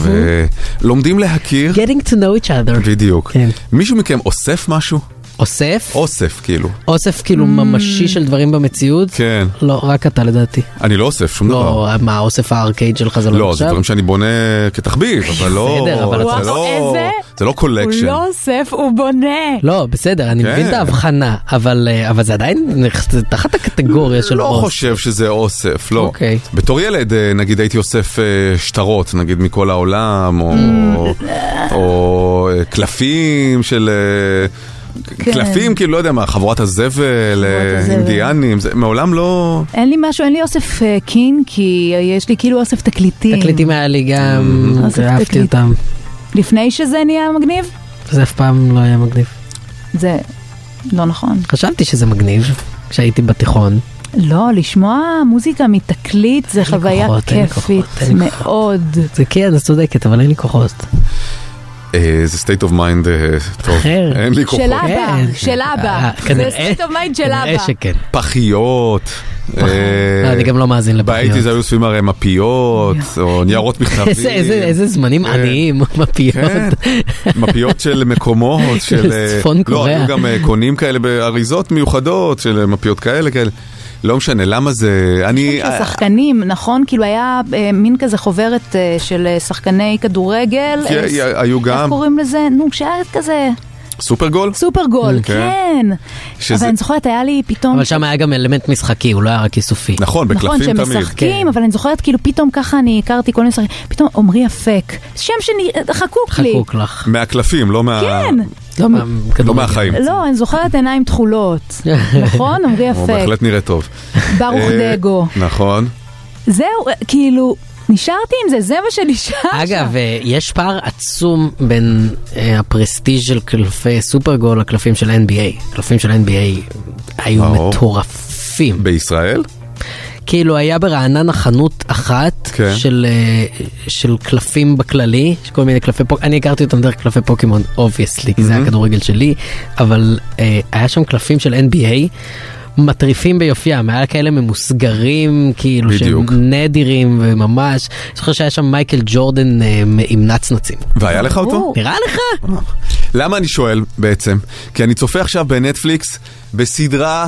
Speaker 3: ולומדים להכיר.
Speaker 5: Getting to know each other. כן.
Speaker 3: בדיוק. מישהו מכם אוסף משהו?
Speaker 5: אוסף?
Speaker 3: אוסף, כאילו.
Speaker 5: אוסף כאילו
Speaker 4: Mm.
Speaker 5: ממשי של דברים במציאות?
Speaker 3: כן.
Speaker 5: לא, רק אתה לדעתי.
Speaker 3: אני לא אוסף שום דבר.
Speaker 5: לא, מה, אוסף הארקייד שלך זה לא
Speaker 3: לא, זה
Speaker 5: נחשב?
Speaker 3: דברים שאני בונה כתחביב, אבל לא...
Speaker 5: בסדר, אבל
Speaker 3: זה
Speaker 5: אתה-
Speaker 3: לא-
Speaker 4: איזה?
Speaker 3: זה לא
Speaker 4: הוא
Speaker 3: קולקשן.
Speaker 4: לא אוסף, הוא בונה.
Speaker 5: לא, בסדר, אני
Speaker 3: כן.
Speaker 5: מבין את ההבחנה, אבל אה, אבל זה עדיין נכ- זה תחת הקטגוריה של
Speaker 3: לא
Speaker 5: אוסף.
Speaker 3: חושב שזה אוסף, לא.
Speaker 5: אוקיי.
Speaker 3: בתור ילד, אה, נגיד, הייתי אוסף אה, שטרות, נגיד, מכל העולם, או-
Speaker 4: Mm.
Speaker 3: או אה, קלפים של... אה,
Speaker 4: כן.
Speaker 3: קלפים, כאילו, לא יודע מה, חבורת הזבל, אה,
Speaker 4: הזבל.
Speaker 3: אינדיאנים, זה מעולם לא...
Speaker 4: אין לי משהו, אין לי אוסף אה, קין, כי יש לי כאילו אוסף תקליטים. Mm-hmm.
Speaker 5: תקליטים היה לי גם,
Speaker 4: אוסף
Speaker 5: אהבתי
Speaker 4: תקליט.
Speaker 5: אמ, אותם.
Speaker 4: לפני שזה נהיה מגניב?
Speaker 5: זה אף פעם לא היה מגניב.
Speaker 4: זה לא נכון.
Speaker 5: חשבתי שזה מגניב. כשהייתי בתיכון.
Speaker 4: לא, לשמוע מוזיקה מתקליט זה חוויה
Speaker 5: כוחות, אין לי
Speaker 4: כיפית
Speaker 5: אין לי
Speaker 4: מאוד.
Speaker 5: זה כן, את צודקת, אבל אין לי כוחות.
Speaker 3: אה, זה state of mind אה, טוב,
Speaker 5: אחר.
Speaker 3: אין לי כוחות.
Speaker 4: של אבא, של אבא. זה
Speaker 5: כן, אה, כנראה-
Speaker 4: סטייט אוף מיינד של
Speaker 5: כנראה
Speaker 4: אבא.
Speaker 5: שכן.
Speaker 3: פחיות. אה,
Speaker 5: אני גם לא מאזין לבעיות.
Speaker 3: באייטיז היו סביבים הרי מפיות, או ניירות מכתבים.
Speaker 5: איזה- איזה- איזה זמנים
Speaker 3: אה,
Speaker 5: עניים,
Speaker 3: כן,
Speaker 5: מפיות.
Speaker 3: מפיות של מקומות, של... אה,
Speaker 5: צפון
Speaker 3: לא,
Speaker 5: קוריאה.
Speaker 3: היו גם אה, קונים כאלה באריזות מיוחדות של אה, מפיות כאלה, כאלה. לא משנה, למה זה... אני... אה,
Speaker 4: של שחקנים, נכון? כאילו היה אה, מין כזה חוברת אה, של אה, שחקני כדורגל.
Speaker 3: כן,
Speaker 4: אה,
Speaker 3: היה- היו
Speaker 4: איך
Speaker 3: גם
Speaker 4: קוראים לזה? נו, כשהיה כזה
Speaker 3: סופרגול?
Speaker 4: סופרגול,
Speaker 3: כן.
Speaker 4: כן.
Speaker 3: שזה-
Speaker 4: אבל אני זוכרת, היה לי פתאום...
Speaker 5: אבל שם היה גם אלמנט משחקי, הוא לא היה רק איסופי. כן.
Speaker 3: נכון,
Speaker 4: נכון,
Speaker 3: בקלפים
Speaker 4: שהם
Speaker 3: תמיד.
Speaker 4: משחקים, אבל אני זוכרת כאילו פתאום ככה אני הכרתי כל מיני משחקים, פתאום עמרי אפק, שם שאני, חקוק לי.
Speaker 5: חקוק לך.
Speaker 3: מהקלפים, לא מה...
Speaker 4: כן,
Speaker 5: לא מה-
Speaker 3: לא
Speaker 5: כדורגל.
Speaker 3: מהחיים.
Speaker 4: לא, אני זוכרת עיניים תכולות, נכון? עמרי
Speaker 3: הוא
Speaker 4: אפק,
Speaker 3: בהחלט נראה טוב.
Speaker 4: ברוך
Speaker 3: אה,
Speaker 4: דגו.
Speaker 3: נכון.
Speaker 4: זהו, אה, כאילו, נשארתי עם זה, זה מה שנשאר.
Speaker 5: אגב, אה, יש פער עצום בין אה, הפרסטיג' של קלפי סופרגול לקלפים של NBA. קלפים של NBA היו
Speaker 3: ברור.
Speaker 5: מטורפים.
Speaker 3: בישראל?
Speaker 5: כאילו היה ברעננה חנות אחת
Speaker 3: כן.
Speaker 5: של, אה, של קלפים בכללי, יש כל מיני קלפי פוקימון, אני הכרתי אותם דרך קלפי פוקימון, אובייסלי, כי זה
Speaker 3: Mm-hmm.
Speaker 5: היה כדורגל שלי, אבל אה, היה שם קלפים של NBA. מטריפים ביופיים, היה כאלה ממוסגרים, כאילו
Speaker 3: בדיוק.
Speaker 5: שהם נדירים וממש, אני זוכר שהיה שם מייקל ג'ורדן אה, עם נצנצים.
Speaker 3: והיה לך אותו?
Speaker 4: ברור.
Speaker 5: נראה לך?
Speaker 3: למה אני שואל בעצם? כי אני צופה עכשיו בנטפליקס בסדרה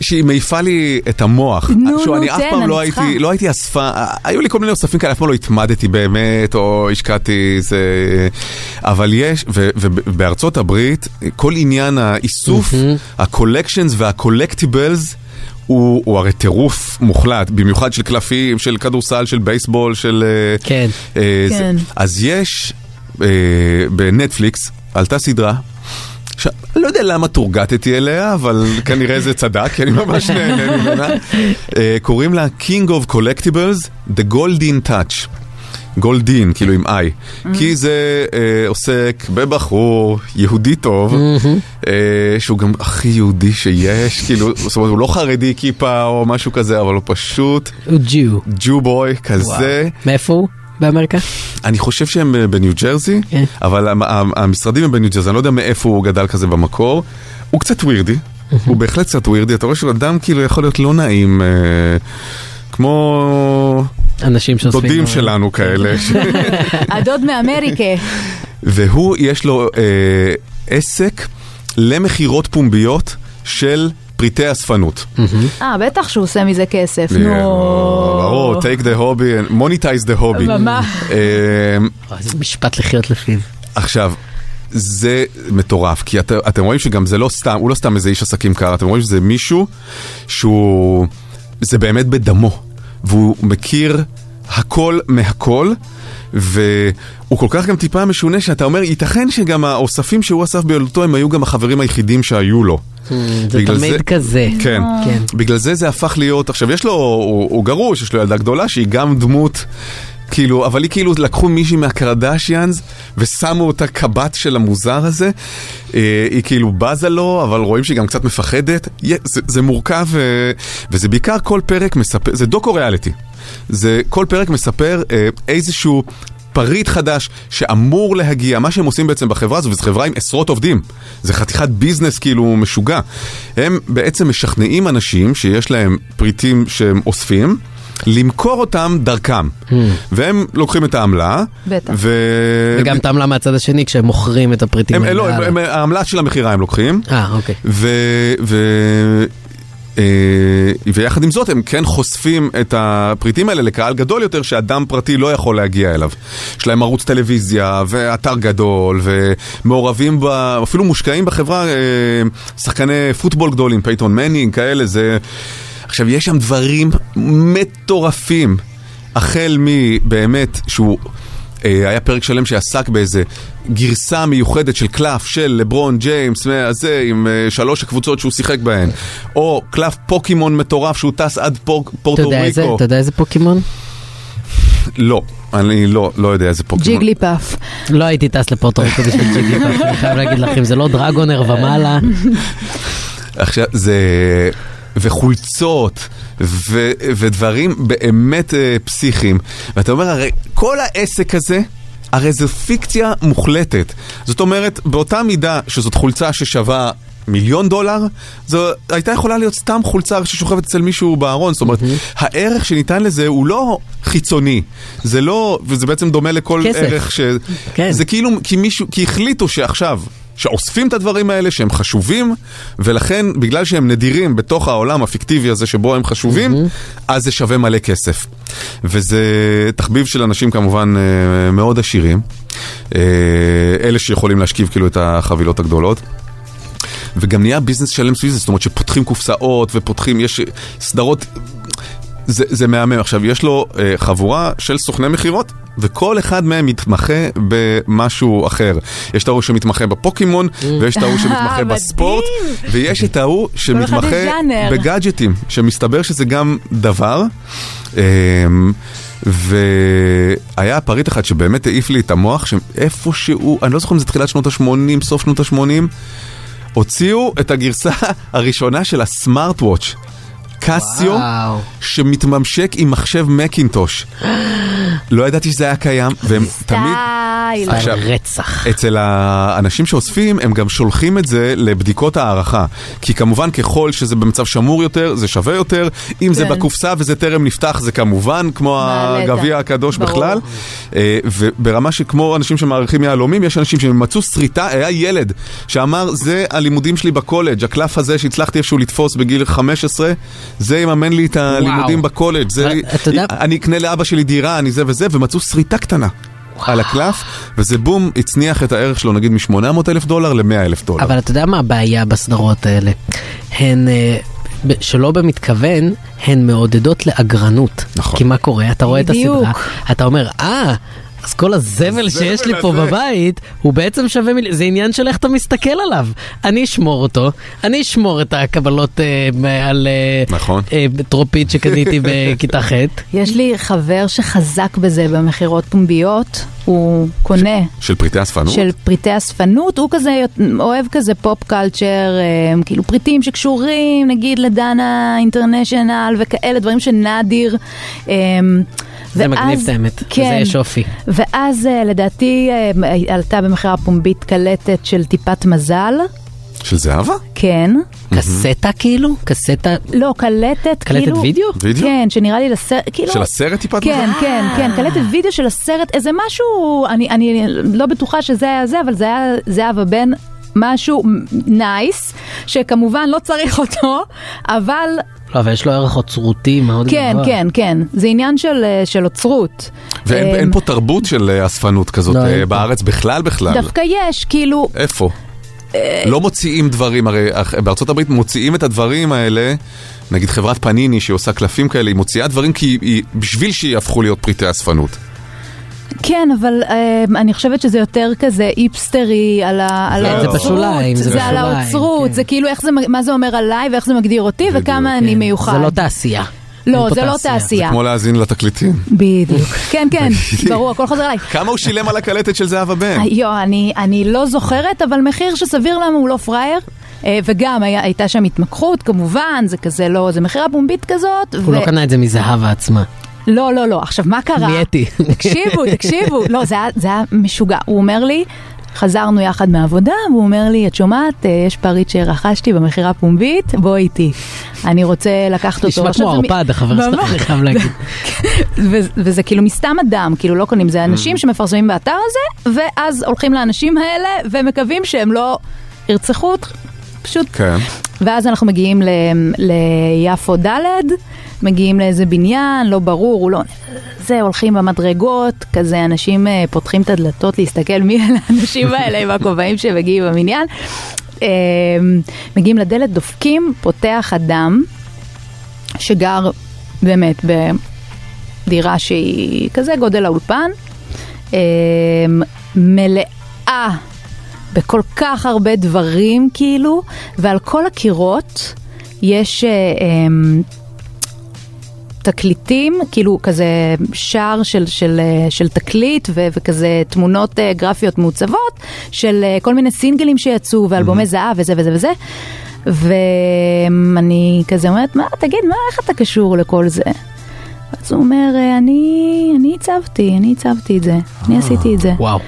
Speaker 3: שהיא מעיפה לי את המוח.
Speaker 4: נו,
Speaker 3: שהוא-
Speaker 4: נו,
Speaker 3: אני אף
Speaker 4: תן,
Speaker 3: פעם
Speaker 4: אני
Speaker 3: לא
Speaker 4: צריכה.
Speaker 3: הייתי, לא הייתי אספה, היו לי כל מיני אוספים כאלה, אף פעם לא התמדתי באמת, או השקעתי זה... אבל יש, ו- ובארצות הברית, כל עניין האיסוף, הקולקשנס והקולקטיבלס, הוא, הוא הרי טירוף מוחלט, במיוחד של קלפים, של כדורסל, של בייסבול, של... אה,
Speaker 5: כן.
Speaker 3: אה, זה-
Speaker 4: כן.
Speaker 3: אז יש אה, בנטפליקס, עלתה סדרה. ש... לא יודע למה תורגטתי אליה, אבל כנראה זה צדק, כי אני ממש נהנה ממנה. אה, קוראים לה King of Collectibles, The Golden Touch. גולדין, כאילו עם איי. כי זה אה, עוסק בבחור יהודי טוב, אה, שהוא גם הכי יהודי שיש, כאילו, זאת אומרת, הוא לא חרדי כיפה או משהו כזה, אבל הוא פשוט
Speaker 5: הוא ג'יו.
Speaker 3: ג'ו בוי כזה.
Speaker 5: מאיפה הוא? באמריקה?
Speaker 3: אני חושב שהם אה, בניו ג'רזי,
Speaker 5: כן.
Speaker 3: אבל המ- המ- המשרדים הם בניו ג'רזי, אני לא יודע מאיפה הוא גדל כזה במקור. הוא קצת ווירדי, הוא בהחלט קצת ווירדי, אתה רואה שהוא אדם כאילו יכול להיות לא נעים, אה, כמו
Speaker 5: אנשים אה, כן. שאוספים...
Speaker 3: דודים שלנו כאלה. ש-
Speaker 4: הדוד מאמריקה.
Speaker 3: והוא, יש לו אה, עסק למכירות פומביות של פריטי אספנות.
Speaker 4: אה, בטח שהוא עושה מזה כסף, נו.
Speaker 3: ברור, take the hobby, and monetize the hobby.
Speaker 4: ממש.
Speaker 3: אה,
Speaker 5: אוי, איזה משפט לחיות לפיו.
Speaker 3: עכשיו, זה מטורף, כי את, אתם רואים שגם זה לא סתם, הוא לא סתם איזה איש עסקים קר, אתם רואים שזה מישהו שהוא, זה באמת בדמו, והוא מכיר הכל מהכל, והוא כל כך גם טיפה משונה שאתה אומר, ייתכן שגם האוספים שהוא אסף בילדותו הם היו גם החברים היחידים שהיו לו.
Speaker 5: זה
Speaker 3: בגלל
Speaker 5: תמיד כזה.
Speaker 3: כן.
Speaker 5: כן.
Speaker 3: בגלל זה זה הפך להיות, עכשיו יש לו, הוא, הוא גרוש, יש לו ילדה גדולה שהיא גם דמות, כאילו, אבל היא כאילו לקחו מישהי מהקרדשיאנס ושמו אותה קבת של המוזר הזה, אה, היא כאילו בזה לו, אבל רואים שהיא גם קצת מפחדת, יה- זה, זה מורכב, אה, וזה בעיקר כל פרק מספר, זה דוקו ריאליטי, זה כל פרק מספר אה, איזשהו... פריט חדש שאמור להגיע, מה שהם עושים בעצם בחברה הזו, וזו חברה עם עשרות עובדים, זה חתיכת ביזנס כאילו משוגע. הם בעצם משכנעים אנשים שיש להם פריטים שהם אוספים, למכור אותם דרכם. והם לוקחים את העמלה,
Speaker 4: בטח.
Speaker 3: ו...
Speaker 5: וגם את העמלה מהצד השני כשהם מוכרים את הפריטים
Speaker 3: הם,
Speaker 5: האלה
Speaker 3: לא, הם,
Speaker 5: הלאה.
Speaker 3: הם, העמלה של המכירה הם לוקחים,
Speaker 5: אה, אוקיי.
Speaker 3: ו... ו... אה, ויחד עם זאת הם כן חושפים את הפריטים האלה לקהל גדול יותר שאדם פרטי לא יכול להגיע אליו. יש להם ערוץ טלוויזיה ואתר גדול ומעורבים, ב... אפילו מושקעים בחברה אה, שחקני פוטבול גדולים, פייתון מנינג, כאלה, זה... עכשיו, יש שם דברים מטורפים, החל מבאמת שהוא... אה, היה פרק שלם שעסק באיזה גרסה מיוחדת של קלף של לברון ג'יימס, הזה, עם אה, שלוש הקבוצות שהוא שיחק בהן. או קלף פוקימון מטורף שהוא טס עד פור-
Speaker 5: אתה
Speaker 3: פורטו
Speaker 5: יודע איזה-
Speaker 3: ריקו.
Speaker 5: אתה יודע איזה פוקימון?
Speaker 3: לא, אני לא, לא יודע איזה פוקימון.
Speaker 4: ג'יגלי פאף.
Speaker 5: לא הייתי טס לפורטו ריקו בשביל ג'יגלי פאק, אני חייב להגיד לכם, זה לא דרגונר ומעלה.
Speaker 3: עכשיו, זה... וחולצות, ו, ודברים באמת אה, פסיכיים. ואתה אומר, הרי כל העסק הזה, הרי זו פיקציה מוחלטת. זאת אומרת, באותה מידה שזאת חולצה ששווה... מיליון דולר, זו הייתה יכולה להיות סתם חולצה ששוכבת אצל מישהו בארון, זאת אומרת, הערך שניתן לזה הוא לא חיצוני, זה לא, וזה בעצם דומה לכל
Speaker 5: כסף.
Speaker 3: ערך ש... כן. זה כאילו, כי מישהו, כי החליטו שעכשיו, שאוספים את הדברים האלה, שהם חשובים, ולכן, בגלל שהם נדירים בתוך העולם הפיקטיבי הזה שבו הם חשובים, אז זה שווה מלא כסף. וזה תחביב של אנשים כמובן אה, מאוד עשירים, אה, אלה שיכולים להשכיב כאילו את החבילות הגדולות. וגם נהיה ביזנס שלם סביב זה, זאת אומרת שפותחים קופסאות ופותחים, יש סדרות זה, זה מהמם. עכשיו, יש לו אה, חבורה של סוכני מכירות, וכל אחד מהם מתמחה במשהו אחר. יש את ההוא שמתמחה בפוקימון, ויש את ההוא שמתמחה
Speaker 4: מדהים.
Speaker 3: בספורט, ויש את ההוא שמתמחה
Speaker 4: יש ז'אנר.
Speaker 3: בגאדג'טים, שמסתבר שזה גם דבר. אה, והיה פריט אחד שבאמת העיף לי את המוח, שאיפשהו, אני לא זוכר אם זה תחילת שנות ה-80, סוף שנות ה-80, הוציאו את הגרסה הראשונה של הסמארט וואץ'. קסיו,
Speaker 5: וואו.
Speaker 3: שמתממשק עם מחשב מקינטוש. לא ידעתי שזה היה קיים, והם תמיד...
Speaker 4: די.
Speaker 3: עכשיו,
Speaker 5: רצח.
Speaker 3: אצל האנשים שאוספים, הם גם שולחים את זה לבדיקות הערכה. כי כמובן, ככל שזה במצב שמור יותר, זה שווה יותר. אם זה
Speaker 4: כן.
Speaker 3: בקופסה וזה טרם נפתח, זה כמובן כמו
Speaker 4: מעלה את
Speaker 3: הגביע
Speaker 4: ה-
Speaker 3: הקדוש
Speaker 4: ברור.
Speaker 3: בכלל. אה, וברמה שכמו אנשים שמעריכים יהלומים, יש אנשים שהם מצאו שריטה, היה ילד שאמר, זה הלימודים שלי בקולג', הקלף הזה שהצלחתי איכשהו לתפוס בגיל 15, זה יממן לי את הלימודים בקולג', זה...
Speaker 5: אתה יודע-
Speaker 3: אני אקנה לאבא שלי דירה, אני זה וזה, ומצאו שריטה קטנה. על הקלף, וזה בום, הצניח את הערך שלו נגיד מ-800 אלף דולר ל-100 אלף דולר.
Speaker 5: אבל אתה יודע מה הבעיה בסדרות האלה? הן, אה, ב- שלא במתכוון, הן מעודדות לאגרנות.
Speaker 3: נכון.
Speaker 5: כי מה קורה? אתה רואה את הסדרה,
Speaker 4: בדיוק.
Speaker 5: אתה אומר, אה... אז כל הזבל שיש לי פה
Speaker 3: הזה."
Speaker 5: בבית, הוא בעצם שווה מיליון, זה עניין של איך אתה מסתכל עליו. אני אשמור אותו, אני אשמור את הקבלות אה, מ- על אה,
Speaker 3: נכון.
Speaker 5: אה, טרופית שקניתי בכיתה ח'.
Speaker 4: יש לי חבר שחזק בזה במכירות פומביות, הוא קונה
Speaker 3: של פריטי אספנות?
Speaker 4: של פריטי אספנות, הוא כזה אוהב כזה פופ קלצ'ר, אה, כאילו פריטים שקשורים נגיד לדנה אינטרנשיונל וכאלה דברים שנדיר. אה,
Speaker 5: זה מגניב
Speaker 4: ואז-
Speaker 5: את האמת, זה
Speaker 4: כן,
Speaker 5: יש אופי.
Speaker 4: ואז אה, לדעתי אה, עלתה במכירה פומבית קלטת של טיפת מזל,
Speaker 3: של זהבה?
Speaker 4: כן.
Speaker 5: קסטה כאילו? קסטה?
Speaker 4: לא, קלטת,
Speaker 5: קלטת
Speaker 4: כאילו...
Speaker 5: וידאו?
Speaker 3: וידאו?
Speaker 4: כן, שנראה לי לסרט, כאילו...
Speaker 3: של הסרט טיפת
Speaker 4: כן, כן, כן, קלטת וידאו של הסרט, איזה משהו, אני, אני לא בטוחה שזה היה זה, אבל זה היה זהבה בן משהו נייס, שכמובן לא צריך אותו, אבל
Speaker 5: לא, אבל יש לו ערך אוצרותי מאוד גבוה.
Speaker 4: כן, כן, כן, זה עניין של, אה, של אוצרות.
Speaker 3: ואין
Speaker 4: אה,
Speaker 3: אין פה תרבות של אה, אספנות כזאת
Speaker 5: לא,
Speaker 3: אה,
Speaker 5: אין פה. נכון.
Speaker 3: בארץ בכלל בכלל.
Speaker 4: דווקא יש, כאילו, אה,
Speaker 3: איפה?
Speaker 5: אה,
Speaker 3: לא מוציאים דברים, הרי אח- בארצות הברית מוציאים את הדברים האלה, נגיד חברת פניני שעושה קלפים כאלה, היא מוציאה דברים כי היא- היא, בשביל שיהפכו להיות פריטי אספנות.
Speaker 4: כן, אבל אה, אני חושבת שזה יותר כזה איפסטרי על ה- על
Speaker 3: זה
Speaker 4: האוצרות.
Speaker 5: כן, בשוליים, זה
Speaker 4: זה על
Speaker 5: בשוליים,
Speaker 4: האוצרות,
Speaker 5: כן.
Speaker 4: זה כאילו איך זה, מה זה אומר עליי ואיך זה מגדיר אותי וכמה אני מיוחד.
Speaker 5: זה לא תעשייה.
Speaker 4: לא,
Speaker 5: אין פה
Speaker 4: זה לא תעשייה.
Speaker 3: כמו להאזין לתקליטים.
Speaker 4: בדיוק. כן, כן, ברור, הכל חוזר אליי.
Speaker 3: כמה הוא שילם על הקלטת של זהבה בן?
Speaker 4: יו, אני, אני לא זוכרת, אבל מחיר שסביר למה הוא לא פראייר. אה, וגם היה, הייתה שם התמקחות, כמובן, זה כזה לא, זה מכירה פומבית כזאת.
Speaker 5: הוא לא קנה את זה מזהבה עצמה.
Speaker 4: לא, לא, לא. עכשיו, מה קרה?
Speaker 5: מאתי.
Speaker 4: תקשיבו, תקשיבו. לא, זה היה, זה היה משוגע. הוא אומר לי, חזרנו יחד מהעבודה, והוא אומר לי, את שומעת, אה, יש פריט שרכשתי במכירה פומבית, בוא איתי. אני רוצה לקחת אותו.
Speaker 5: נשמע
Speaker 4: עכשיו
Speaker 5: כמו
Speaker 4: זה מ-
Speaker 5: ערפד החבר שלך,
Speaker 4: ממש.
Speaker 5: אני חייב להגיד.
Speaker 4: ו- וזה כאילו מסתם אדם, כאילו לא קונים,
Speaker 5: Mm.
Speaker 4: זה אנשים שמפרסמים באתר הזה, ואז הולכים לאנשים האלה ומקווים שהם לא ירצחו אותך, פשוט.
Speaker 3: כן.
Speaker 4: ואז אנחנו מגיעים ל- ליפו ד', מגיעים לאיזה בניין, לא ברור, הוא לא... זה, הולכים במדרגות, כזה אנשים אה, פותחים את הדלתות להסתכל מי אלה האנשים האלה עם הכובעים שמגיעים בבניין. אה, מגיעים לדלת, דופקים, פותח אדם שגר באמת בדירה שהיא כזה גודל האולפן, אה, מלאה בכל כך הרבה דברים כאילו, ועל כל הקירות יש אה, אה, תקליטים, כאילו כזה שער של, של, אה, של תקליט ו, וכזה תמונות
Speaker 3: Mm-hmm.
Speaker 4: אה, גרפיות מעוצבות של אה, כל מיני סינגלים שיצאו ואלבומי זהב וזה וזה וזה. ואני כזה אומרת, מה, תגיד, מה, איך אתה קשור לכל זה? אז הוא אומר, "אה, אני, אני הצבתי, אני הצבתי את זה,
Speaker 3: אה,
Speaker 4: אני עשיתי את זה.
Speaker 5: וואו.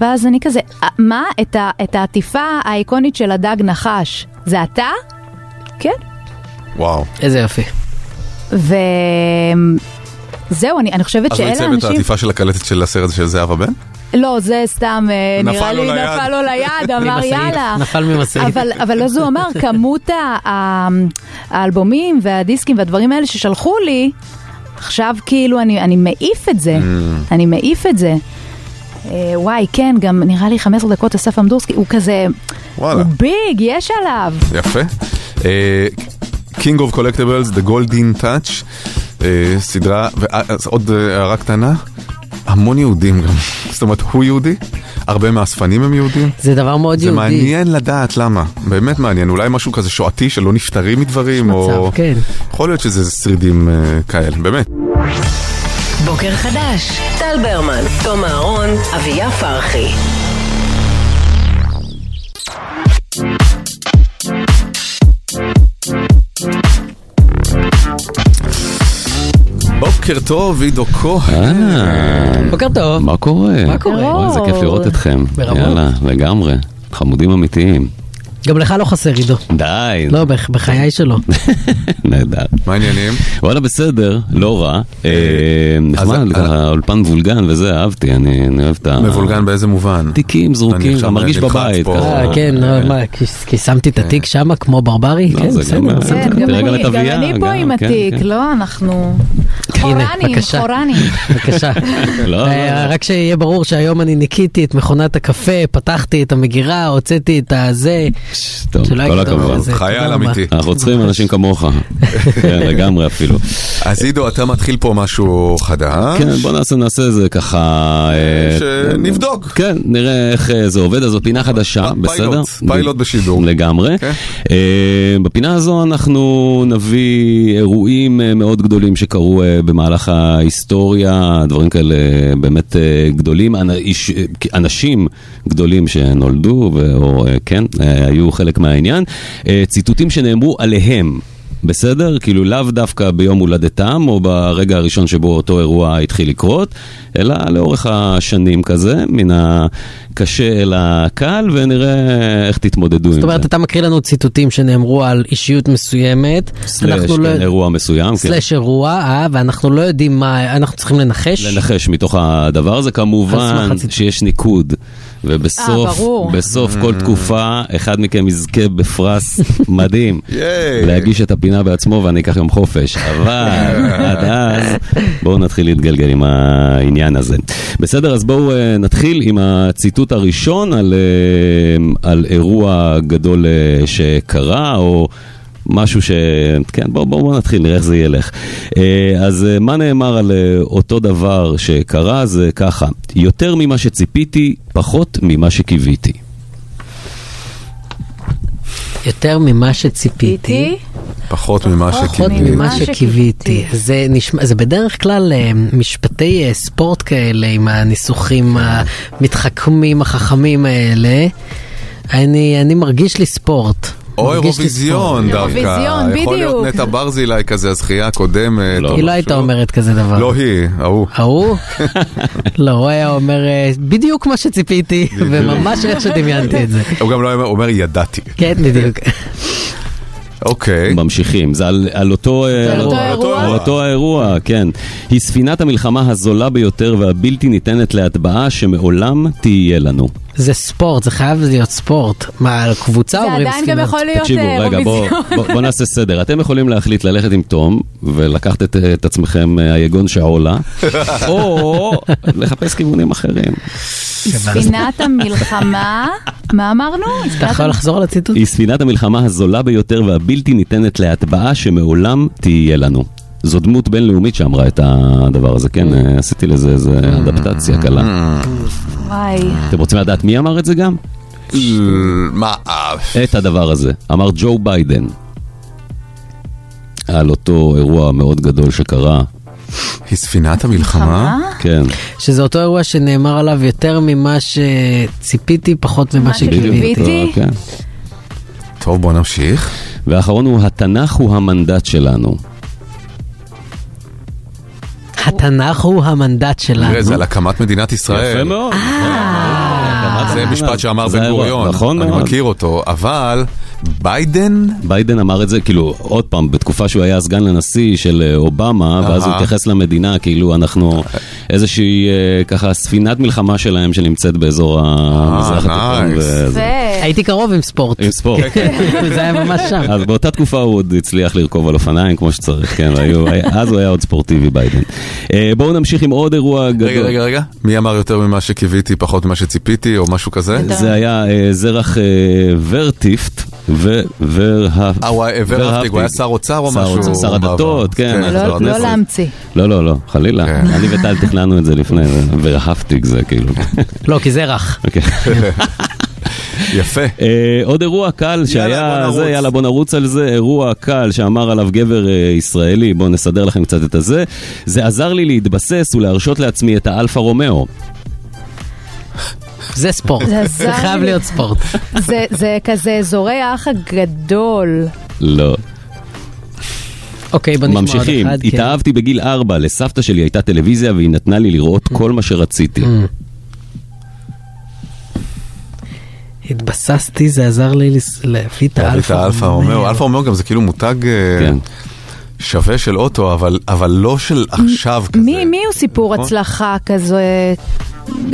Speaker 4: ואז אני כזה, "אה, מה, את, ה, את העטיפה האיקונית של הדג נחש, זה אתה? כן.
Speaker 3: וואו.
Speaker 5: איזה יופי.
Speaker 4: וזהו, אני, אני חושבת
Speaker 3: אז הוא
Speaker 4: שאלה
Speaker 3: עיצב
Speaker 4: האנשים...
Speaker 3: את העטיפה של הקלטת של הסרט של זהבה בן?
Speaker 4: לא, זה סתם, אה,
Speaker 3: נפל
Speaker 4: נראה
Speaker 3: לו
Speaker 4: לי
Speaker 3: ליד.
Speaker 4: נפל לו ליד, אמר
Speaker 5: ממשאית,
Speaker 4: יאללה.
Speaker 5: נפל ממשאית.
Speaker 4: אבל, אבל אז הוא אמר, כמות ה- ה- האלבומים והדיסקים והדברים האלה ששלחו לי, עכשיו כאילו אני, אני מעיף את זה,
Speaker 13: Mm.
Speaker 4: אני מעיף את זה. אה, וואי, כן, גם נראה לי 15 דקות אסף אמדורסקי, הוא כזה,
Speaker 3: וואלה.
Speaker 4: הוא ביג, יש עליו.
Speaker 3: יפה. אה, King of Collectibles, The Golden Touch, אה, סדרה, ואז עוד אה, הערה קטנה, המון יהודים גם. זאת אומרת, הוא יהודי, הרבה מהאספנים הם יהודים.
Speaker 5: זה דבר מאוד
Speaker 3: זה
Speaker 5: יהודי.
Speaker 3: מעניין לדעת למה, באמת מעניין, אולי משהו כזה שואתי שלא נפטרים מדברים, או...
Speaker 5: מצב, כן.
Speaker 3: יכול להיות שזה שרידים אה, כאלה, באמת.
Speaker 2: בוקר חדש, טל ברמן, תום אהרון, אביה פרחי.
Speaker 3: בוקר טוב, עידו כהן.
Speaker 5: בוקר טוב.
Speaker 10: אה. מה קורה?
Speaker 5: מה קורה?
Speaker 10: וואי, איזה כיף לראות אתכם.
Speaker 5: ברמות.
Speaker 10: יאללה, לגמרי. חמודים אמיתיים.
Speaker 5: גם לך לא חסר עידו.
Speaker 10: די.
Speaker 5: לא, בח- בחיי שלא.
Speaker 10: נהדר.
Speaker 3: מה העניינים?
Speaker 10: וואלה, בסדר, לא רע. אה, נחמד, ככה, אולפן וולגן וזה, אהבתי, אני אני אוהב את ה...
Speaker 3: אה, מבולגן באיזה מובן?
Speaker 10: תיקים זרוקים,
Speaker 3: עכשיו
Speaker 10: אתה כאילו, מרגיש
Speaker 3: נלחץ
Speaker 10: בבית.
Speaker 3: פה.
Speaker 10: ככה.
Speaker 5: אה, כן, לא, מה, כי- כי שמתי את התיק שם כמו ברברי? כן,
Speaker 10: זה גם-
Speaker 5: בסדר.
Speaker 10: כן,
Speaker 5: בסדר.
Speaker 10: גם תראה
Speaker 4: אני- גם אני פה עם
Speaker 10: כן,
Speaker 4: התיק,
Speaker 10: כן.
Speaker 4: לא, אנחנו...
Speaker 5: הנה,
Speaker 4: חורני,
Speaker 5: בבקשה. כן,
Speaker 4: חורני.
Speaker 5: בבקשה.
Speaker 10: לא,
Speaker 5: אה, רק שיהיה ברור שהיום אני ניקיתי את מכונת הקפה, פתחתי את המגירה, הוצאתי את הזה.
Speaker 10: טוב,
Speaker 5: שלא
Speaker 10: כל
Speaker 5: יגידו לנו
Speaker 10: הכבוד.
Speaker 5: זה, תודה רבה.
Speaker 10: אנחנו צריכים אנשים כמוך. כן, לגמרי אפילו.
Speaker 3: אז עידו, אתה מתחיל פה משהו חדש.
Speaker 10: כן, בוא נעשה, נעשה איזה ככה... אה,
Speaker 3: שנבדוק.
Speaker 10: כן, נראה איך אה, זה עובד, אז זו פינה חדשה, בסדר?
Speaker 3: פיילוט כן.
Speaker 10: בשידור. לגמרי. אה, בפינה הזו אנחנו נביא אירועים אה, מאוד גדולים שקרו אה, במהלך ההיסטוריה, דברים כאלה באמת אה, גדולים, אנ- איש- אה, אנשים גדולים שנולדו, ו- או אה, כן, אה, היו חלק מהעניין. אה, ציטוטים שנאמרו עליהם. בסדר? כאילו לאו דווקא ביום הולדתם, או ברגע הראשון שבו אותו אירוע התחיל לקרות, אלא לאורך השנים כזה, מן הקשה אל הקל, ונראה איך תתמודדו עם
Speaker 5: זאת
Speaker 10: זה.
Speaker 5: אומרת, אתה מקריא לנו ציטוטים שנאמרו על אישיות מסוימת.
Speaker 10: סלאש,
Speaker 5: אנחנו לא-
Speaker 10: כן, אירוע מסוים. כן.
Speaker 5: סלאש אירוע, אה, ואנחנו לא יודעים מה, אנחנו צריכים לנחש.
Speaker 10: לנחש מתוך הדבר הזה,
Speaker 5: על
Speaker 10: כמובן
Speaker 5: סמך הציטוט.
Speaker 10: שיש ניקוד. ובסוף,
Speaker 5: אה, ברור.
Speaker 10: בסוף כל תקופה, אחד מכם יזכה בפרס מדהים. להגיש את הפינה בעצמו ואני אקח יום חופש. אבל עד אז, בואו נתחיל להתגלגל עם העניין הזה. בסדר, אז בואו אה, נתחיל עם הציטוט הראשון על, אה, על אירוע גדול אה, שקרה, או... משהו ש... כן, בואו בוא, בוא נתחיל, נראה איך זה ילך. אה, אז אה, מה נאמר על אה, אותו דבר שקרה? זה ככה, יותר ממה שציפיתי, פחות ממה שקיוויתי.
Speaker 5: יותר ממה שציפיתי.
Speaker 3: פחות ממה
Speaker 5: פחות
Speaker 3: שקיוויתי.
Speaker 5: ממה שקיוויתי. זה נשמע, זה בדרך כלל אה, משפטי אה, ספורט כאלה עם הניסוחים המתחכמים החכמים האלה. אני, אני מרגיש לי ספורט.
Speaker 3: או
Speaker 5: מרגיש לי
Speaker 3: אירוויזיון
Speaker 5: ספורט.
Speaker 3: דווקא. יכול להיות נטע ברזילי כזה, הזכייה הקודמת. או
Speaker 5: היא
Speaker 3: משהו.
Speaker 5: לא הייתה אומרת כזה דבר.
Speaker 3: לא היא, ההוא.
Speaker 5: ההוא? לא, הוא היה אומר אה, בדיוק מה שציפיתי, וממש איך שדמיינתי את זה.
Speaker 3: הוא גם לא היה אומר, הוא אומר, ידעתי.
Speaker 5: כן, בדיוק.
Speaker 3: אוקיי.
Speaker 10: ממשיכים, זה על, על אותו, אה,
Speaker 5: על אותו
Speaker 10: על אותו-
Speaker 5: אירוע?
Speaker 10: על אותו האירוע, כן. היא ספינת המלחמה הזולה ביותר והבלתי ניתנת להטבעה שמעולם תהיה לנו.
Speaker 5: זה ספורט, זה חייב להיות ספורט. מה, על קבוצה
Speaker 4: זה
Speaker 5: אומרים
Speaker 4: עדיין
Speaker 5: ספינות?
Speaker 4: גם יכול להיות
Speaker 10: תקשיבו, רגע, בואו בוא, בוא נעשה סדר. אתם יכולים להחליט ללכת עם תום ולקחת את, את עצמכם אה, היגון שעולה, או לחפש כיוונים אחרים.
Speaker 4: ספינת המלחמה, מה אמרנו? ספינת
Speaker 5: לחזור על הציטוט?
Speaker 10: היא ספינת המלחמה הזולה ביותר והבלתי ניתנת להטבעה שמעולם תהיה לנו. זו דמות בינלאומית שאמרה את הדבר הזה, כן?
Speaker 3: Mm.
Speaker 10: אה, עשיתי לזה איזה אדפטציה קלה.
Speaker 4: וואי.
Speaker 10: אתם רוצים לדעת מי אמר את זה גם?
Speaker 3: מה?
Speaker 10: את הדבר הזה. אמר ג'ו ביידן. על אותו אירוע מאוד גדול שקרה.
Speaker 3: היא ספינת המלחמה?
Speaker 10: כן.
Speaker 5: שזה אותו אירוע שנאמר עליו יותר ממה שציפיתי, פחות ממה
Speaker 10: בדיוק,
Speaker 5: אה, שקיוויתי.
Speaker 10: כן.
Speaker 3: טוב, בוא נמשיך.
Speaker 10: והאחרון הוא, התנ"ך הוא המנדט שלנו.
Speaker 5: אוקיי. התנ"ך הוא המנדט שלנו.
Speaker 3: תראה, זה על הקמת מדינת ישראל.
Speaker 10: יפה כן, מאוד.
Speaker 5: אה.
Speaker 3: אה, זה משפט שאמר
Speaker 10: זה
Speaker 3: בן
Speaker 10: האירוע,
Speaker 3: גוריון,
Speaker 10: נכון
Speaker 3: אני
Speaker 10: מאוד.
Speaker 3: מכיר אותו, אבל ביידן...
Speaker 10: ביידן אמר את זה, כאילו, עוד פעם, בתקופה שהוא היה סגן לנשיא של אה, אובמה, ואז הוא
Speaker 3: אהה.
Speaker 10: התייחס למדינה, כאילו, אנחנו איזושהי, אה, ככה, ספינת מלחמה שלהם שנמצאת באזור
Speaker 3: אה,
Speaker 10: המזרח התיכון. וזה.
Speaker 5: הייתי קרוב עם ספורט.
Speaker 10: עם ספורט.
Speaker 5: זה היה ממש שם.
Speaker 10: אז באותה תקופה הוא עוד הצליח לרכוב על אופניים כמו שצריך, כן, היו- היה- אז הוא היה עוד ספורטיבי ביידן. אה, בואו נמשיך עם עוד אירוע גדול.
Speaker 3: רגע, רגע, רגע, מי אמר יותר ממה שקיוויתי, פחות ממה שציפיתי, או משהו כזה?
Speaker 10: זה היה אה, זרח אה, ורטיפט ו- ורה-
Speaker 3: אה, הוא היה- ורהפטיג, הוא היה שר אוצר או
Speaker 10: שר
Speaker 3: משהו
Speaker 10: אוצר, שר
Speaker 3: בעבר.
Speaker 10: הדתות, כן.
Speaker 3: כן,
Speaker 10: חבר
Speaker 4: לא לא
Speaker 10: הכנסת.
Speaker 4: להמציא.
Speaker 10: לא, לא, לא, חלילה. אני וטל תכננו את זה לפני, ו- ורהפטיג זה כאילו.
Speaker 5: לא, כי זה רך.
Speaker 10: אוקיי. אה,
Speaker 3: יפה.
Speaker 10: עוד אירוע קל שהיה, זה, יאללה בוא נרוץ על זה, אירוע קל שאמר עליו גבר אה, ישראלי, בואו נסדר לכם קצת את הזה. זה עזר לי להתבסס ולהרשות לעצמי את האלפה רומאו.
Speaker 5: זה ספורט.
Speaker 4: זה עזר
Speaker 5: זה חייב
Speaker 4: לי.
Speaker 5: להיות ספורט.
Speaker 4: זה- זה כזה אזורי האח הגדול.
Speaker 10: לא.
Speaker 5: אוקיי, בוא נשמע עוד
Speaker 10: ממשיכים.
Speaker 5: אחד, כן.
Speaker 10: התאהבתי בגיל ארבע, לסבתא שלי הייתה טלוויזיה והיא נתנה לי לראות כל מה שרציתי.
Speaker 5: Mm. התבססתי, זה עזר לי לס- להביא את
Speaker 3: את
Speaker 5: האלפא.
Speaker 3: האלפה רומאו, אלפה רומאו גם זה כאילו מותג אה,
Speaker 10: כן.
Speaker 3: שווה של אוטו, אבל אבל לא של עכשיו
Speaker 4: מי מי הוא סיפור
Speaker 3: נכון.
Speaker 4: הצלחה כזה?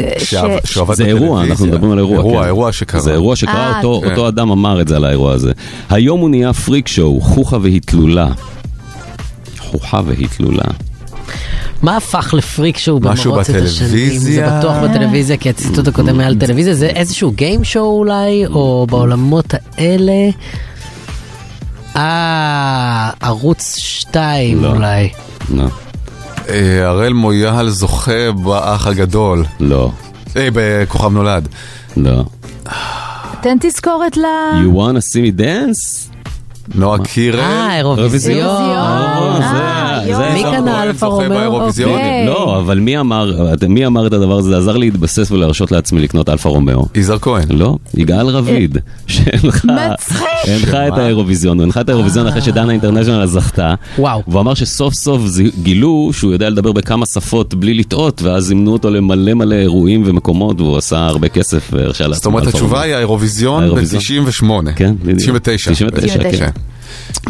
Speaker 4: אה, ש-
Speaker 3: שעבד- שעבד
Speaker 10: זה אירוע,
Speaker 3: בטלוויזיה.
Speaker 10: אנחנו מדברים על אירוע.
Speaker 3: אירוע,
Speaker 10: כן.
Speaker 3: אירוע שקרה.
Speaker 10: זה אירוע
Speaker 4: אה,
Speaker 10: שקרה, אותו-
Speaker 4: כן.
Speaker 10: אותו אדם אמר את זה על האירוע הזה. היום הוא נהיה פריק שואו, חוכה והיא תלולה. חוכה והיא תלולה.
Speaker 5: מה הפך לפריק שהוא
Speaker 10: משהו
Speaker 5: במרוץ את השנים? זה
Speaker 10: בטלוויזיה.
Speaker 5: בטוח בטלוויזיה, כי
Speaker 3: Mm.
Speaker 5: הציטוט הקודם היה על טלוויזיה, זה איזשהו גיים שואו אולי, או בעולמות האלה. אה, ערוץ 2 אולי.
Speaker 10: לא.
Speaker 3: אה, הראל מויאל זוכה באח הגדול.
Speaker 10: לא.
Speaker 3: אה, בכוכב נולד.
Speaker 10: לא.
Speaker 4: תן תזכורת ל...
Speaker 10: You wanna see me dance?
Speaker 3: נועה לא, קירל. אה,
Speaker 5: אה, אירוויזיון. אירוויזיון.
Speaker 10: זה-
Speaker 5: מי
Speaker 10: זה-
Speaker 5: קנה אלפא רומאו? אוקיי.
Speaker 10: לא, אבל מי אמר אתם- מי אמר את הדבר הזה? זה עזר לי להתבסס ולהרשות לעצמי לקנות אלפה רומאו.
Speaker 3: יזהר כהן.
Speaker 10: לא, יגאל רביד. שהנחה
Speaker 5: מצחיק.
Speaker 10: הנחה את
Speaker 5: שמה?
Speaker 10: האירוויזיון. הוא הנחה את האירוויזיון אחרי שדנה אינטרנשיונל זכתה.
Speaker 5: וואו.
Speaker 10: והוא אמר שסוף סוף זי- גילו שהוא יודע לדבר בכמה שפות בלי לטעות, ואז זימנו אותו למלא מלא אירועים ומקומות, והוא עשה הרבה כסף והרשה לעצמו.
Speaker 3: זאת אומרת,
Speaker 10: אלפא
Speaker 3: התשובה
Speaker 10: רומאו.
Speaker 3: היא האירוויזיון ב-98.
Speaker 10: כן, בדיוק.
Speaker 3: 99.
Speaker 10: 99, כן.
Speaker 3: 99.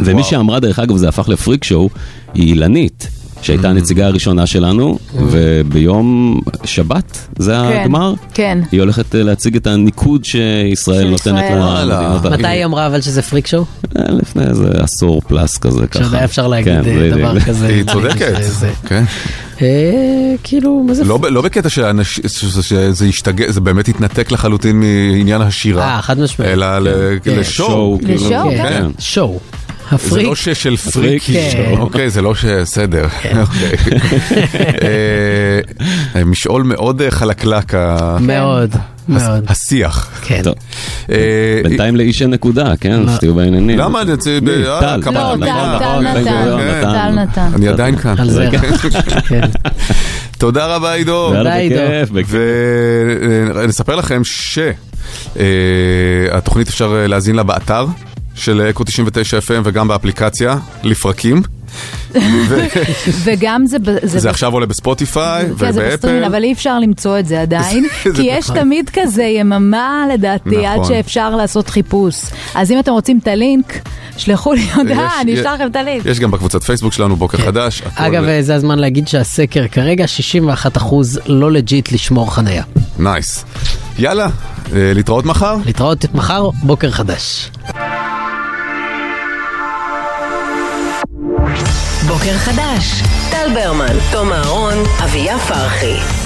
Speaker 10: ומי שאמרה, דרך אגב, זה הפך לפריק שואו, היא אילנית,
Speaker 3: Mm.
Speaker 10: שהייתה הנציגה הראשונה שלנו, וביום שבת, זה
Speaker 4: כן,
Speaker 10: הגמר,
Speaker 4: כן.
Speaker 10: היא הולכת אה, להציג את הניקוד שישראל נותנת
Speaker 4: ישראל. וואלה.
Speaker 10: למדינות
Speaker 3: אה,
Speaker 5: מתי היא אמרה אבל שזה פריק שואו?
Speaker 10: אה, לפני איזה עשור פלאס כזה ככה.
Speaker 5: שעוד היה אפשר להגיד,
Speaker 10: כן,
Speaker 5: אה,
Speaker 10: בדיוק.
Speaker 5: דבר כזה.
Speaker 3: היא צודקת.
Speaker 5: זה-
Speaker 3: כן.
Speaker 5: אה, כאילו, מה זה
Speaker 3: לא ב- לא בקטע שאנש- ש- ש- שזה ישתגע, זה באמת התנתק לחלוטין מעניין השירה.
Speaker 5: אה, חד משמעית.
Speaker 3: אלא ל-
Speaker 5: כן.
Speaker 3: לשואו. כאילו.
Speaker 5: לשואו,
Speaker 3: כן.
Speaker 5: כן. שואו.
Speaker 3: זה לא
Speaker 5: הפריק.
Speaker 3: שש של פריקי,
Speaker 5: כן.
Speaker 3: שואו. אוקיי, זה לא ש... בסדר, אוקיי. אה, משעול מאוד אה, חלקלק. ה-
Speaker 5: מאוד, מאוד.
Speaker 3: השיח. אה,
Speaker 5: כן.
Speaker 10: בינתיים לאיש אין נקודה, כן? שתהיו בעניינים.
Speaker 3: למה? אני רוצה-
Speaker 10: מי?
Speaker 3: אה,
Speaker 10: טל,
Speaker 3: כפרה,
Speaker 10: טל,
Speaker 3: נכון,
Speaker 10: נכון,
Speaker 3: טל
Speaker 10: נכון,
Speaker 3: נתן,
Speaker 10: נכון,
Speaker 3: כן.
Speaker 10: נכון.
Speaker 4: טל נתן.
Speaker 3: אני עדיין כאן.
Speaker 5: על זה. כן.
Speaker 3: תודה רבה עידו.
Speaker 10: יאללה, בכיף,
Speaker 3: ונספר לכם שהתוכנית אפשר אה, להאזין לה באתר של אקו 99 FM וגם באפליקציה, לפרקים. ו-
Speaker 4: וגם זה... ב-
Speaker 3: זה
Speaker 4: ב-
Speaker 3: עכשיו עולה בספוטיפיי
Speaker 4: כן, זה בסטרימינג,
Speaker 3: ובאפל.
Speaker 4: אבל אי אפשר למצוא את זה עדיין,
Speaker 3: זה
Speaker 4: כי יש
Speaker 3: נכון.
Speaker 4: תמיד כזה יממה לדעתי, עד
Speaker 3: נכון.
Speaker 4: שאפשר לעשות חיפוש. אז אם אתם רוצים את הלינק, שלחו לי הודעה,
Speaker 3: יש-
Speaker 4: אני
Speaker 3: יש-
Speaker 4: אשלח לכם את הלינק.
Speaker 3: יש גם בקבוצת פייסבוק שלנו בוקר חדש. הכל-
Speaker 5: כן. אגב, אה, זה הזמן להגיד שהסקר כרגע 61% לא לג'יט לשמור חנייה.
Speaker 3: נייס. יאללה, אה, להתראות מחר.
Speaker 5: להתראות מחר, בוקר חדש.
Speaker 2: בוקר חדש, טל ברמן, תום אהרון, אביה פרחי.